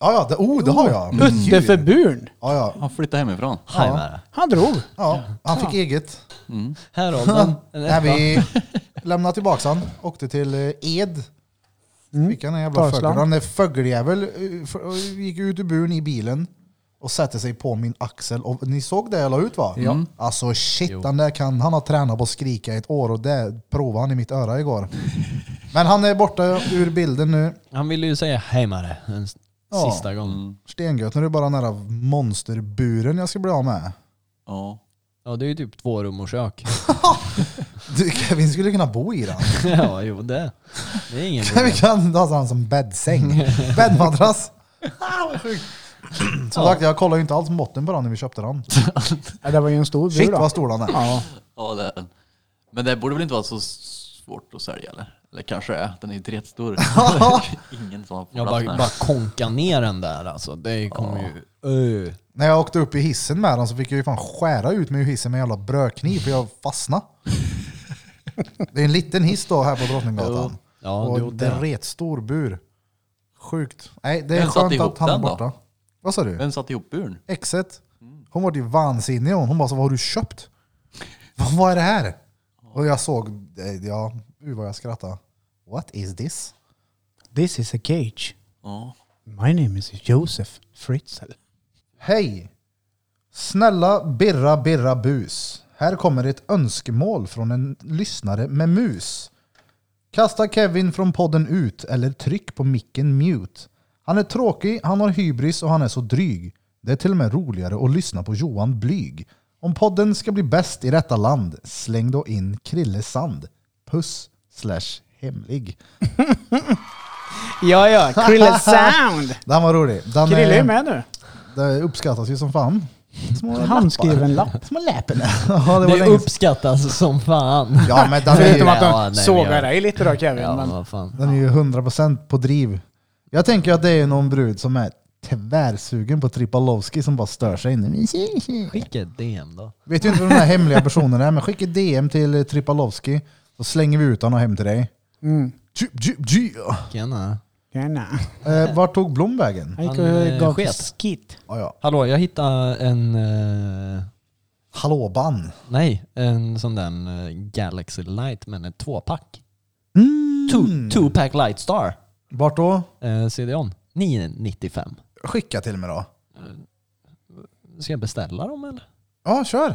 Speaker 3: Ja, ja, det, oh, det har jag.
Speaker 1: Utte för burn.
Speaker 3: Ja, ja.
Speaker 4: Han flyttade hemifrån.
Speaker 2: Hej Mara.
Speaker 1: Han drog.
Speaker 3: ja. Han fick eget.
Speaker 2: Här har den. En
Speaker 3: När
Speaker 2: etta.
Speaker 3: vi lämnade tillbaka han, åkte till eh, Ed. Fick han en jävla
Speaker 1: Dalsland.
Speaker 3: fågel. Han är fågeljävel. eh, f- och Gick ut ur buren i bilen och satte sig på min axel. Och ni såg det jag la ut va? Ja. Alltså shit, den där kan, han har tränat på att skrika i ett år och det provade han i mitt öra igår. Men han är borta ur bilden nu.
Speaker 2: Han ville ju säga hej Mare en s-
Speaker 3: Ja.
Speaker 2: sista gång.
Speaker 3: Stengött, nu är det bara den här monsterburen jag ska bli av med.
Speaker 4: Ja.
Speaker 2: Ja det är ju typ två rum och kök.
Speaker 3: Du, Kevin skulle kunna bo i den.
Speaker 2: ja jo det. Det är ingen
Speaker 3: Vi
Speaker 2: problem.
Speaker 3: kan ha den som bäddsäng. Bäddmadrass. Ah, vad sjukt. Som sagt, jag kollade ju inte alls måtten på den när vi köpte den.
Speaker 1: Ja, det var ju en stor bur
Speaker 3: Shit
Speaker 1: då.
Speaker 3: vad stor den är.
Speaker 1: Ja.
Speaker 4: ja, det är den. Men det borde väl inte vara så svårt att sälja eller? Eller kanske det är. Den är ju inte jättestor. ingen som har
Speaker 2: Jag
Speaker 4: plats
Speaker 2: bara,
Speaker 4: med
Speaker 2: bara konka ner den där alltså. Det kommer ju... Ö.
Speaker 3: När jag åkte upp i hissen med den så fick jag ju fan skära ut mig ur hissen med en jävla brödkniv för jag fastnade. Det är en liten hiss då här på Drottninggatan.
Speaker 2: Ja, jo,
Speaker 3: Och
Speaker 2: det.
Speaker 3: det är ret stor bur. Sjukt. Nej, det är
Speaker 4: Vem satte
Speaker 3: skönt
Speaker 4: ihop
Speaker 3: att han är
Speaker 4: den då?
Speaker 3: borta. Vad sa du?
Speaker 4: Vem satte ihop buren?
Speaker 3: exet. Hon var ju vansinnig hon. Hon bara så, vad har du köpt? Vad, vad är det här? Och jag såg, eh, ja, uh, vad jag skrattade. What is this?
Speaker 1: This is a cage.
Speaker 4: Ja.
Speaker 1: My name is Joseph Fritzl.
Speaker 3: Hej! Snälla Birra Birra Bus. Här kommer ett önskemål från en lyssnare med mus. Kasta Kevin från podden ut eller tryck på micken mute. Han är tråkig, han har hybris och han är så dryg. Det är till och med roligare att lyssna på Johan Blyg. Om podden ska bli bäst i detta land, släng då in Krille Sand. Puss slash hemlig.
Speaker 1: Ja, ja. Krille Sound.
Speaker 3: Den var rolig. Den,
Speaker 1: Krille är
Speaker 3: eh,
Speaker 1: med nu.
Speaker 3: Det uppskattas ju som fan. Små
Speaker 1: Handskriven lapp.
Speaker 3: Små läppen. ja, det var
Speaker 2: Det
Speaker 3: länge sedan.
Speaker 2: uppskattas som fan.
Speaker 3: Ja, men den är
Speaker 1: Förutom
Speaker 3: ju,
Speaker 1: att
Speaker 2: Ja, nej,
Speaker 1: de
Speaker 2: men
Speaker 1: sågar
Speaker 2: jag-
Speaker 1: dig lite då Kevin.
Speaker 2: Ja
Speaker 1: men
Speaker 2: vad fan.
Speaker 3: den är ju 100% på driv. Jag tänker att det är någon brud som är tvärsugen på Tripalowski som bara stör sig inne.
Speaker 2: Skicka ett DM då.
Speaker 3: Vet ju inte vem den här hemliga personen är, men skicka DM till eh, Tripalowski så slänger vi ut honom hem till dig.
Speaker 1: Mm.
Speaker 3: Tju, tju, tju.
Speaker 2: Tjena.
Speaker 1: Gärna.
Speaker 3: Eh, vart tog Blom vägen?
Speaker 1: Han gick
Speaker 2: Han, eh,
Speaker 1: och gav
Speaker 2: sket.
Speaker 1: skit.
Speaker 3: Ja, ja.
Speaker 2: Hallå jag hittade en... eh,
Speaker 3: Hallåban.
Speaker 2: nej, en sån där eh, Galaxy Light men en tvåpack.
Speaker 3: Mm.
Speaker 2: Two, two pack Light Star.
Speaker 3: Vart då?
Speaker 2: Eh, CD-ON. 995.
Speaker 3: Skicka till mig då.
Speaker 2: Ska jag beställa dem eller?
Speaker 3: Ja, kör.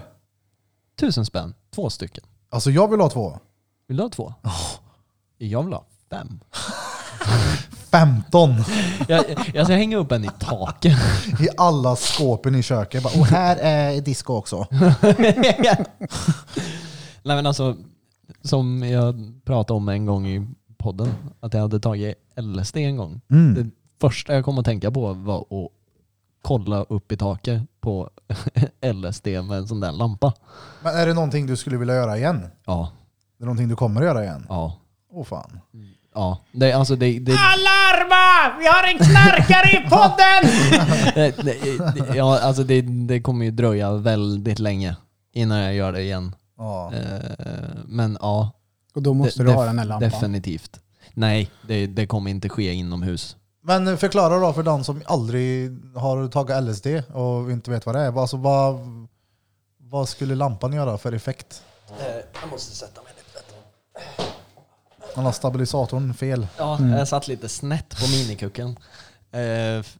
Speaker 2: Tusen spänn. Två stycken.
Speaker 3: Alltså jag vill ha två.
Speaker 2: Vill du ha två? Jag vill ha fem.
Speaker 3: 15
Speaker 2: Jag, jag ska hänga upp en i taket.
Speaker 3: i alla skåpen i köket. Bara, och här är disco också.
Speaker 2: Nej men alltså, som jag pratade om en gång i podden, att jag hade tagit LSD en gång.
Speaker 3: Mm.
Speaker 2: Det första jag kom att tänka på var att kolla upp i taket på LSD med en sån där lampa.
Speaker 3: Men är det någonting du skulle vilja göra igen? Är
Speaker 2: Ja,
Speaker 3: det någonting du kommer att göra igen?
Speaker 2: ja,
Speaker 3: Åh fan.
Speaker 2: ja. Det, alltså det, det,
Speaker 1: Alarma! Vi har en knarkare i podden!
Speaker 2: det, det, ja, alltså det, det kommer ju dröja väldigt länge innan jag gör det igen.
Speaker 3: Ja.
Speaker 2: Eh, Men ja,
Speaker 1: Och då måste
Speaker 2: De-
Speaker 1: du ha
Speaker 2: def-
Speaker 1: den här lampan.
Speaker 2: Definitivt. Nej, det, det kommer inte ske inomhus.
Speaker 3: Men förklara då för den som aldrig har tagit LSD och inte vet vad det är. Alltså, vad, vad skulle lampan göra för effekt?
Speaker 2: Eh, Jag måste sätta mig lite bättre.
Speaker 3: Han har stabilisatorn fel.
Speaker 2: Ja,
Speaker 1: Mm.
Speaker 2: jag satt lite snett på minikucken. Eh, f-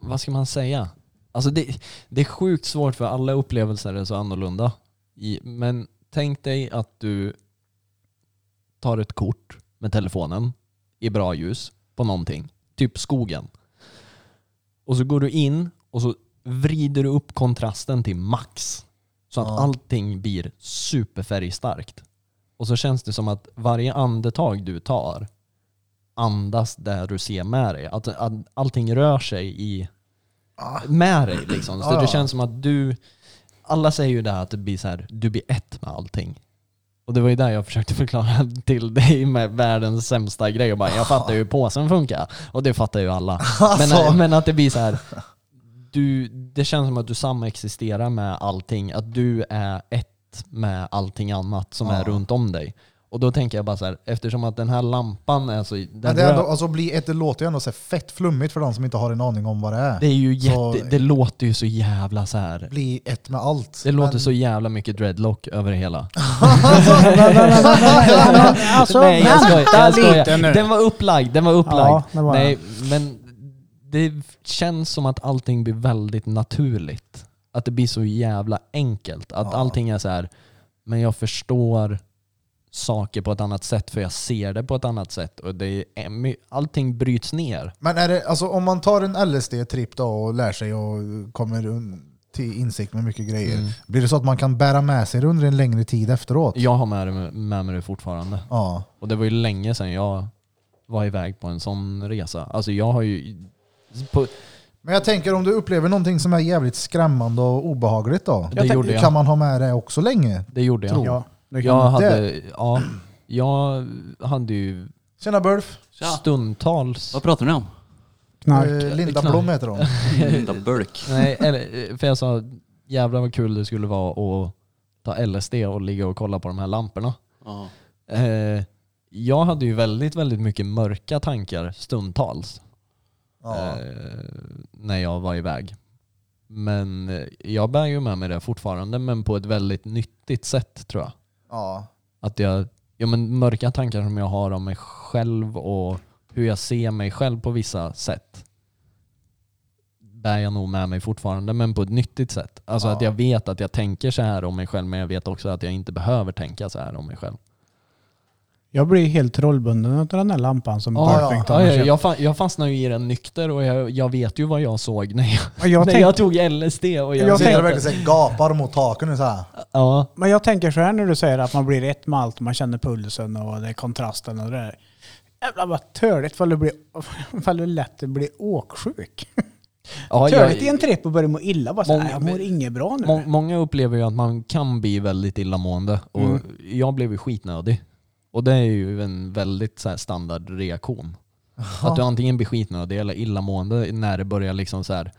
Speaker 2: vad ska man säga? Alltså det, det är sjukt svårt för alla upplevelser är så annorlunda. I, men tänk dig att du tar ett kort med telefonen i bra ljus på någonting. Typ skogen. Och så går du in och så vrider du upp kontrasten till max. Så att
Speaker 3: Ja.
Speaker 2: allting blir superfärgstarkt. Och så känns det som att varje andetag du tar andas där du ser med dig. Att, att allting rör sig i,
Speaker 3: Ah.
Speaker 2: med dig. Liksom. Så
Speaker 3: Ja, ja.
Speaker 2: det känns som att du, alla säger ju det här att det blir så här, du blir ett med allting. Och det var ju där jag försökte förklara till dig med världens sämsta grej. Och bara, jag fattar ju hur påsen funkar. Och det fattar ju alla.
Speaker 3: Alltså.
Speaker 2: Men, eh, men att det blir så här, du, det känns som att du samexisterar med allting. Att du är ett med allting annat som är
Speaker 3: Ja.
Speaker 2: runt om dig. Och då tänker jag bara så här, eftersom att den här lampan är så... Den
Speaker 3: Men det, är ändå,
Speaker 2: rö-
Speaker 3: alltså, bli ett, det låter ju ändå så här fett flummigt för de som inte har en aning om vad det är.
Speaker 2: det är ju
Speaker 3: så-
Speaker 2: jätte, det låter ju så jävla så här.
Speaker 3: Bli ett med allt.
Speaker 2: Det låter
Speaker 3: Men-
Speaker 2: så jävla mycket dreadlock över det hela.
Speaker 1: Alltså,
Speaker 2: Nej jag skojar, jag
Speaker 1: lite nu.
Speaker 2: skojar. Den var upplagd, den var upplagd.
Speaker 1: Ja, det var den.
Speaker 2: Nej, men det känns som att allting blir väldigt naturligt. Att det blir så jävla enkelt. Att
Speaker 3: Ja.
Speaker 2: allting är så här. men jag förstår saker på ett annat sätt för jag ser det på ett annat sätt. Och det är, my- allting bryts ner.
Speaker 3: Men är det, alltså, om man tar en LSD-tripp då och lär sig och kommer un- till insikt med mycket
Speaker 2: Mm.
Speaker 3: grejer. Blir det så att man kan bära med sig det under en längre tid efteråt?
Speaker 2: Jag har med, det- med mig det fortfarande.
Speaker 3: Ja.
Speaker 2: Och det var ju länge sedan jag var iväg på en sån resa. Alltså jag har ju... På,
Speaker 3: Men jag tänker om du upplever någonting som är jävligt skrämmande och obehagligt då?
Speaker 2: det gjorde jag.
Speaker 3: Kan man ha med det också länge?
Speaker 2: Det gjorde jag.
Speaker 1: Ja, det kan
Speaker 2: Jag
Speaker 1: man.
Speaker 2: hade, ja, jag hade ju
Speaker 3: Tjena Bulf!
Speaker 4: Tja.
Speaker 2: stundtals...
Speaker 4: Vad pratar ni om?
Speaker 1: Knark.
Speaker 3: Eh, Linda
Speaker 2: knark.
Speaker 3: Blom heter hon.
Speaker 4: Linda Burk.
Speaker 2: Nej, eller, eh, för jag sa jävlar vad kul det skulle vara att ta LSD och ligga och kolla på de här lamporna.
Speaker 4: Ja.
Speaker 2: Eh, jag hade ju väldigt, väldigt mycket mörka tankar stundtals
Speaker 3: Ja.
Speaker 2: eh, när jag var iväg. Men eh, jag bär ju med mig det fortfarande, men på ett väldigt nyttigt sätt tror jag.
Speaker 3: Ja.
Speaker 2: Att jag, ja men mörka tankar som jag har om mig själv och hur jag ser mig själv på vissa sätt bär jag nog med mig fortfarande, men på ett nyttigt sätt. Alltså
Speaker 3: Ja.
Speaker 2: att jag vet att jag tänker så här om mig själv, men jag vet också att jag inte behöver tänka så här om mig själv.
Speaker 1: Jag blir helt rollbunden av den där lampan som
Speaker 2: Ja,
Speaker 1: Burfing
Speaker 2: ja,
Speaker 1: tar
Speaker 2: ja,
Speaker 1: och köper.
Speaker 2: jag, fa- jag fastnar ju i den nykter och jag, jag vet ju vad jag såg när jag,
Speaker 1: Och jag
Speaker 2: när
Speaker 1: tänk-
Speaker 2: jag tog LSD. Och jag
Speaker 1: Jag
Speaker 3: Jag
Speaker 2: vet
Speaker 3: sitter
Speaker 1: tänkte-
Speaker 2: att-
Speaker 3: och verkligen så här gapar mot taken nu så här.
Speaker 2: ja,
Speaker 1: Men jag tänker så här när du säger att man blir ett med allt, man känner pulsen och det är kontrasten och det där. Jävlar vad törligt ifall du, blir, ifall du lätt blir åksjuk.
Speaker 2: ja, jag-
Speaker 1: törligt i en tripp och börjar må illa. Bara så, här,
Speaker 2: Många-
Speaker 1: jag mår inget bra nu.
Speaker 2: Må- många upplever ju att man kan bli väldigt illamående och jag blev ju skitnödig. Och det är ju en väldigt så här standardreaktion. Att du antingen blir skitnödig eller illamående när det börjar liksom så här,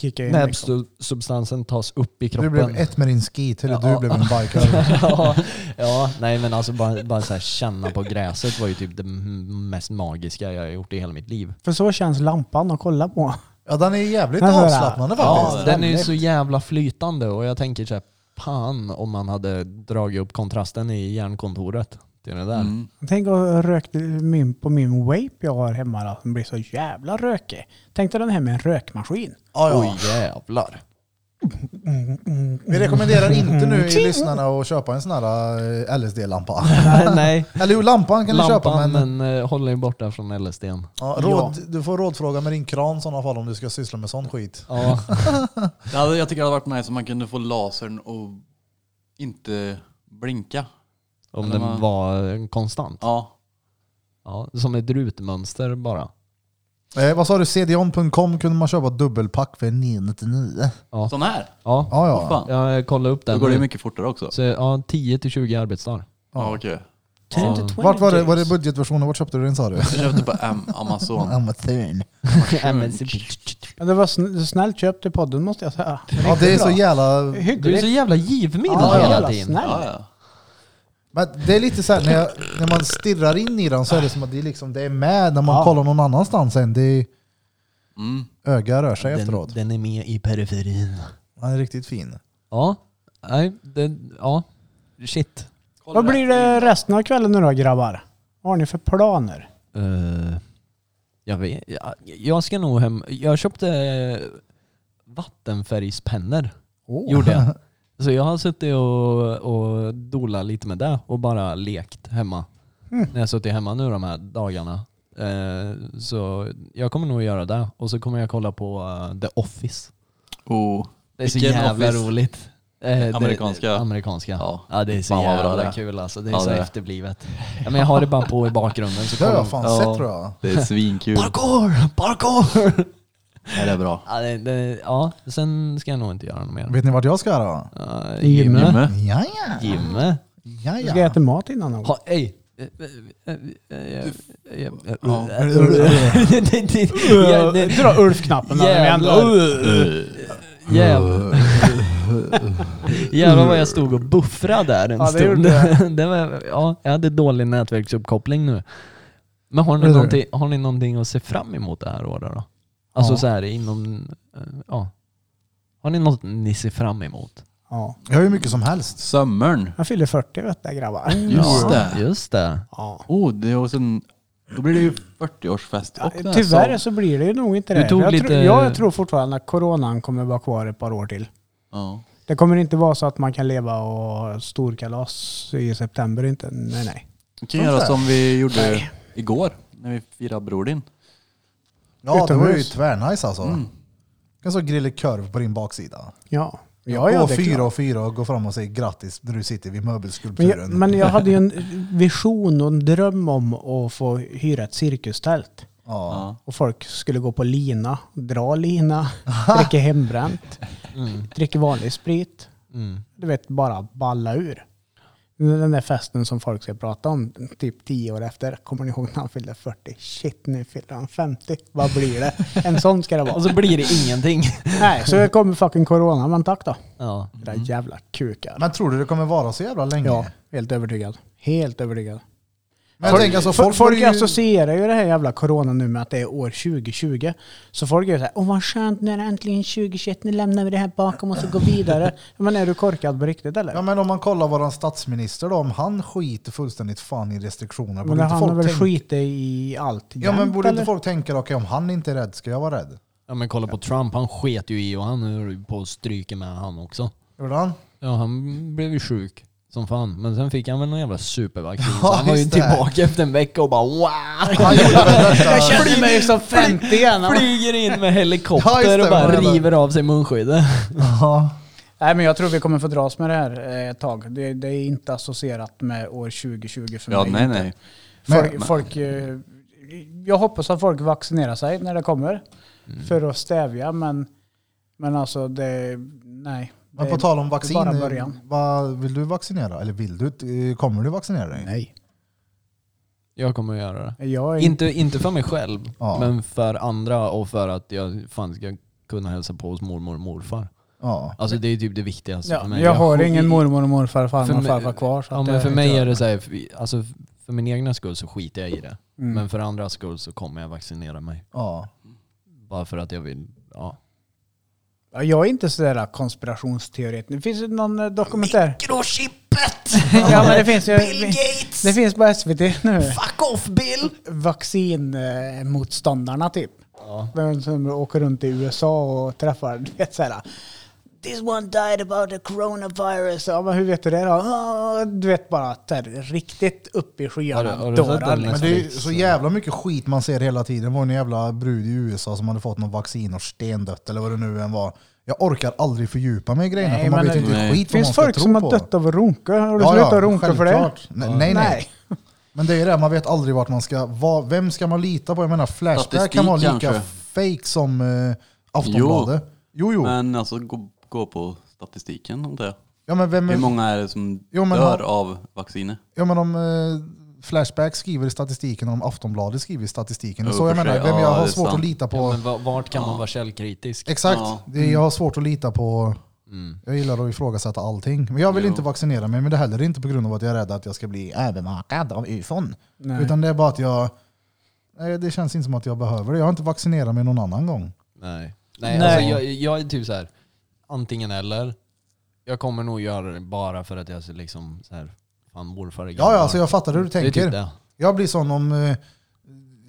Speaker 1: Kicka in
Speaker 2: när
Speaker 1: liksom.
Speaker 2: su- substansen tas upp i
Speaker 3: Du
Speaker 2: kroppen.
Speaker 3: blev ett med din skit, eller du
Speaker 2: Ja.
Speaker 3: blev en biker.
Speaker 2: ja, ja, nej men alltså bara, bara så här känna på gräset var ju typ det m- mest magiska jag har gjort i hela mitt liv.
Speaker 1: För så känns lampan att kolla på.
Speaker 3: Ja, den är jävligt
Speaker 1: Men hörru.
Speaker 3: avslappnande
Speaker 2: Ja,
Speaker 3: faktiskt.
Speaker 2: den är ju så jävla flytande och jag tänker så här, pan om man hade dragit upp kontrasten i hjärnkontoret till det där.
Speaker 4: Mm.
Speaker 1: Tänk att röka min, på min vape jag har hemma då, som blir så jävla rökig. Tänk dig den här med en rökmaskin.
Speaker 3: Ja, ja.
Speaker 2: Oj jävlar.
Speaker 3: Vi rekommenderar inte nu i lyssnarna att köpa en sån här eh, LSD-lampa.
Speaker 2: Nej, nej.
Speaker 3: Eller jo, lampan kan du köpa
Speaker 2: Lampan
Speaker 3: men...
Speaker 2: men, eh, håller ju borta från LSDn.
Speaker 3: Ja, råd, Du får rådfråga med din kran i sådana fall om du ska syssla med sån skit.
Speaker 2: Ja,
Speaker 4: Det hade, jag tycker det hade varit nice om man kunde få lasern att inte blinka.
Speaker 2: om
Speaker 4: Eller
Speaker 2: den
Speaker 4: vad?
Speaker 2: var eh, konstant.
Speaker 4: Ja.
Speaker 2: Ja, som ett rutmönster bara.
Speaker 3: Eh, vad sa du? CDON.com kunde man köpa dubbelpack för 999.
Speaker 2: Ja.
Speaker 4: Sån här.
Speaker 2: Ja,
Speaker 3: Ja,
Speaker 4: Vad
Speaker 3: ja.
Speaker 4: fan.
Speaker 2: jag kollade upp
Speaker 4: Då
Speaker 2: den.
Speaker 4: går det ju mycket fortare också.
Speaker 2: Så, ja, 10-20 arbetsdagar.
Speaker 4: Ja, okej.
Speaker 2: Ja.
Speaker 1: 10 to
Speaker 3: Vart var det,
Speaker 1: 20
Speaker 3: var det budgetversionen? Vart köpte du den sa du?
Speaker 4: Jag köpte på Am- Amazon.
Speaker 3: Amatörn.
Speaker 2: Ja, men-
Speaker 1: Ja, Det var sn- snällt köpt i podden måste jag säga.
Speaker 3: Ja, det är så
Speaker 1: Riktigt bra.
Speaker 3: jävla...
Speaker 2: Du är så
Speaker 1: Hyggligt.
Speaker 2: jävla givmild
Speaker 1: Ja,
Speaker 2: hela
Speaker 1: jävla
Speaker 2: tiden.
Speaker 1: snäll.
Speaker 4: Ja, ja.
Speaker 3: Men det är lite så här, när, jag, när man stirrar in i den så är det som att det är, liksom, det är med när man
Speaker 1: Ja.
Speaker 3: kollar någon annanstans än. Det är,
Speaker 4: Mm.
Speaker 3: öga rör sig
Speaker 2: Den,
Speaker 3: efteråt.
Speaker 2: den är med i periferin.
Speaker 3: Han är riktigt fin.
Speaker 2: Ja, nej, den, ja. Shit.
Speaker 1: Vad blir det resten av kvällen nu då grabbar? Vad har ni för planer?
Speaker 2: Eh, jag vet jag, jag ska nog hem. Jag köpte eh, vattenfärgspennor.
Speaker 3: Oh.
Speaker 2: Gjorde jag. Så jag har suttit och, och dolat lite med det och bara lekt hemma. När jag suttit hemma nu de här dagarna. Eh, så jag kommer nog göra det. Och så kommer jag kolla på eh, The Office.
Speaker 4: Oh.
Speaker 2: Det är så
Speaker 4: Vilken
Speaker 2: jävla
Speaker 4: Office?
Speaker 2: roligt. Eh, det-
Speaker 4: Amerikanska?
Speaker 2: Amerikanska.
Speaker 4: Ja.
Speaker 2: Ja. det är så
Speaker 4: Fan, vad bra
Speaker 2: jävla
Speaker 4: det är.
Speaker 2: kul alltså. Det är
Speaker 4: Ja,
Speaker 2: så
Speaker 4: det är.
Speaker 2: efterblivet. Ja, men jag har det bara på i bakgrunden. Så
Speaker 3: Det har
Speaker 2: kollar man-
Speaker 3: jag fan
Speaker 4: Ja.
Speaker 3: sett tror jag.
Speaker 4: Det är svinkul.
Speaker 2: Parkour! Parkour!
Speaker 4: Ja, det är bra.
Speaker 2: Ja, det, det, ja, sen ska jag nog inte göra något mer.
Speaker 3: Vet ni vart jag ska då?
Speaker 2: Uh,
Speaker 1: Gymme.
Speaker 2: Gymme.
Speaker 4: Jimmy?
Speaker 3: Ja, ja.
Speaker 2: Gymme.
Speaker 3: ja,
Speaker 1: Ska jag
Speaker 3: ja.
Speaker 1: äta mat innan någon?
Speaker 2: Ha, ej. Eh, eh, eh, eh, eh, eh,
Speaker 4: Ja.
Speaker 2: eh, eh, det- det- ja, det-
Speaker 1: Dra Ulf-knappen när vi ändå...
Speaker 2: Jävlar. Jävlar vad jag stod och buffrade där en
Speaker 1: Ja, det
Speaker 2: stund.
Speaker 1: gjorde
Speaker 2: Det var, ja, jag hade dålig nätverksuppkoppling nu. Men har ni,
Speaker 3: Eller?
Speaker 2: någonting, har ni någonting att se fram emot det här året då? Alltså
Speaker 1: Ja.
Speaker 2: så här inom... eh, Ja. Har ni något ni ser fram emot?
Speaker 1: Ja.
Speaker 3: Jag har ju mycket som helst.
Speaker 4: Sömmern.
Speaker 1: Jag fyller 40 vet du grabbar.
Speaker 4: Just
Speaker 2: ja,
Speaker 4: det.
Speaker 2: Mm. Just det.
Speaker 1: Ja.
Speaker 4: Oh, det är också en, då blir det ju 40-årsfest. och den här
Speaker 1: Tyvärr
Speaker 4: Saab.
Speaker 1: så blir det ju nog inte
Speaker 2: Du
Speaker 1: det.
Speaker 2: tog
Speaker 1: jag,
Speaker 2: lite-
Speaker 1: tror, ja, jag tror fortfarande att coronan kommer vara kvar ett par år till.
Speaker 4: Ja.
Speaker 1: Det kommer inte vara så att man kan leva och ha storkalas i september inte. Nej nej.
Speaker 4: Vi kan göra som vi gjorde igår när vi firade bror din.
Speaker 3: Ja, det var ju
Speaker 1: Utomhus.
Speaker 3: tvärnice alltså.
Speaker 4: Mm.
Speaker 3: Kan så grilla korv på din baksida.
Speaker 1: Ja. Ja, ja,
Speaker 3: och
Speaker 1: det är
Speaker 3: fyra
Speaker 1: klart.
Speaker 3: och fyra och gå fram och säga grattis när du sitter vid
Speaker 1: Men
Speaker 3: möbelskulpturen.
Speaker 1: jag, men jag hade ju en vision och en dröm om att få hyra ett cirkustält.
Speaker 3: ja.
Speaker 4: Ja.
Speaker 1: Och folk skulle gå på lina, dra lina, dricka hembränt,
Speaker 2: Mm.
Speaker 1: dricka vanlig sprit.
Speaker 2: Mm.
Speaker 1: du vet, bara balla ur. Den där festen som folk ska prata om, typ tio år efter. Kommer ni ihåg när han fyllde 40? Shit, nu fyller han 50. Vad blir det? En sån ska det
Speaker 2: Och
Speaker 1: vara.
Speaker 2: så blir det ingenting.
Speaker 1: Nej, så det kommer fucking corona, men tack då.
Speaker 2: Ja.
Speaker 1: Era jävla kukar.
Speaker 3: Men tror du det kommer vara så jävla länge?
Speaker 1: Ja, helt övertygad. Helt övertygad.
Speaker 3: Men
Speaker 1: Folk-
Speaker 3: jag tänker alltså,
Speaker 1: folk
Speaker 3: folk, folk
Speaker 1: folk
Speaker 3: ju...
Speaker 1: associerar ju det här jävla corona nu med att det är år 2020. Så folk är ju såhär, åh vad skönt, nu är det äntligen 2021, nu lämnar vi det här bakom oss och går vidare. Men är du korkad på riktigt eller?
Speaker 3: Ja men om man kollar våran statsminister då, om han skiter fullständigt fan i restriktioner.
Speaker 1: Men han har väl
Speaker 3: tänka-
Speaker 1: skitit i allt
Speaker 3: Ja men
Speaker 1: jämt,
Speaker 3: borde
Speaker 1: eller?
Speaker 3: inte folk tänka okej om han inte är rädd ska jag vara rädd?
Speaker 2: ja men kolla på Trump, han sket ju i och han är ju på stryken med han också.
Speaker 3: Gjorde han?
Speaker 2: Ja, han blev ju sjuk som fan. Men sen fick han väl någon jävla supervaccin.
Speaker 3: Ja,
Speaker 2: så han var ju
Speaker 3: just det.
Speaker 2: tillbaka efter en vecka och bara wow!
Speaker 3: Han gjorde väl
Speaker 1: Jag
Speaker 3: detta.
Speaker 1: känner mig som 50 igen.
Speaker 2: Flyger in med
Speaker 3: Ja, just
Speaker 2: helikopter
Speaker 3: det,
Speaker 2: och bara
Speaker 3: vad jävla-
Speaker 2: river av sig munskyddet.
Speaker 3: Ja.
Speaker 1: Nej men jag tror vi kommer få dras med det här eh, ett tag. Det, det är inte associerat med år 2020 för
Speaker 4: ja,
Speaker 1: mig.
Speaker 4: nej
Speaker 1: inte.
Speaker 4: nej.
Speaker 1: Folk,
Speaker 4: Men-
Speaker 1: folk, eh, jag hoppas att folk vaccinerar sig när det kommer.
Speaker 2: Mm.
Speaker 1: För att stävja men, men alltså det, nej.
Speaker 3: Men
Speaker 1: Det-
Speaker 3: på tal om
Speaker 1: är
Speaker 3: vaccin,
Speaker 1: bara början.
Speaker 3: vad vill du vaccinera? Eller vill du? eh, Kommer du vaccinera dig?
Speaker 1: Nej.
Speaker 2: Jag kommer att göra det.
Speaker 1: Jag är inte...
Speaker 2: Inte, inte för mig själv,
Speaker 3: Ja.
Speaker 2: men för andra och för att jag fan ska kunna hälsa på hos mormor och morfar.
Speaker 3: Ja.
Speaker 2: Alltså det är ju typ det viktigaste för
Speaker 1: Ja,
Speaker 2: mig.
Speaker 1: jag har
Speaker 2: skit-
Speaker 1: ingen mormor och morfar,
Speaker 2: För
Speaker 1: farmor och
Speaker 2: mig-
Speaker 1: farfar kvar. så
Speaker 2: Ja,
Speaker 1: att
Speaker 2: men
Speaker 1: jag-
Speaker 2: för mig är det så här, för- alltså för min egna skull så skiter jag i det.
Speaker 1: Mm.
Speaker 2: Men för andras skull så kommer jag vaccinera mig.
Speaker 3: Ja.
Speaker 2: Bara för att jag vill, ja.
Speaker 1: Ja, Jag är inte sådär konspirationsteoretisk. Det finns ju någon eh, dokumentär.
Speaker 2: Mikrochippet!
Speaker 1: Ja, men det finns ju,
Speaker 2: Gates!
Speaker 1: det finns på SVT nu.
Speaker 2: Fuck off Bill!
Speaker 1: Vaccinmotståndarna typ.
Speaker 2: Ja.
Speaker 1: De som åker runt i USA och träffar, du vet såhär. This one died about the coronavirus. Ja, men hur vet du det då? Ah, Du vet bara att det är riktigt upp i skyarna.
Speaker 2: Har du- har du sett
Speaker 1: dårar,
Speaker 2: den?
Speaker 1: liksom.
Speaker 3: Men det är ju
Speaker 2: Netflix,
Speaker 3: så
Speaker 2: eh.
Speaker 3: jävla mycket skit man ser hela tiden. Det var en jävla brud i USA som hade fått någon vaccin och stendött eller vad det nu än var. Jag orkar aldrig fördjupa mig i grejerna
Speaker 1: Nej,
Speaker 3: för man
Speaker 1: men
Speaker 3: vet
Speaker 1: det-
Speaker 3: inte
Speaker 4: Nej.
Speaker 3: skit
Speaker 1: Det
Speaker 3: vad man
Speaker 1: finns
Speaker 3: ska
Speaker 1: folk
Speaker 3: tro
Speaker 1: som
Speaker 3: på.
Speaker 1: har dött av att runka. Har du
Speaker 3: Ja,
Speaker 1: slutat
Speaker 3: ja,
Speaker 1: runka för det?
Speaker 3: självklart. Nej, nej, nej. Men det är det, man vet aldrig vart man ska, vad, vem ska man lita på? Jag menar Flashback
Speaker 4: Statistik
Speaker 3: kan vara lika
Speaker 4: kanske.
Speaker 3: fake som eh, Aftonbladet. Jo, jo.
Speaker 4: Men alltså gå, gå på statistiken om det.
Speaker 3: ja, men vem,
Speaker 4: Hur många är det som
Speaker 3: Mm. Jo, men
Speaker 4: dör
Speaker 3: ha-
Speaker 4: av vaccinet?
Speaker 3: ja, men om eh, Flashback skriver i statistiken och om Aftonbladet skriver i statistiken. Det är
Speaker 4: Jo,
Speaker 3: så jag
Speaker 4: för
Speaker 3: menar,
Speaker 4: sig.
Speaker 3: vem
Speaker 4: Ja,
Speaker 3: jag har
Speaker 4: det är
Speaker 3: svårt
Speaker 4: sant.
Speaker 3: att lita på.
Speaker 2: Ja, men va- vart kan man vara källkritisk?
Speaker 3: Exakt,
Speaker 4: Ja.
Speaker 3: det, jag har svårt att lita på
Speaker 2: Mm.
Speaker 3: Jag gillar att ifrågasätta allting. Men jag vill
Speaker 4: Jo.
Speaker 3: inte vaccinera mig, men det är heller inte på grund av att jag är rädd att jag ska bli övervakad av ufon.
Speaker 1: Nej.
Speaker 3: Utan det är bara att jag... Nej, det känns inte som att jag behöver det. Jag har inte vaccinerat mig någon annan gång.
Speaker 2: Nej. Nej,
Speaker 1: Nej.
Speaker 2: Alltså, jag, jag är typ så här. antingen eller. Jag kommer nog göra det bara för att jag ser liksom så här, fan morfar är
Speaker 3: Ja, ja, alltså jag fattar hur du
Speaker 2: Det är typ
Speaker 3: tänker.
Speaker 2: det.
Speaker 3: Jag blir sån om... eh,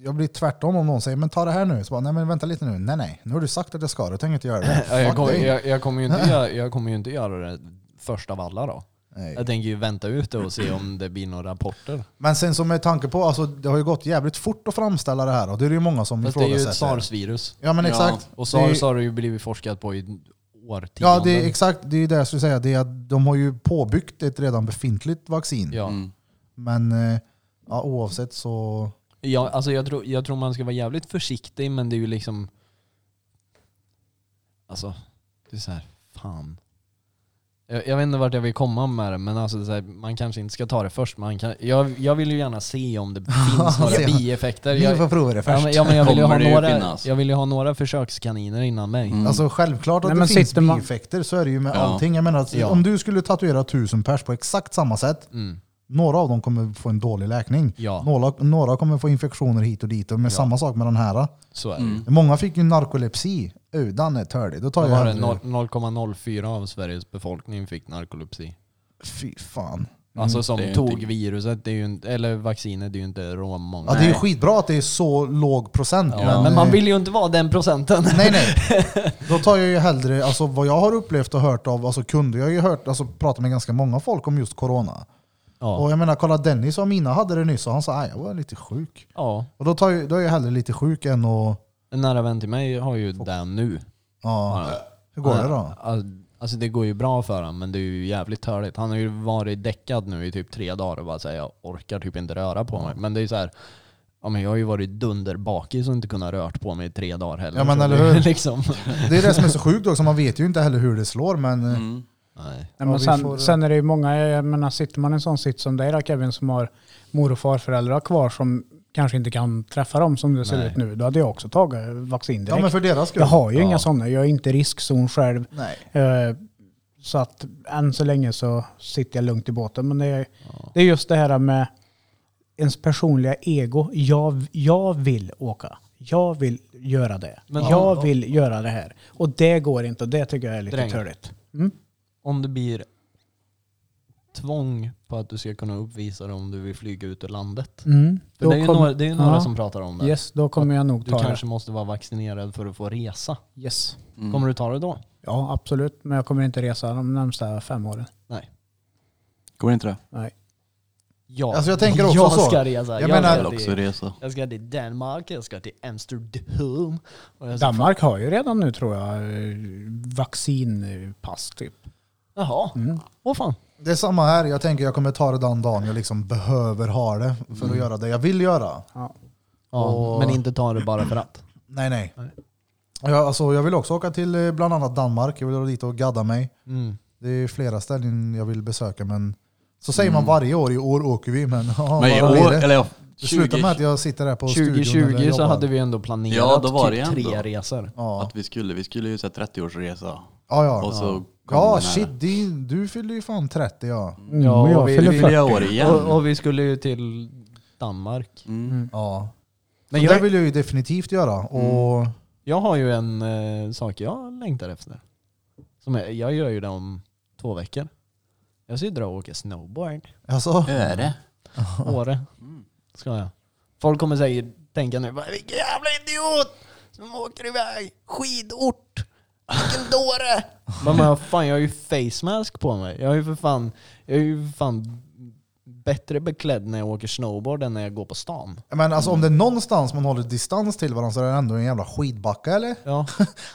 Speaker 3: Jag blir tvärtom om någon säger men ta det här nu. Så bara, nej men vänta lite nu. Nej nej, nu har du sagt att jag ska det. Jag tänker inte göra det.
Speaker 2: Ja, jag,
Speaker 3: Fuck
Speaker 2: kommer,
Speaker 3: dig.
Speaker 2: jag, jag, kommer ju inte göra, jag kommer ju inte göra det först av alla då.
Speaker 3: Nej.
Speaker 2: Jag tänker ju vänta ut det och se om det blir några rapporter.
Speaker 3: Men sen så med tanke på, alltså, det har ju gått jävligt fort att framställa det här. Och det är det ju många som
Speaker 2: Fast det är ju ett
Speaker 3: ifrågasätter.
Speaker 2: sars-virus.
Speaker 3: Ja men
Speaker 4: Ja.
Speaker 3: exakt.
Speaker 2: Och
Speaker 3: Det är ju-
Speaker 2: sars har det ju blivit forskat på i årtionden.
Speaker 3: Ja, det är exakt. Det är det jag skulle säga. Det är att de har ju påbyggt ett redan befintligt vaccin.
Speaker 2: Ja.
Speaker 4: Mm.
Speaker 3: Men eh, ja, oavsett så...
Speaker 2: Ja, alltså jag, tror, jag tror man ska vara jävligt försiktig men det är ju liksom... Alltså, det är så här, fan. Jag, jag vet inte vart jag vill komma med det men alltså det är så här, man kanske inte ska ta det först. Man kan, jag, jag vill ju gärna se om det finns några
Speaker 3: Se.
Speaker 2: bieffekter.
Speaker 3: Vi får
Speaker 2: Jag,
Speaker 3: prova det
Speaker 2: ja,
Speaker 3: först.
Speaker 2: men, ja, men jag, vill ju ha
Speaker 4: Kommer det ju
Speaker 2: några,
Speaker 4: finnas.
Speaker 2: jag vill ju ha några försökskaniner innan mig.
Speaker 4: Mm.
Speaker 3: Alltså självklart att
Speaker 1: Nej, men
Speaker 3: det finns
Speaker 1: sitter man-
Speaker 3: bieffekter så är det ju med
Speaker 4: Ja.
Speaker 3: allting. Jag menar, att
Speaker 2: Ja.
Speaker 3: om du skulle tatuera tusen pers på exakt samma sätt,
Speaker 2: Mm.
Speaker 3: några av dem kommer få en dålig läkning.
Speaker 2: Ja.
Speaker 3: Några, några kommer få infektioner hit och dit. Och med
Speaker 2: Ja.
Speaker 3: samma sak med den här.
Speaker 2: Så är det
Speaker 4: Mm.
Speaker 2: ju.
Speaker 3: Många fick ju narkolepsi. Uh, den är tördig. Då tar
Speaker 2: Vad
Speaker 3: jag
Speaker 2: var det?
Speaker 3: hellre-
Speaker 2: Noll- 0,04 av Sveriges befolkning fick narkolepsi.
Speaker 3: Fy fan.
Speaker 2: Alltså som
Speaker 4: Mm. Det är
Speaker 2: tog
Speaker 4: inte-
Speaker 2: viruset, det är ju inte, eller vaccinet, det är ju inte råmånga.
Speaker 3: Ja, det är ju
Speaker 4: Nej.
Speaker 3: skitbra att det är så låg procent.
Speaker 2: Ja, men man vill ju inte vara den procenten.
Speaker 3: Nej, nej. Då tar jag ju hellre, alltså vad jag har upplevt och hört av alltså, kunder, jag har ju hört, alltså, pratat med ganska många folk om just corona.
Speaker 2: Ja.
Speaker 3: Och jag menar, kolla Dennis och Mina hade det nyss och han sa att jag var lite sjuk.
Speaker 2: ja.
Speaker 3: Och då, tar jag, då är jag hellre lite sjuk än att...
Speaker 2: En nära vän till mig har ju det nu.
Speaker 3: Ja,
Speaker 2: Ja.
Speaker 3: hur går det då?
Speaker 2: Al- Alltså det går ju bra för honom men det är ju jävligt törligt. Han har ju varit däckad nu i typ tre dagar och bara säger jag orkar typ inte röra på mig. Men det är ju så här, ja, men jag har ju varit dunderbakis och inte kunnat rört på mig i tre dagar heller.
Speaker 3: Ja, men
Speaker 2: Så
Speaker 3: eller
Speaker 2: det är
Speaker 3: hur?
Speaker 2: liksom.
Speaker 3: Det är det som är så sjukt också, man vet ju inte heller hur det slår men... eh,
Speaker 4: Mm.
Speaker 2: Nej.
Speaker 1: Nej,
Speaker 3: Ja,
Speaker 1: men
Speaker 3: vi
Speaker 1: sen,
Speaker 3: får-
Speaker 1: sen är det ju många, jag menar sitter man i en sån sitt som dig då Kevin som har mor och farföräldrar kvar som kanske inte kan träffa dem som det ser
Speaker 2: Nej.
Speaker 1: ut nu, då hade jag också tagit vaccin direkt.
Speaker 3: Ja men för deras skull.
Speaker 1: jag har ju
Speaker 2: Ja.
Speaker 1: inga sådana, jag är inte i riskzon själv.
Speaker 3: Nej.
Speaker 1: Eh, Så att än så länge så sitter jag lugnt i båten. Men det är,
Speaker 2: Ja.
Speaker 1: det är just det här med ens personliga ego. Jag, jag vill åka. Jag vill göra det.
Speaker 2: Men-
Speaker 1: jag vill göra det här. Och det går inte och det tycker jag är lite
Speaker 2: Dräng.
Speaker 1: törligt. Mm?
Speaker 2: Om det blir tvång på att du ska kunna uppvisa det om du vill flyga ut ur landet.
Speaker 1: Mm.
Speaker 2: För det är ju
Speaker 1: kom-
Speaker 2: några, det är ju några
Speaker 1: Ja.
Speaker 2: som pratar om det.
Speaker 1: Yes, då kommer jag nog
Speaker 2: Du
Speaker 1: ta
Speaker 2: kanske måste vara vaccinerad för att få resa.
Speaker 1: det. Yes.
Speaker 4: Mm.
Speaker 2: Kommer du ta det då?
Speaker 1: Ja, absolut. Men jag kommer inte resa de närmsta fem åren.
Speaker 4: Går inte det?
Speaker 1: Nej.
Speaker 2: Ja.
Speaker 3: Alltså, jag tänker också
Speaker 2: jag
Speaker 3: så.
Speaker 2: Ska resa.
Speaker 3: Jag
Speaker 2: Jag,
Speaker 3: menar-
Speaker 4: Jag vill
Speaker 2: ska
Speaker 4: också
Speaker 2: till,
Speaker 4: resa.
Speaker 2: jag ska till Danmark, jag ska till Amsterdam. Och jag ska,
Speaker 1: Danmark har ju redan nu tror jag eh, vaccinpass typ.
Speaker 2: jaha,
Speaker 1: Mm.
Speaker 2: åh fan.
Speaker 3: Det är samma här, jag tänker jag kommer ta det den dagen jag liksom behöver ha det för att göra det jag vill göra.
Speaker 1: Ja.
Speaker 2: Ja,
Speaker 3: Och-
Speaker 2: Men inte ta det bara för att.
Speaker 3: Nej, nej.
Speaker 2: Nej.
Speaker 3: Jag, alltså, jag vill också åka till eh, bland annat Danmark. Jag vill dra dit och gadda mig.
Speaker 2: Mm.
Speaker 3: Det är flera ställen jag vill besöka, men så säger man varje år. I år åker vi, men, ja,
Speaker 4: Mm. Men i
Speaker 3: vad blir
Speaker 4: år,
Speaker 3: det?
Speaker 4: eller ja,
Speaker 3: det slutar
Speaker 4: 20,
Speaker 3: med att jag sitter här på studion. eller
Speaker 2: 2020 så
Speaker 3: jobbar.
Speaker 2: hade vi ändå planerat
Speaker 4: Ja, då var det
Speaker 2: typ
Speaker 4: ändå.
Speaker 2: tre resor.
Speaker 3: Ja,
Speaker 4: att vi skulle, vi skulle ju säga 30-årsresa.
Speaker 3: ja. ja.
Speaker 4: Och så kom
Speaker 3: ja
Speaker 4: den här.
Speaker 3: shit, din- du fyller ju fan 30 ja.
Speaker 1: Mm,
Speaker 2: Ja,
Speaker 1: och jag
Speaker 2: vi-
Speaker 1: fyller
Speaker 4: Det fyller
Speaker 1: 40.
Speaker 4: jag år igen.
Speaker 2: Och, och vi skulle ju till Danmark.
Speaker 4: Mm.
Speaker 3: ja.
Speaker 2: Men
Speaker 3: så
Speaker 2: jag- Mm.
Speaker 3: det vill jag ju definitivt göra. Och,
Speaker 2: Jag har ju en eh, sak jag längtar efter. Som jag, jag gör ju det om två veckor. Jag ska ju dra och åka snowboard.
Speaker 3: alltså,
Speaker 4: Öre.
Speaker 2: Åre. Ska jag. Folk kommer säkert tänka nu, bara, vilken jävla idiot som åker iväg skidort. Vilken dåre. Men vad fan, jag har ju face mask på mig. Jag är ju för fan, jag är ju för fan bättre beklädd när jag åker snowboard än när jag går på stan.
Speaker 3: men alltså, om det är någonstans man håller distans till varandra så är det ändå en jävla skidbacke eller?
Speaker 2: Ja,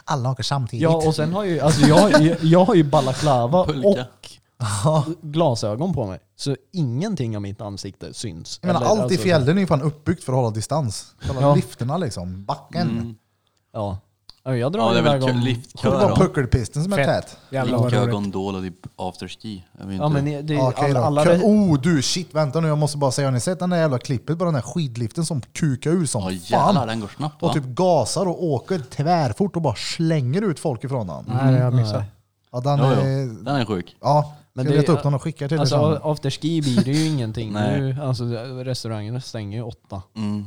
Speaker 3: Alla åker samtidigt.
Speaker 2: ja och sen har ju, alltså jag, jag, jag har ju balaklava och
Speaker 4: Pulka.
Speaker 2: glasögon på mig. Så ingenting av mitt ansikte syns.
Speaker 3: Jag menar,
Speaker 2: Eller,
Speaker 3: allt i
Speaker 2: alltså,
Speaker 3: fjällen är ju fan uppbyggt för att hålla distans. Kolla
Speaker 2: Ja.
Speaker 3: lifterna liksom, backen.
Speaker 4: Mm.
Speaker 2: Ja. Ja, Jag drar
Speaker 4: Ja, det är väl
Speaker 2: iväg om...
Speaker 4: kö-
Speaker 3: Det
Speaker 4: liftkö
Speaker 3: är bara
Speaker 4: då.
Speaker 3: puckelpisten som är
Speaker 1: Fett.
Speaker 3: tät.
Speaker 1: Jävlar vad
Speaker 4: Liftkö,
Speaker 1: roligt.
Speaker 4: gondol och typ afterski. Jag vet
Speaker 2: Ja,
Speaker 4: inte.
Speaker 2: men det, det,
Speaker 3: Okej
Speaker 2: alla, alla,
Speaker 3: då. Kö- oh du shit, vänta nu jag måste bara säga, har ni sett den där jävla klippet på den där skidliften som kukar ur som
Speaker 4: Ja jävlar,
Speaker 3: fan?
Speaker 4: den går snabbt va?
Speaker 3: Och typ gasar och åker tvärfort och bara slänger ut folk ifrån
Speaker 2: Mm.
Speaker 3: den.
Speaker 1: Nej, det har jag missat.
Speaker 3: Ja, den
Speaker 4: jo, jo.
Speaker 3: är...
Speaker 4: Den är sjuk.
Speaker 3: Ja,
Speaker 2: Men
Speaker 3: ska
Speaker 2: det-
Speaker 3: leta upp den och skicka till liksom. er
Speaker 2: Alltså
Speaker 3: sen.
Speaker 2: afterski blir det ju ingenting.
Speaker 4: Nej.
Speaker 2: nu, alltså, restaurangerna stänger ju åtta.
Speaker 4: Mm.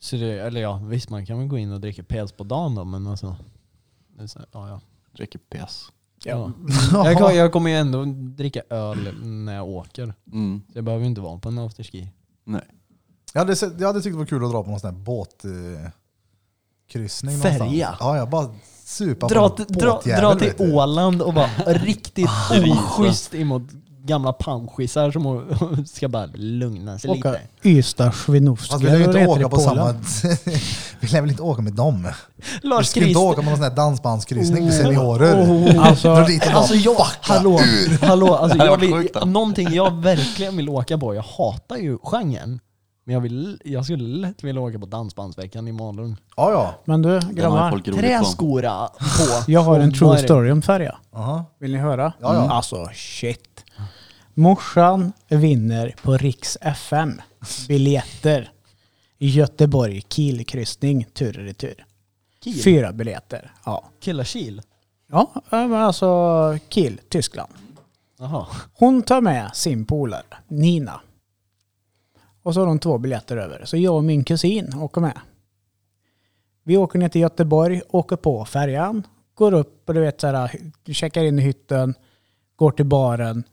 Speaker 2: Så det, eller ja, visst man kan väl gå in och dricka pels på dagen då men alltså. det är så här, Ja, ja.
Speaker 4: Dricker pes.
Speaker 2: Ja. Jag, kommer, jag kommer ju ändå dricka öl när jag åker.
Speaker 4: Mm.
Speaker 2: Så jag behöver ju inte vara på en afterski.
Speaker 4: Nej.
Speaker 3: Jag hade, sett, jag hade tyckt det var kul att dra på någon sån här båtkryssning. Eh,
Speaker 2: Färja.
Speaker 3: någonstans. Ja, jag bara supa
Speaker 2: Dra,
Speaker 3: på en
Speaker 2: till- dra,
Speaker 3: båtjävel,
Speaker 2: dra
Speaker 3: vet
Speaker 2: till
Speaker 3: du.
Speaker 2: Åland och vara riktigt
Speaker 4: Risa.
Speaker 2: oschysst emot gamla panschisar som hon ska bara lugna sig
Speaker 1: Åka
Speaker 2: lite.
Speaker 1: Ystad Swinoujsky.
Speaker 3: Fast vi lär ju
Speaker 1: eller vad
Speaker 3: inte
Speaker 1: heter det,
Speaker 3: åka på
Speaker 1: Polen?
Speaker 3: samma... vi lär väl inte åka med dem? Vi
Speaker 2: Lars
Speaker 3: skulle inte
Speaker 2: Christer.
Speaker 3: åka med någon sån här dansbandskryssning för seniorer. Dra
Speaker 1: Oh. Alltså,
Speaker 3: dit och bara,
Speaker 2: Alltså jag, hallå, hallå, alltså
Speaker 4: Det hade
Speaker 2: jag
Speaker 4: varit
Speaker 2: vill,
Speaker 4: sjukt, då.
Speaker 2: någonting jag verkligen vill åka på, jag hatar ju genren. Men jag, vill, jag skulle lätt vilja åka på Dansbandsveckan i Malung.
Speaker 3: Ja, ja.
Speaker 1: men du
Speaker 4: Den har ju
Speaker 1: grabbar,
Speaker 4: folk roligt på.
Speaker 2: Träskora på.
Speaker 1: jag har en
Speaker 2: Och vad
Speaker 1: true
Speaker 2: är det?
Speaker 1: story om färja.
Speaker 3: Aha.
Speaker 1: Vill ni höra?
Speaker 3: Ja, ja.
Speaker 1: Mm. Alltså shit. Morsan vinner på Riks FM. Biljetter. Göteborg Kielkryssning tur och retur.
Speaker 2: Kiel.
Speaker 1: Fyra biljetter. Ja.
Speaker 2: Killarkil?
Speaker 1: Ja, men alltså Kiel, Tyskland.
Speaker 2: Jaha.
Speaker 1: Hon tar med sin polare, Nina. Och så har de två biljetter över. Så jag och min kusin åker med. Vi åker ner till Göteborg, åker på färjan, går upp och du vet så här, checkar in i hytten, går till baren.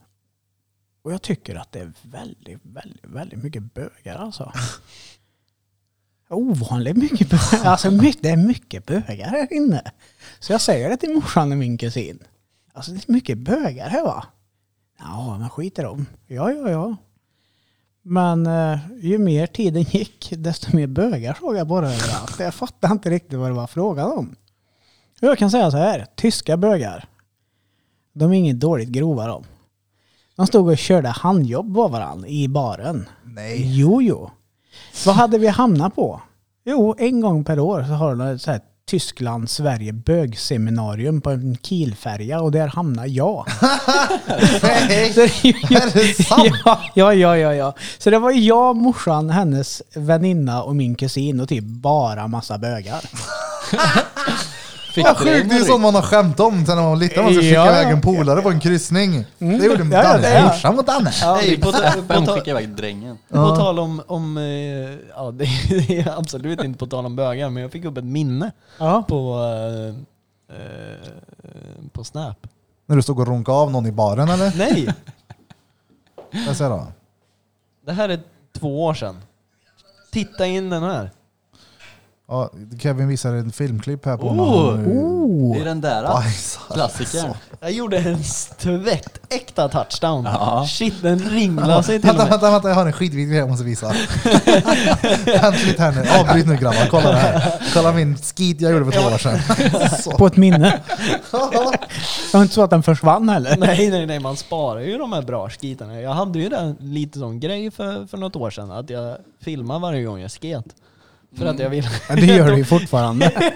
Speaker 1: Och jag tycker att det är väldigt, väldigt, väldigt mycket bögar alltså. Ovanligt mycket bögar. Alltså my- det är mycket bögar här inne. Så jag säger det till morsan och min kusin. Alltså det är mycket bögar här va? Ja, men skit i dem. Ja, ja, ja. Men eh, ju mer tiden gick, desto mer bögar såg jag bara överallt. Jag fattade inte riktigt vad det var frågan om. Jag kan säga så här, tyska bögar, de är inget dåligt grova de. De stod och körde handjobb på varandra i baren.
Speaker 3: Nej.
Speaker 1: Jo, jo. Vad hade vi hamnat på? Jo, en gång per år så har de ett så här Tyskland-Sverige bögseminarium på en kilfärja och där hamnar jag.
Speaker 3: Nej.
Speaker 1: Så det är ju-
Speaker 3: Är det sant?
Speaker 1: Ja, ja, ja, ja. Så det var ju jag, morsan, hennes väninna och min kusin och typ bara massa bögar.
Speaker 2: Fick
Speaker 3: Vad sjukt, det är ju sånt man har skämt om sen när man var liten. Man ska skicka
Speaker 1: Ja, ja. Mm.
Speaker 3: iväg en polare på en kryssning. Det gjorde
Speaker 1: Ja, ja,
Speaker 3: Danne.
Speaker 1: ja.
Speaker 3: Morsan mot Danne.
Speaker 2: Hej, på, ta- på,
Speaker 4: Vem
Speaker 2: ta-
Speaker 4: skickar iväg drängen?
Speaker 2: på tal om, om eh, ja, det är, det är absolut inte på tal om bögar, men jag fick upp ett minne
Speaker 1: Ja.
Speaker 2: på, eh, eh, på Snap.
Speaker 3: När du stod och runkade av någon i baren eller?
Speaker 2: Nej,
Speaker 3: Jag säger då.
Speaker 2: det här är två år sedan. Titta in den här.
Speaker 3: Ja, Kevin visar en filmklipp här på
Speaker 4: Oh.
Speaker 3: när han, eh,
Speaker 4: Det
Speaker 1: Oh.
Speaker 4: är den där
Speaker 3: bajsar.
Speaker 1: Alltså.
Speaker 4: klassikern.
Speaker 2: Jag gjorde en tvättäkta touchdown.
Speaker 4: Ja.
Speaker 2: Shit, den ringlade sig till och
Speaker 3: Vänta,
Speaker 2: med.
Speaker 3: vänta, vänta, jag har en skitvid grej jag måste visa. Vänta lite här nu. Avbryt nu grabbar, kolla det här. Kolla min skit jag gjorde för två år sedan. Så.
Speaker 1: På ett minne. Det var inte så att den försvann heller.
Speaker 2: Nej, nej, nej, man sparar ju de här bra skitarna. Jag hade ju den lite sån grej för, för något år sedan, att jag filmade varje gång jag sket. För att jag ville...
Speaker 1: Men det gör du ju fortfarande.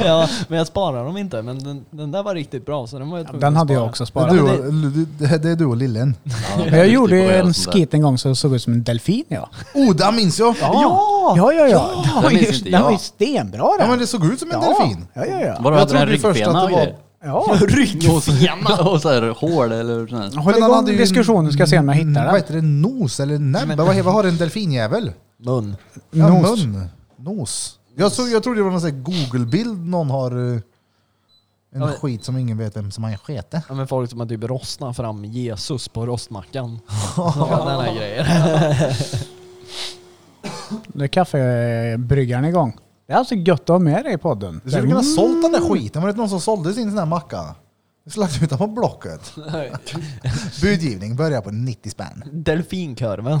Speaker 2: ja, men jag sparar dem inte. Men den, den där var riktigt bra, så den var jag tvungen
Speaker 1: Den
Speaker 2: att
Speaker 1: hade jag
Speaker 2: spara.
Speaker 1: också
Speaker 3: Det är
Speaker 1: sparat.
Speaker 3: du och, det- det är du och lillen.
Speaker 1: Men jag gjorde ju en skit en gång så jag såg ut som en delfin ja.
Speaker 3: Oh, det minns jag!
Speaker 1: Ja, ja, ja. ja. Den, var
Speaker 4: Den
Speaker 1: ju,
Speaker 4: minns inte
Speaker 1: den var ju
Speaker 4: jag.
Speaker 1: stenbra
Speaker 3: Ja
Speaker 1: den.
Speaker 3: men det såg ut som en delfin.
Speaker 1: Ja, ja, ja.
Speaker 4: Vadå,
Speaker 3: Jag
Speaker 4: hade den
Speaker 3: trodde ju först
Speaker 4: ryggfena
Speaker 3: att
Speaker 4: och
Speaker 3: det var-
Speaker 4: grejer?
Speaker 1: ja.
Speaker 2: Ryggfena!
Speaker 4: Och så här hål eller sån här.
Speaker 1: Håll
Speaker 3: Men han
Speaker 1: igång
Speaker 3: hade ju Mm, en-
Speaker 1: diskussionen ska se om jag hittar
Speaker 3: Vad
Speaker 1: den.
Speaker 3: heter det? Nos eller näbb? Vad vad har en delfinjävel?
Speaker 2: Mun.
Speaker 3: Ja,
Speaker 1: Nos.
Speaker 3: mun. Nos. Jag, såg, jag trodde det var någon sån här Google-bild någon har... eh, En
Speaker 2: Ja, men-
Speaker 3: skit som ingen vet vem som har skete.
Speaker 2: Ja, men folk som har typ rostnat fram Jesus på rostmackan. Sådana där grejer.
Speaker 1: Nu är kaffebryggaren igång. Det är alltså gött att ha med dig i podden.
Speaker 3: Du skulle kunna sålt den där skiten. Var det inte någon som sålde sin sån här macka? Du Slakt ut den på Blocket. Budgivning börjar på 90 spänn.
Speaker 2: Delfinkurven.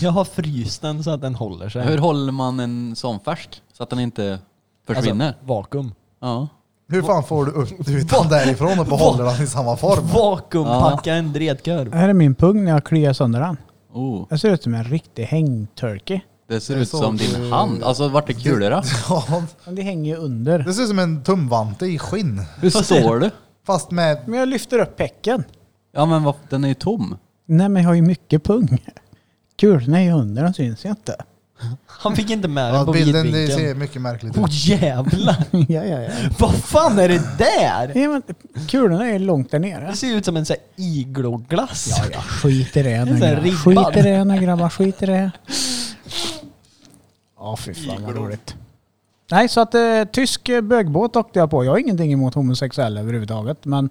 Speaker 2: jag har fryst den så att den håller sig.
Speaker 4: Hur håller man en sån färsk? Så att den inte försvinner?
Speaker 2: Alltså, vakuum.
Speaker 4: ja.
Speaker 3: Hur fan får du upp utan därifrån och behåller den i samma form?
Speaker 2: Vakuumpacka en dredkurv.
Speaker 1: Här är min pung när jag kliar sönder den.
Speaker 4: Oh,
Speaker 1: Jag ser ut som en riktig hängturkey.
Speaker 4: det ser
Speaker 3: Det är
Speaker 4: ut
Speaker 3: så
Speaker 4: som
Speaker 3: du-
Speaker 4: din hand. Alltså vart är kulorna?
Speaker 3: Ja,
Speaker 1: Men det hänger ju under.
Speaker 3: det ser ut som en tumvante i skinn.
Speaker 4: Hur står du?
Speaker 3: Fast med...
Speaker 1: Men jag lyfter upp pecken.
Speaker 4: Ja men vad, den är ju tom.
Speaker 1: Nej men jag har ju mycket pung. Kulorna är ju under, de syns ju inte.
Speaker 2: Han fick inte med den
Speaker 3: Ja,
Speaker 2: på
Speaker 3: bilden det
Speaker 2: vidvinkeln.
Speaker 3: ser mycket märkligt
Speaker 2: Åh
Speaker 3: ut.
Speaker 2: jävlar!
Speaker 1: ja, ja, ja.
Speaker 2: Vad fan är det där?
Speaker 1: ja men, kulorna är ju långt där nere.
Speaker 2: Det ser ju ut som en sån här igloglass.
Speaker 1: Ja, ja. Skit i det nu
Speaker 2: En sån här
Speaker 1: grabbar.
Speaker 2: ribbad.
Speaker 1: Skit i det nu grabbar, skit i det. Ja fy fan vad roligt. Nej så att eh, tysk eh, bögbåt åkte jag på. Jag har ingenting emot homosexuella överhuvudtaget men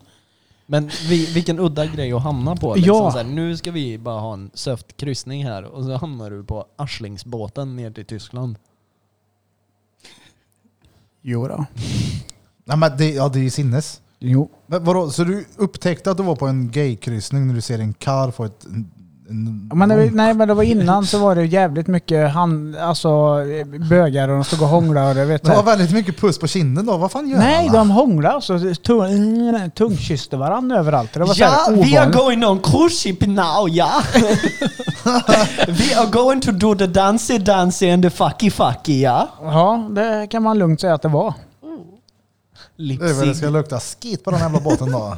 Speaker 2: Men vi, vilken udda grej att hamna på. Liksom
Speaker 1: Ja.
Speaker 2: så här, nu ska vi bara ha en söft kryssning här och så hamnar du på Arslingsbåten ner till Tyskland.
Speaker 1: jo då.
Speaker 3: Nej, men det, ja, det är ju sinnes.
Speaker 1: Jo,
Speaker 3: Men vadå, så du upptäckte att du var på en gaykryssning när du ser en karl få ett... En, en,
Speaker 1: Ja, Men det, var- nej men det var innan så var det jävligt mycket han, alltså, bögar och de stod och hånglade och det vet
Speaker 3: det var
Speaker 1: jag.
Speaker 3: väldigt mycket puss på kinden då. Vad fan gör
Speaker 1: Nej,
Speaker 3: alla?
Speaker 1: de hånglade alltså. Tung, tungkysste varandra överallt. Det var så
Speaker 5: Yeah,
Speaker 1: här
Speaker 5: we are
Speaker 1: ovanligt.
Speaker 5: going on cruise ship now, yeah. we are going to do the dancey dancey and the fucky fucky, yeah.
Speaker 1: Ja, det kan man lugnt säga att det var.
Speaker 3: Det är väl det
Speaker 5: Lipsing.
Speaker 3: ska lukta skit på den jävla båten då.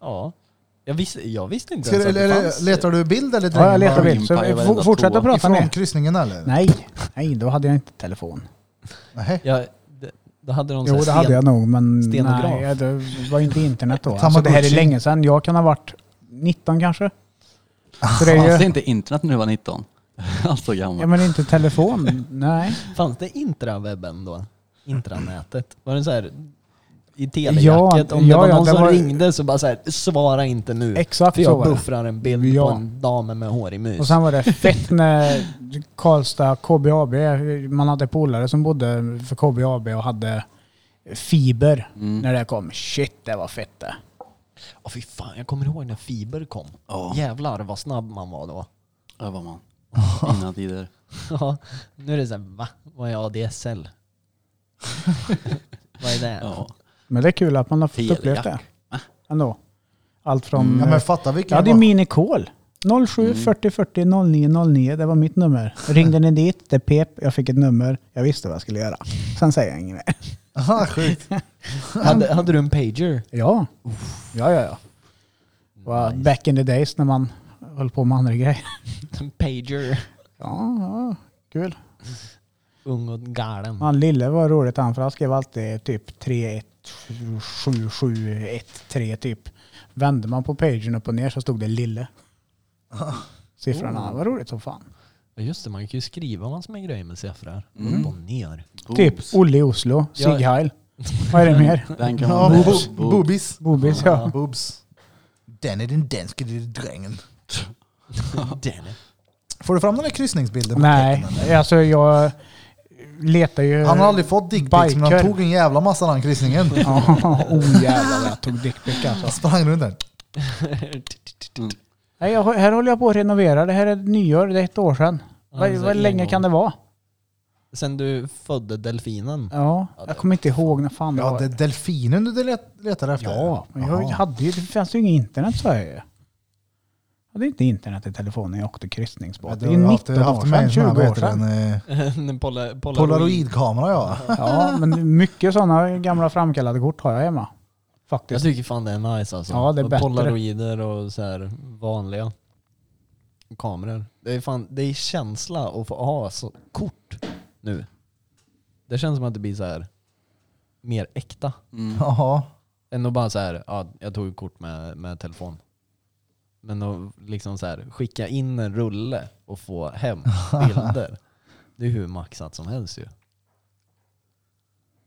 Speaker 2: Ja. Jag visste, jag visste inte
Speaker 3: Ska,
Speaker 2: ens
Speaker 3: du-
Speaker 2: att det
Speaker 3: eller,
Speaker 2: fanns.
Speaker 3: letar du bild eller
Speaker 1: Ja, jag
Speaker 3: dränger
Speaker 1: letar
Speaker 3: bara
Speaker 1: bild. Så
Speaker 4: Impa i
Speaker 1: f-
Speaker 4: varenda
Speaker 1: fortsätt
Speaker 4: toa.
Speaker 1: att prata
Speaker 3: Ifrån
Speaker 1: ner.
Speaker 3: kryssningen eller?
Speaker 1: Nej, nej, då hade jag inte telefon.
Speaker 3: Nej.
Speaker 2: Jag, det, då hade de
Speaker 1: Jo, det hade jag nog, men
Speaker 2: stenograf.
Speaker 1: nej, det var inte internet då.
Speaker 3: Tamagotchi.
Speaker 1: Alltså, det här är länge sedan. Jag kan ha varit 19 kanske.
Speaker 3: Ah,
Speaker 1: Så det är
Speaker 4: Fanns det
Speaker 1: ju,
Speaker 4: inte internet när du var 19? Alltså gammal.
Speaker 1: ja, men inte telefon. Nej.
Speaker 2: Fanns det intrawebben då? Intranätet? Var det så här i
Speaker 1: Ja,
Speaker 2: telejacket?
Speaker 1: ja,
Speaker 2: om det var
Speaker 1: ja,
Speaker 2: någon
Speaker 1: det
Speaker 2: som
Speaker 1: var-
Speaker 2: ringde så bara så här, svara inte nu.
Speaker 1: Exakt
Speaker 2: för
Speaker 1: så
Speaker 2: jag
Speaker 1: var det.
Speaker 2: buffrar en bild
Speaker 1: Ja.
Speaker 2: på en dam med hår i mus.
Speaker 1: Och sen var det fett när Karlstad KBAB, man hade polare som bodde för KBAB och hade fiber när det kom. Shit, det var fett det.
Speaker 2: Åh, fy fan, jag kommer ihåg när fiber kom.
Speaker 4: Ja.
Speaker 2: Jävlar vad snabb man var då.
Speaker 4: Det var man. Innan tider.
Speaker 2: Ja, nu är det såhär, va? Vad är ADSL? vad är det?
Speaker 4: Ja.
Speaker 1: Men det är kul att man har fått
Speaker 4: Telejack.
Speaker 1: upplevt det. Ändå. Allt från...
Speaker 3: Mm. Ja,
Speaker 1: eh,
Speaker 3: men fatta
Speaker 1: jag
Speaker 3: vilken...
Speaker 1: hade ju
Speaker 3: bara-
Speaker 1: minikol. 07 40 40 09 09, det var mitt nummer. Ringde ni dit, det pep, jag fick ett nummer, jag visste vad jag skulle göra. Sen säger jag inget mer.
Speaker 3: Aha, sjukt.
Speaker 2: Hade, hade du en pager?
Speaker 1: Ja, ja, ja. ja. Det var Back in the days när man höll på med andra grejer.
Speaker 2: En pager?
Speaker 1: Ja, ja, kul.
Speaker 2: Ung och galen.
Speaker 1: Han lille var roligt han, för han skrev alltid typ 317713 typ. Vände man på pagen upp och ner så stod det lille. Siffrorna, det var roligt som fan.
Speaker 2: Ja, Just det, man kan ju skriva massor med grejer med siffror. Upp och ner.
Speaker 1: Typ
Speaker 4: Boobs.
Speaker 1: Olle i Oslo, Sig
Speaker 2: Ja.
Speaker 1: Heil. Vad är det mer?
Speaker 4: Den kan
Speaker 3: Ja,
Speaker 4: man
Speaker 3: bo-
Speaker 4: Boobs.
Speaker 3: Boobies.
Speaker 1: Bobis ja.
Speaker 3: Boobs. Den är den danske lille drängen.
Speaker 2: Den är-
Speaker 3: Får du fram den där kryssningsbilden? på
Speaker 1: Nej,
Speaker 3: tecknen?
Speaker 1: alltså jag letar ju...
Speaker 3: Han har aldrig fått dickpics men han
Speaker 1: Biker.
Speaker 3: tog en jävla massa den kryssningen.
Speaker 1: Ja, oh jävlar vad jag tog dickpic alltså.
Speaker 3: Sprang runt där.
Speaker 1: Nej, jag, här håller jag på att renovera. Det här är nyår, det är ett år sedan.
Speaker 2: Ja,
Speaker 1: Vad
Speaker 2: det är
Speaker 1: vad
Speaker 2: en
Speaker 1: länge
Speaker 2: gång.
Speaker 1: kan det vara?
Speaker 2: Sen du födde delfinen.
Speaker 1: Ja, jag kommer inte ihåg när fan det
Speaker 3: Ja,
Speaker 1: var.
Speaker 3: det är delfinen du let- letar efter.
Speaker 1: Ja, men jag
Speaker 3: Jaha.
Speaker 1: hade ju, det fanns ju inget internet så här. Jag hade inte internet i telefonen, jag åkte kryssningsbåt. Det är
Speaker 3: Du har haft-
Speaker 1: 19 år
Speaker 3: haft med
Speaker 1: sedan,
Speaker 3: en sån
Speaker 1: 20
Speaker 3: här, vad
Speaker 1: år
Speaker 3: heter den,
Speaker 1: sedan.
Speaker 3: eh,
Speaker 2: En pola, polaroid.
Speaker 3: Polaroidkamera ja.
Speaker 1: Ja, men mycket sådana gamla framkallade kort har jag hemma.
Speaker 2: Jag
Speaker 1: Faktiskt.
Speaker 2: tycker fan det är nice alltså.
Speaker 1: Ja, det är
Speaker 2: Och
Speaker 1: bättre.
Speaker 2: Polaroider och så här vanliga kameror. Det är fan, det är känsla att få ha så kort nu. Det känns som att det blir så här mer äkta.
Speaker 4: Mm.
Speaker 3: Jaha.
Speaker 2: Än att bara så här, ja, jag tog ett kort med, med telefon. Men att liksom så här, skicka in en rulle och få hem bilder. Det är hur maxat som helst ju.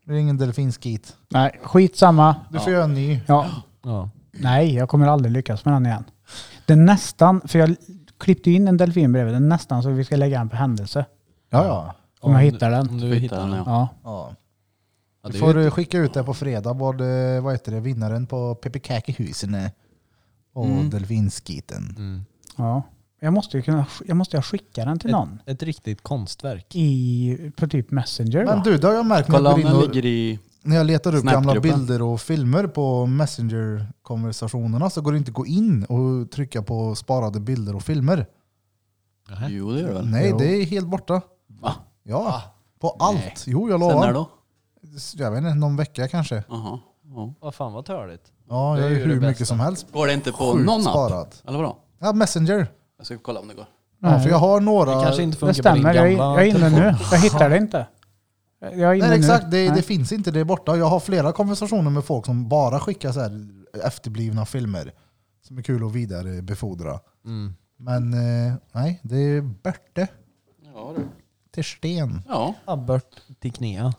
Speaker 3: Det är ingen delfinskit.
Speaker 1: Nej, skitsamma.
Speaker 3: Du får göra en ny.
Speaker 1: Ja.
Speaker 2: Ja.
Speaker 1: Nej, jag kommer aldrig lyckas med den igen. Det är nästan, för jag klippte ju in en delfin bredvid, det är nästan så vi ska lägga en på händelse.
Speaker 3: Ja, ja.
Speaker 1: Om jag hittar den.
Speaker 2: Om du hittar den. Ja.
Speaker 1: Ja.
Speaker 3: ja.
Speaker 2: Ja,
Speaker 3: Du
Speaker 2: det
Speaker 3: får
Speaker 2: är ju
Speaker 3: eh, skicka ut det på fredag, vad, eh, vad heter det, vinnaren på Pippi Kaki-husen är. Och
Speaker 2: Mm.
Speaker 3: delfinskiten.
Speaker 1: ja. Jag måste ju kunna, jag måste ju skicka den till någon.
Speaker 2: ett, ett riktigt konstverk.
Speaker 1: I, på typ Messenger
Speaker 3: Men
Speaker 1: va?
Speaker 3: du, det har jag märkt när
Speaker 4: Kolla
Speaker 3: jag,
Speaker 4: om
Speaker 3: går in
Speaker 4: den
Speaker 3: och,
Speaker 4: ligger i...
Speaker 3: när jag letar upp gamla
Speaker 4: Snapgruppen.
Speaker 3: bilder och filmer på Messenger-konversationerna så går det inte att gå in och trycka på sparade bilder och filmer.
Speaker 2: Jaha.
Speaker 4: Jo det gör det väl?
Speaker 3: Nej,
Speaker 1: Jo.
Speaker 3: det är helt borta.
Speaker 4: Va?
Speaker 2: Ah.
Speaker 3: Ja, på allt. Jo, jag
Speaker 4: Sen
Speaker 3: lovar.
Speaker 4: när då?
Speaker 3: Jag vet inte, någon vecka kanske.
Speaker 4: Jaha. Ja.
Speaker 2: Vad fan vad törligt.
Speaker 3: Ja,
Speaker 2: Det är
Speaker 3: jag är
Speaker 2: ju det
Speaker 3: hur mycket
Speaker 2: bästa.
Speaker 3: som helst.
Speaker 4: Går det inte på
Speaker 3: Sjukt
Speaker 4: någon app?
Speaker 3: sparat.
Speaker 4: Eller vadå?
Speaker 3: Ja, Messenger.
Speaker 4: Jag ska kolla om det går.
Speaker 3: Ja, för jag har några...
Speaker 2: Det kanske inte
Speaker 1: det
Speaker 2: funkar på din
Speaker 1: stämmer,
Speaker 2: gamla
Speaker 1: jag, är- jag är inne
Speaker 2: telefon.
Speaker 1: nu. Jag hittar det inte. Jag är inne
Speaker 3: Nej,
Speaker 1: nu.
Speaker 3: exakt. Det,
Speaker 1: Nej.
Speaker 3: det finns inte, det är borta. Jag har flera konversationer med folk som bara skickar så här efterblivna filmer som är kul att vidarebefordra.
Speaker 2: Mm.
Speaker 3: Men eh, nej, det är borta
Speaker 4: Ja du.
Speaker 3: till sten.
Speaker 4: Ja.
Speaker 2: Abbert till knea.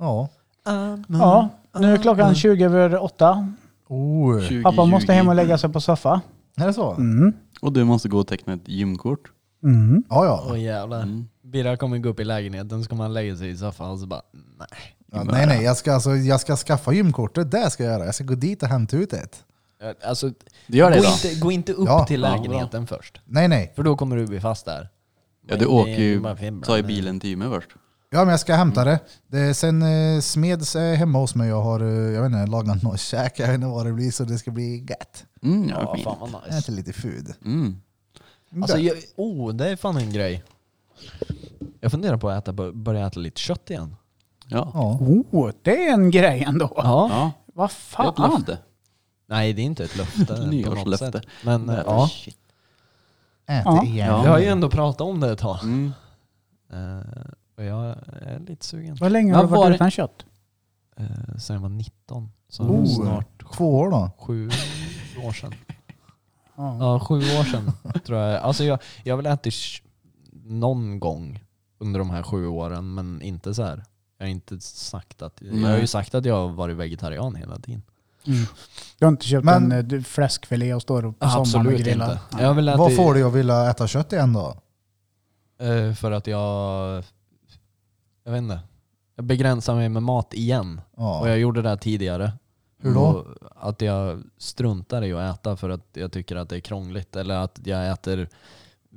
Speaker 3: Ja. mm.
Speaker 1: Ja, nu är klockan 20 över åtta.
Speaker 3: Oh.
Speaker 4: 20,
Speaker 1: Pappa måste
Speaker 4: 20.
Speaker 1: hem och lägga sig på soffa.
Speaker 3: Är det så?
Speaker 1: Mm.
Speaker 4: Och du måste gå och teckna ett gymkort.
Speaker 1: Mm.
Speaker 3: Ja, ja.
Speaker 2: Mm. Åh jävlar. Birra kommer gå upp i lägenheten så kommer han lägga sig i soffan och så bara nej.
Speaker 3: Ja, nej, nej. Jag ska, alltså, jag ska skaffa gymkortet. Det ska jag göra. Jag ska gå dit och hämta ut ett.
Speaker 2: Eh, Alltså,
Speaker 4: Det gör det
Speaker 2: gå,
Speaker 4: då.
Speaker 2: inte, gå inte upp
Speaker 3: Ja.
Speaker 2: till
Speaker 4: Ja,
Speaker 2: lägenheten först.
Speaker 3: Nej, nej.
Speaker 2: För då kommer du bli fast där.
Speaker 4: Ja,
Speaker 2: Men
Speaker 4: du
Speaker 2: det är
Speaker 4: åker ju,
Speaker 2: bara fem
Speaker 4: ta i
Speaker 2: bland-
Speaker 4: bilen en timme först.
Speaker 3: Ja, men jag ska hämta
Speaker 1: Mm.
Speaker 3: det. det sen eh, Smeds är hemma hos mig. Jag har, eh, jag vet inte, lagat något käk. Jag vet inte vad det blir, så det ska bli gött.
Speaker 4: Mm, ja,
Speaker 2: Ja,
Speaker 4: fint.
Speaker 2: fan vad nice.
Speaker 3: Äta lite food.
Speaker 4: Mm.
Speaker 2: Alltså, jag, oh, det är fan en grej. Jag funderar på att äta, bör- börja äta lite kött igen.
Speaker 4: Ja.
Speaker 3: Ja.
Speaker 1: Oh, det är en grej ändå.
Speaker 2: Ja.
Speaker 4: ja,
Speaker 1: Vad
Speaker 4: det är ett
Speaker 1: fan.
Speaker 4: löfte.
Speaker 2: Nej, det är inte ett löfte på något
Speaker 4: Nyårslöfte.
Speaker 2: sätt. Men eh,
Speaker 4: Nej,
Speaker 2: ja,
Speaker 4: shit.
Speaker 3: Äta
Speaker 1: Ja.
Speaker 3: igen.
Speaker 2: vi
Speaker 4: Ja.
Speaker 2: har ju ändå pratat om det ett tag.
Speaker 4: Mm.
Speaker 2: Eh, och jag är lite sugen.
Speaker 1: Vad länge
Speaker 4: Vad
Speaker 1: har du
Speaker 4: var
Speaker 1: varit
Speaker 4: det?
Speaker 1: utan kött?
Speaker 2: Eh, sen jag var 19, så
Speaker 3: Oh.
Speaker 2: snart
Speaker 3: Två år då?
Speaker 2: sju år sedan.
Speaker 1: Ja.
Speaker 2: Ja, sju år sedan tror jag. Alltså jag, jag har väl ätit sh- någon gång under de här sju åren, men inte så här. Jag har, inte sagt att, jag har ju
Speaker 4: Nej.
Speaker 2: sagt att jag har varit vegetarian hela tiden.
Speaker 1: Mm. Du har inte köpt
Speaker 3: Men-
Speaker 1: en eh, du- fläskfilé och står upp på sommaren och
Speaker 2: Absolut
Speaker 1: grillar?
Speaker 2: inte. Jag har väl
Speaker 3: Vad
Speaker 2: ätit,
Speaker 3: får dig att vilja äta kött igen då?
Speaker 2: eh, för att jag, jag vet inte, jag begränsar mig med mat igen. Och
Speaker 3: Ja.
Speaker 2: jag gjorde det här tidigare.
Speaker 3: Hur då?
Speaker 2: Och Att jag struntar i att äta för att jag tycker att det är krångligt. Eller att jag äter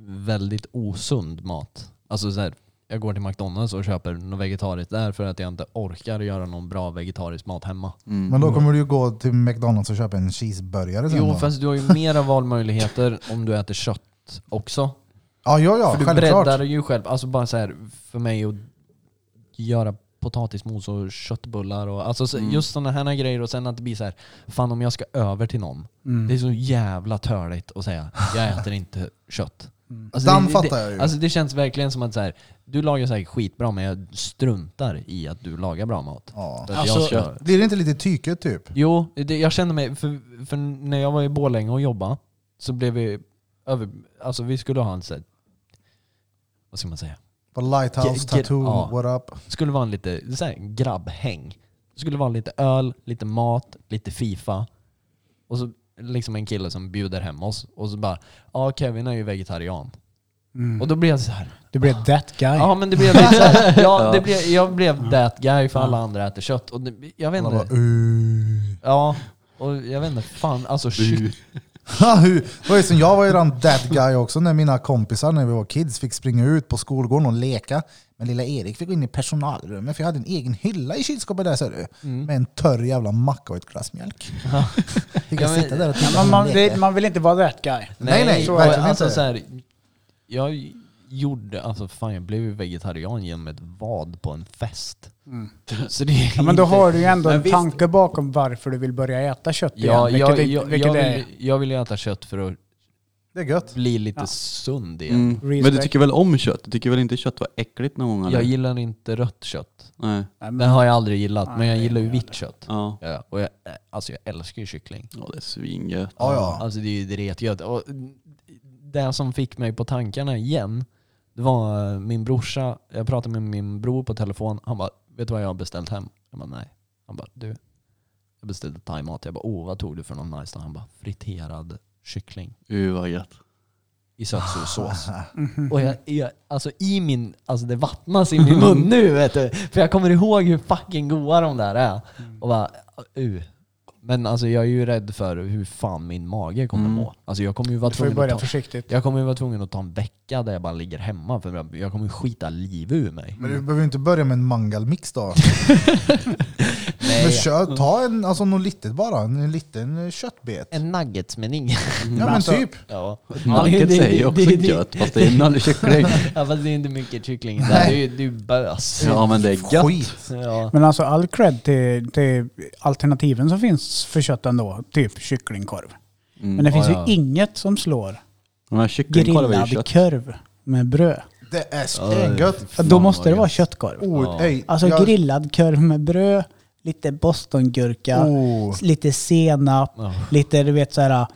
Speaker 2: väldigt osund mat. Alltså så här, jag går till McDonalds och köper något vegetariskt där för att jag inte orkar göra någon bra vegetarisk mat hemma.
Speaker 4: Mm.
Speaker 3: Men då kommer du ju gå till McDonalds och köpa en cheeseburgare sen
Speaker 2: Jo,
Speaker 3: då.
Speaker 2: fast du har ju mera valmöjligheter om du äter kött också.
Speaker 3: Ja, ja, ja.
Speaker 2: för du
Speaker 3: Självklart.
Speaker 2: breddar ju själv. Alltså bara så här, för mig att göra potatismos och köttbullar och alltså så-
Speaker 4: Mm.
Speaker 2: just sådana här grejer och sen att det blir så här, fan om jag ska över till någon
Speaker 1: Mm.
Speaker 2: Det är så jävla törligt att säga jag äter inte kött.
Speaker 1: Mm.
Speaker 2: Alltså,
Speaker 3: Den
Speaker 2: det- det-
Speaker 3: fattar jag ju.
Speaker 2: Alltså det känns verkligen som att så här, du lagar säkert skitbra men jag struntar i att du lagar bra mat.
Speaker 3: Ja.
Speaker 2: För att
Speaker 4: Alltså-
Speaker 2: jag ska,
Speaker 3: Blir det inte lite tyke typ?
Speaker 2: jo, det, jag känner mig, för, för när jag var i Borlänge och jobbade så blev vi över, alltså vi skulle ha en så här, vad ska man säga?
Speaker 3: På Lighthouse,
Speaker 2: Ge- ge-
Speaker 3: Tattoo,
Speaker 2: ja.
Speaker 3: what up?
Speaker 2: skulle vara en lite så här, grabbhäng. Det skulle vara lite öl, lite mat, lite Fifa. Och så liksom en kille som bjuder hem oss. Och så bara, ja Kevin är ju vegetarian.
Speaker 1: Mm.
Speaker 2: Och då blev jag så här.
Speaker 1: Du blev that guy.
Speaker 2: Ja men det blev lite så här, ja,
Speaker 4: Ja.
Speaker 2: det blev, jag blev that guy för alla andra äter kött. Och det, jag vet
Speaker 3: Man bara,
Speaker 2: inte.
Speaker 3: "Uh."
Speaker 2: Ja, och jag vet inte. Fan alltså shit.
Speaker 3: Ha, hur- det var ju som jag var ju den that guy också när mina kompisar när vi var kids fick springa ut på skolgården och leka. Men lilla Erik fick gå in i personalrummet för jag hade en egen hylla i kylskåpet där ser du. Med en törr jävla macka och ett glas mjölk. Fick
Speaker 2: Ja,
Speaker 3: jag
Speaker 2: men-
Speaker 3: sitta där och titta
Speaker 1: Ja,
Speaker 3: på
Speaker 1: man, man,
Speaker 3: dem leka.
Speaker 1: det, man vill inte vara that guy.
Speaker 3: Nej, nej,
Speaker 2: och
Speaker 3: verkligen
Speaker 2: alltså,
Speaker 3: inte.
Speaker 2: Så här, jag gjorde, alltså fan jag blev ju vegetarian genom ett vad på en fest. Så det är
Speaker 1: Mm. Ja, men då
Speaker 2: inte-
Speaker 1: har du ju ändndå
Speaker 2: Men
Speaker 1: en
Speaker 2: visst-
Speaker 1: tanke bakom varför du vill börja äta kött
Speaker 2: Ja,
Speaker 1: igen.
Speaker 2: jag,
Speaker 1: Vilket, är-
Speaker 2: jag,
Speaker 1: vilket
Speaker 2: jag,
Speaker 1: är
Speaker 2: vill, jag vill ju äta kött för att
Speaker 3: Det är gött.
Speaker 2: bli lite
Speaker 1: Ja.
Speaker 2: sund igen.
Speaker 4: Mm. Men du tycker väl om kött? Du tycker väl inte kött var äckligt någon gång? Eller?
Speaker 2: Jag gillar inte rött kött.
Speaker 4: Nej.
Speaker 1: Nej,
Speaker 2: Det
Speaker 1: men,
Speaker 2: har jag aldrig gillat,
Speaker 1: Mm. Nej,
Speaker 2: men jag
Speaker 1: det
Speaker 2: gillar ju
Speaker 1: gillar jag
Speaker 2: vitt kött.
Speaker 4: Ja.
Speaker 2: Ja, och jag, alltså jag älskar ju kyckling.
Speaker 4: ja, det är svingött.
Speaker 3: Ja, ja.
Speaker 2: Alltså det är ju dretgött. Och det som fick mig på tankarna igen, det var eh, min brorsa. Jag pratade med min bror på telefon. Han bara, vet du vad jag har beställt hem? Jag bara, nej. Han bara, du. Jag beställde thaimat. Jag bara, åh vad tog du för någon nice? då?" Han bara, friterad kyckling
Speaker 4: Uh, vad gött.
Speaker 2: i sötsursås. Och jag, jag, alltså i min, alltså det vattnas i min mun nu vet du. För jag kommer ihåg hur fucking goa de där är. Och bara, uh. Men alltså jag är ju rädd för hur fan min mage kommer
Speaker 4: Mm.
Speaker 2: må. Alltså jag kommer ju vara
Speaker 1: du får ju
Speaker 2: tvungen
Speaker 1: börja
Speaker 2: att ta,
Speaker 1: försiktigt.
Speaker 2: jag kommer ju vara tvungen att ta en vecka där jag bara ligger hemma för jag, jag kommer ju skita liv ur mig.
Speaker 3: Men du behöver ju inte börja med en mangalmix då. Men
Speaker 2: Nej.
Speaker 3: kö, ta en, alltså något litet bara. En liten köttbet.
Speaker 2: En nuggetsmeny.
Speaker 3: Ja men
Speaker 1: alltså-
Speaker 3: typ.
Speaker 2: Ja.
Speaker 4: Nugget
Speaker 2: det-
Speaker 4: säger ju
Speaker 2: det-
Speaker 4: också
Speaker 2: det- det-
Speaker 4: kött, fast det är en aldrig kyckling.
Speaker 2: Ja fast det är inte mycket kyckling där.
Speaker 3: Nej.
Speaker 2: Det är ju- det är ju bös.
Speaker 4: Ja, men det är gött.
Speaker 3: Skit.
Speaker 2: Ja.
Speaker 1: Men alltså all cred till, till alternativen som finns för kött ändå. Typ kycklingkorv. Men det
Speaker 4: Mm.
Speaker 1: finns
Speaker 2: ja.
Speaker 1: ju inget som slår
Speaker 4: Men kycklingkorv är ju
Speaker 1: grillad
Speaker 4: kött.
Speaker 1: korv med bröd.
Speaker 3: Det är stengött.
Speaker 1: För då
Speaker 2: Fan,
Speaker 1: måste
Speaker 2: vad
Speaker 1: det vara
Speaker 2: gött.
Speaker 1: köttkorv.
Speaker 3: Oh, ej,
Speaker 1: Alltså
Speaker 3: jag-
Speaker 1: grillad korv med bröd, lite bostongurka,
Speaker 3: Oh.
Speaker 1: s- lite senap,
Speaker 2: Ja.
Speaker 1: lite du vet såhär...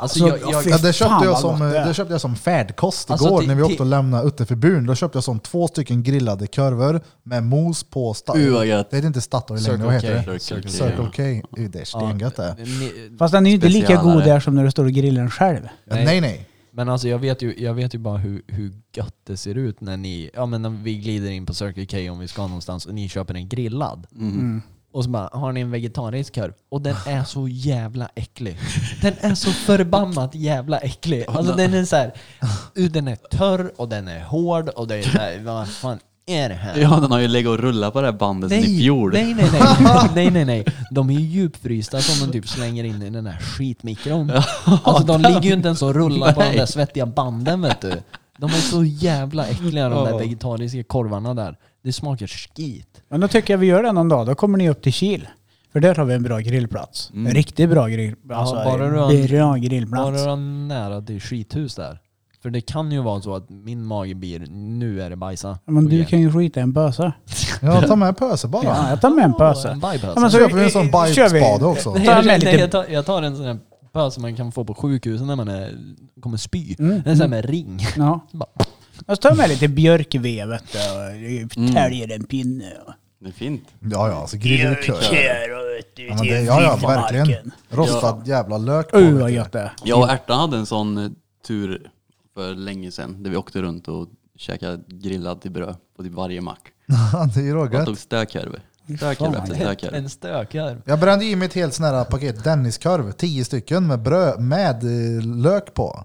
Speaker 2: Alltså, jag- jag-
Speaker 1: fy
Speaker 3: Ja, det,
Speaker 1: fan
Speaker 3: köpte jag
Speaker 1: vad
Speaker 3: som, eh,
Speaker 1: gott det är.
Speaker 3: det köpte jag som färdkost
Speaker 2: Alltså,
Speaker 3: igår
Speaker 2: till-
Speaker 3: när vi
Speaker 2: till-
Speaker 3: åkte och lämnade Utterförbun. Då köpte jag som två stycken grillade korvar med mos på Statoil.
Speaker 4: Uh, vad gött.
Speaker 3: det är inte Statoil längre,
Speaker 2: Circle
Speaker 3: vad heter
Speaker 2: K.
Speaker 3: det?
Speaker 2: Circle K.
Speaker 3: Circle K. Uh, det är stengött det.
Speaker 2: Ni-
Speaker 1: Fast den är ju inte lika
Speaker 4: Specialare.
Speaker 1: god där som när du står och grillar den själv.
Speaker 3: Ja,
Speaker 2: nej.
Speaker 3: nej nej.
Speaker 2: Men alltså jag vet ju, jag vet ju bara hur, hur gött det ser ut när ni, ja men när vi glider in på Circle K om vi ska någonstans och ni köper en grillad. Och så bara, har ni en vegetarisk korv? Och den är så jävla äcklig. Den är så förbannat jävla äcklig. Alltså den är så här, uh, den är törr och den är hård och det är så här, vad fan är det här?
Speaker 4: Ja, den har ju legat och rullat på det här bandet sen i fjol.
Speaker 2: nej, nej, nej, nej, nej, nej. De är ju djupfrysta som de typ slänger in i den där skitmikron. Alltså de ligger ju inte ens och rullar på de där svettiga banden vet du. De är så jävla äckliga de där vegetariska korvarna där. Det smakar skit.
Speaker 1: Men då tycker jag vi gör det någon dag. Då kommer ni upp till Kil. För där har vi en bra grillplats. En riktigt bra grillplats. Alltså,
Speaker 2: Mm. bara du
Speaker 1: en
Speaker 2: har-
Speaker 1: bra
Speaker 2: Bara
Speaker 1: grillplats.
Speaker 2: du har nära till skithus där. För det kan ju vara så att min mage blir, nu är det bajsa.
Speaker 1: Men du kan ju skita i en böse.
Speaker 3: Ja, ta med pöse bara.
Speaker 1: Ja, jag tar med en
Speaker 2: En
Speaker 1: pöse.
Speaker 2: bajbösa.
Speaker 1: Ja, men
Speaker 3: Så köper vi en sån
Speaker 1: eh, kör vi.
Speaker 3: bajsspade också.
Speaker 1: Ta med
Speaker 2: Nej,
Speaker 1: lite-
Speaker 2: nej, jag, tar, jag tar en sån här pös som man kan få på sjukhuset när man är, kommer spy.
Speaker 1: Mm.
Speaker 2: En sån här med ring.
Speaker 1: Ja.
Speaker 2: Bara-
Speaker 1: Och så tar jag med lite björkved vet du, och
Speaker 2: Mm.
Speaker 1: täljer en pinne. och-
Speaker 4: Det är fint.
Speaker 3: Ja, ja, alltså grillad
Speaker 1: Kör
Speaker 3: kör.
Speaker 1: och vet du,
Speaker 3: Ja, men
Speaker 1: till
Speaker 3: det, ja, ja,
Speaker 1: vildmarken.
Speaker 3: verkligen. Rostad jävla lök på.
Speaker 1: Uh
Speaker 3: vet
Speaker 1: vad
Speaker 3: du.
Speaker 1: gött det är.
Speaker 4: Jag och Ärtan hade en sån eh, tur för länge sedan där vi åkte runt och käkade grillad till bröd på typ varje mack.
Speaker 3: det är ju då
Speaker 4: Jag
Speaker 3: gött.
Speaker 4: tog stökkorv. Stökkorv efter stökkorv.
Speaker 2: En stökar.
Speaker 3: Jag brände i mig ett helt sån här paket Denniskorv, tio stycken med bröd med eh, lök på.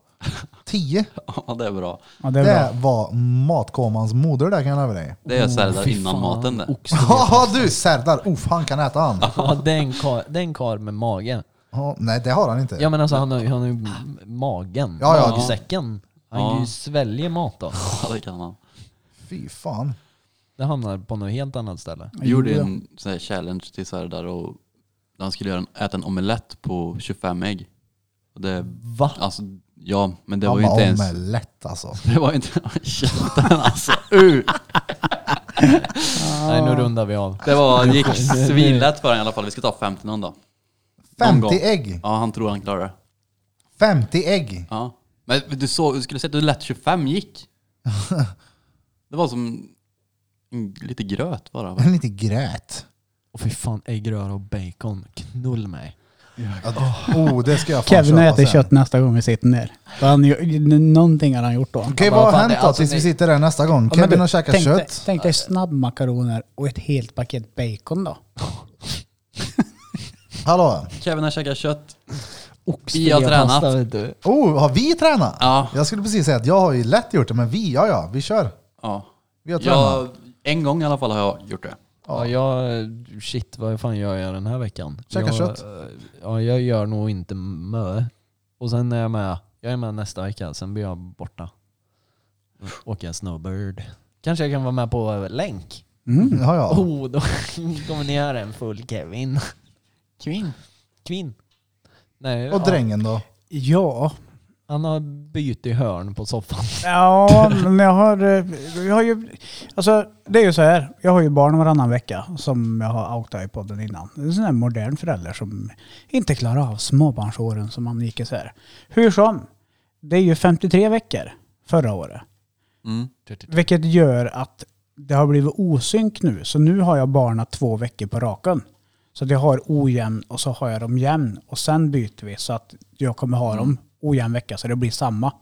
Speaker 3: Tio.
Speaker 4: Ja, det är bra.
Speaker 1: Ja, det
Speaker 3: Det,
Speaker 1: är bra.
Speaker 3: var matkomans moder där kan jag lova dig.
Speaker 4: Det är sällan innan maten det.
Speaker 3: Haha du Serdar, uff han kan äta han.
Speaker 2: Ja, det är en kar- det är en karl med mage.
Speaker 3: Ja, nej det har han inte.
Speaker 2: Ja men alltså han har ju, han har ju m- magen,
Speaker 3: Ja, ja.
Speaker 2: magsäcken. Han
Speaker 4: Ja.
Speaker 2: kan ju svälja mat då.
Speaker 4: Ja, det kan man.
Speaker 3: Fy fan.
Speaker 2: Det hamnar på något helt annat ställe.
Speaker 4: Vi gjorde ju en sån här challenge till Serdar och där han skulle göra en, äta en omelett på 25 ägg. Och det,
Speaker 2: Va?
Speaker 4: alltså, ja, men det
Speaker 3: Det
Speaker 4: var
Speaker 3: var
Speaker 4: ju inte ens...
Speaker 3: omelett alltså.
Speaker 4: Det var inte... Käften alltså. Uh,
Speaker 2: Nej nu rundar vi av.
Speaker 4: det var, det gick svinlätt för honom i alla fall. Vi ska ta 50 någon dag. Någon
Speaker 3: 50
Speaker 4: gång.
Speaker 3: ägg.
Speaker 4: Ja, han tror han klarar det.
Speaker 3: 50 ägg.
Speaker 4: Ja. Men du, såg, du skulle sett hur lätt 25 gick. Det var som en- lite gröt bara.
Speaker 3: Men lite gröt.
Speaker 2: Och fy fan, äggröra och bacon. Knull mig.
Speaker 3: Ja, det- Oh, det ska jag fan
Speaker 1: Kevin
Speaker 3: köpa
Speaker 1: äter
Speaker 3: sen.
Speaker 1: kött nästa gång vi sitter ner. Då har Han, ju- någonting har han gjort då.
Speaker 3: Okej,
Speaker 2: Ja, men
Speaker 3: vad
Speaker 2: vad
Speaker 3: har
Speaker 2: fan,
Speaker 3: hänt
Speaker 2: det-
Speaker 3: då
Speaker 2: alltså,
Speaker 3: tills vi
Speaker 2: ni-
Speaker 3: sitter här nästa gång?
Speaker 1: Ja, men
Speaker 3: Kevin
Speaker 1: du,
Speaker 3: har käkat
Speaker 1: tänk dig-
Speaker 3: kött.
Speaker 1: Tänk dig snabbmakaroner och ett helt paket bacon då.
Speaker 3: Hallå?
Speaker 4: Kevin har käkat kött.
Speaker 2: Oxfilé
Speaker 4: har tränat.
Speaker 2: pasta, vet du.
Speaker 3: Oh, har vi tränat?
Speaker 4: Ja.
Speaker 3: Jag skulle precis säga att jag har ju lätt gjort det, men vi, ja ja, vi kör.
Speaker 4: Ja.
Speaker 3: Vi har tränat.
Speaker 4: Jag, en gång i alla fall har jag gjort det.
Speaker 2: Ja, jag, shit vad fan gör jag den här veckan?
Speaker 3: Käka
Speaker 2: jag,
Speaker 3: kött.
Speaker 2: Ja, jag gör nog inte mö. Och sen är jag med, jag är med nästa vecka, sen blir jag borta. Åker jag snowbird. Kanske jag kan vara med på länk?
Speaker 3: Ja, ja.
Speaker 2: Oh, då kommer ni göra en full Kevin.
Speaker 4: Kvinn.
Speaker 2: Kvinn. Nej,
Speaker 3: Och
Speaker 2: ja,
Speaker 3: drängen då?
Speaker 1: Ja,
Speaker 2: han har bytt i hörn på soffan.
Speaker 1: Ja, men jag har, eh, jag har ju... Alltså, det är ju så här. Jag har ju barn varannan vecka som jag har outat i podden innan. Det är en sån här modern förälder som inte klarar av småbarnsåren som man gick isär. Hur som, det är ju 53 veckor förra året.
Speaker 4: Mm.
Speaker 1: Vilket gör att det har blivit osynk nu. Så nu har jag barna två veckor på raken. Så att jag har ojämn och så har jag dem jämn. Och sen byter vi så att jag kommer ha dem ojämn vecka så det blir samma.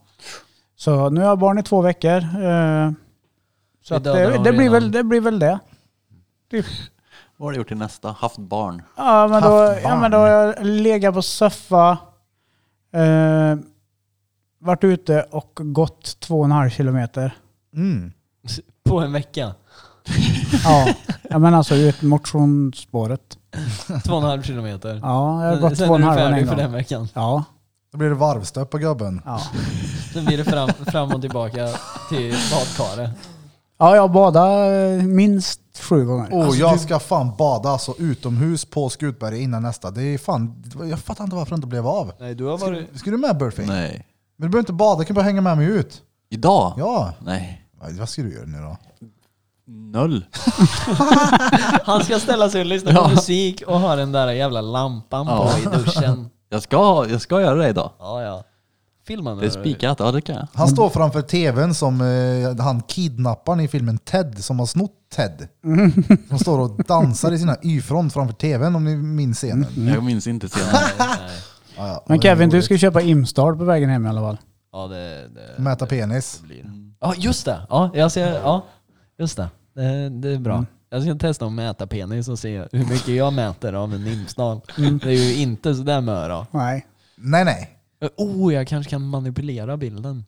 Speaker 1: Så nu har jag barn i två veckor. eh, Så
Speaker 2: Vi
Speaker 1: att
Speaker 2: dödar
Speaker 1: det,
Speaker 2: dem
Speaker 1: det, blir väl,
Speaker 2: redan.
Speaker 1: det blir väl det.
Speaker 4: Vad har du gjort till nästa? Haft barn.
Speaker 1: Ja men, då,
Speaker 3: Haft
Speaker 1: ja,
Speaker 3: barn.
Speaker 1: men då har jag legat på soffa, eh, varit ute och gått två och en halv kilometer.
Speaker 3: Mm.
Speaker 2: På en vecka.
Speaker 1: Ja, ja men alltså ut motionsspåret.
Speaker 2: Två och en halv kilometer.
Speaker 1: Ja, jag har gått
Speaker 2: sen
Speaker 1: två och en
Speaker 2: är du
Speaker 1: halv en
Speaker 2: färdig för
Speaker 1: gång.
Speaker 2: den veckan.
Speaker 1: Ja,
Speaker 3: Då blir det varvstöp på gubben.
Speaker 1: ja.
Speaker 2: Sen blir det fram, fram och tillbaka till badkaret.
Speaker 1: ja, jag badade minst sju gånger. Alltså,
Speaker 3: Och jag ska fan bada alltså utomhus på Skutberget innan nästa. Det är fan, jag fattar inte varför det inte blev av.
Speaker 2: Nej, du har varit...
Speaker 3: Ska du med Burfing? Men
Speaker 4: Nej.
Speaker 3: du behöver inte bada, du kan bara hänga med mig ut.
Speaker 4: Idag?
Speaker 3: Ja.
Speaker 4: Nej.
Speaker 3: Nej, Vad ska du göra nu då?
Speaker 4: Noll.
Speaker 2: Han ska ställa sig och lyssna på musik och ha den där jävla lampan på i duschen.
Speaker 4: Jag ska, jag ska göra det idag.
Speaker 2: Ja, ja. Filma nu.
Speaker 4: Det är spikat, ja det kan jag.
Speaker 3: Han står framför tvn som eh, han kidnapparen i filmen Ted, som har snott Ted. Som står och dansar i sina y-front framför tvn om ni minns scenen.
Speaker 4: Jag minns inte senare.
Speaker 3: Ja, ja.
Speaker 1: Men Kevin, du ska köpa Imstar på vägen hem i alla fall.
Speaker 2: Ja, det, det,
Speaker 3: Mäta penis.
Speaker 2: blir. Ja, just det. Ja, jag ser, ja, just det. Det, det är bra.
Speaker 4: Mm.
Speaker 2: Jag ska testa att mäta penis och se hur mycket jag mäter av en nymsnal.
Speaker 4: Mm.
Speaker 2: Det är ju inte sådär med då.
Speaker 1: Nej.
Speaker 3: Nej nej.
Speaker 2: Oh, jag kanske kan manipulera bilden.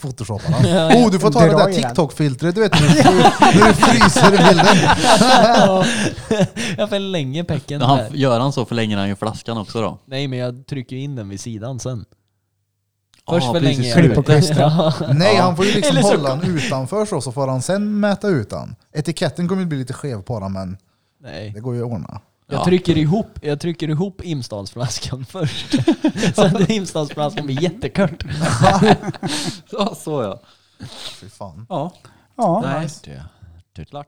Speaker 3: Photoshopa den. Oh, du får ta det
Speaker 1: Dra
Speaker 3: där
Speaker 1: i den.
Speaker 3: TikTok-filtret du vet när du, när du fryser bilden.
Speaker 2: jag förlänger pecken
Speaker 4: När han,
Speaker 2: där.
Speaker 4: gör han så förlänger han ju flaskan också då.
Speaker 2: Nej, men jag trycker ju in den vid sidan sen.
Speaker 4: Ja,
Speaker 2: Först förlänger
Speaker 4: precis.
Speaker 2: jag.
Speaker 1: Klipp och klistra.
Speaker 2: Ja.
Speaker 3: Nej, han får ju liksom
Speaker 2: Eller så-
Speaker 3: hålla den utanför så, så får han sen mäta ut den. Etiketten kommer ju bli lite skev på den, men
Speaker 2: Nej.
Speaker 3: det går ju att ordna.
Speaker 2: Jag,
Speaker 4: Ja.
Speaker 2: trycker ihop, jag trycker ihop imsdalsflaskan först. så att imsdalsflaskan blir jättekort.
Speaker 4: Ja, så ja.
Speaker 3: Fy fan.
Speaker 4: Ja.
Speaker 1: Ja.
Speaker 4: Nej.
Speaker 2: Klart.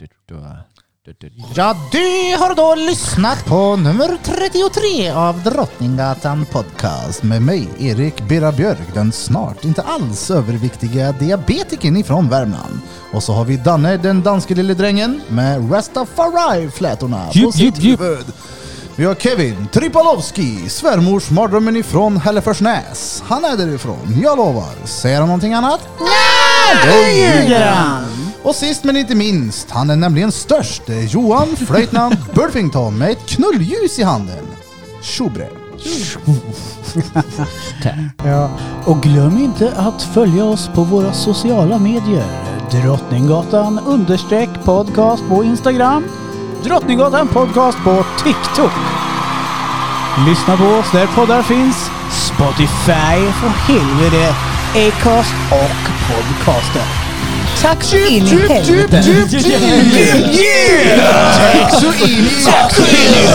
Speaker 3: Ja, du har då lyssnat på nummer 33 av Drottninggatan Podcast med mig, Erik Birra Björk, den snart inte alls överviktiga diabetikern ifrån Värmland. Och så har vi Danne, den danske lille drängen, med Rastafari-flätorna på
Speaker 1: Djup,
Speaker 3: sitt
Speaker 1: djup, djup.
Speaker 3: huvud. Vi har Kevin Tripalowski, svärmorsmardrömmen ifrån Hälleforsnäs. Han är därifrån, jag lovar. Säger han någonting annat? Nej, det ljuger han! Och sist men inte minst, han är nämligen störst, det är Johan Flöjtnant Burfington med ett knullljus i handen. Tjobre.
Speaker 1: Ja. Och glöm inte att följa oss på våra sociala medier. Drottninggatan understreck podcast på Instagram. Drottninggatan podcast på TikTok. Lyssna på oss där poddar finns. Spotify för helvete. Acast och podcaster.
Speaker 6: Tack så in i helvete.
Speaker 3: Så in i...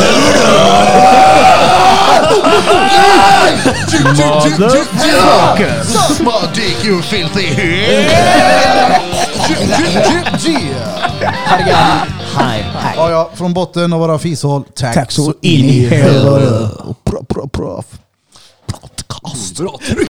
Speaker 3: Motherfucker! Suck my dick you filthy
Speaker 2: Hej.
Speaker 3: Ja, ja, från botten av våra fishål. Tack,
Speaker 1: Tack så in i helvete.
Speaker 3: Och Bra, bra, bra.
Speaker 4: Bra tryck!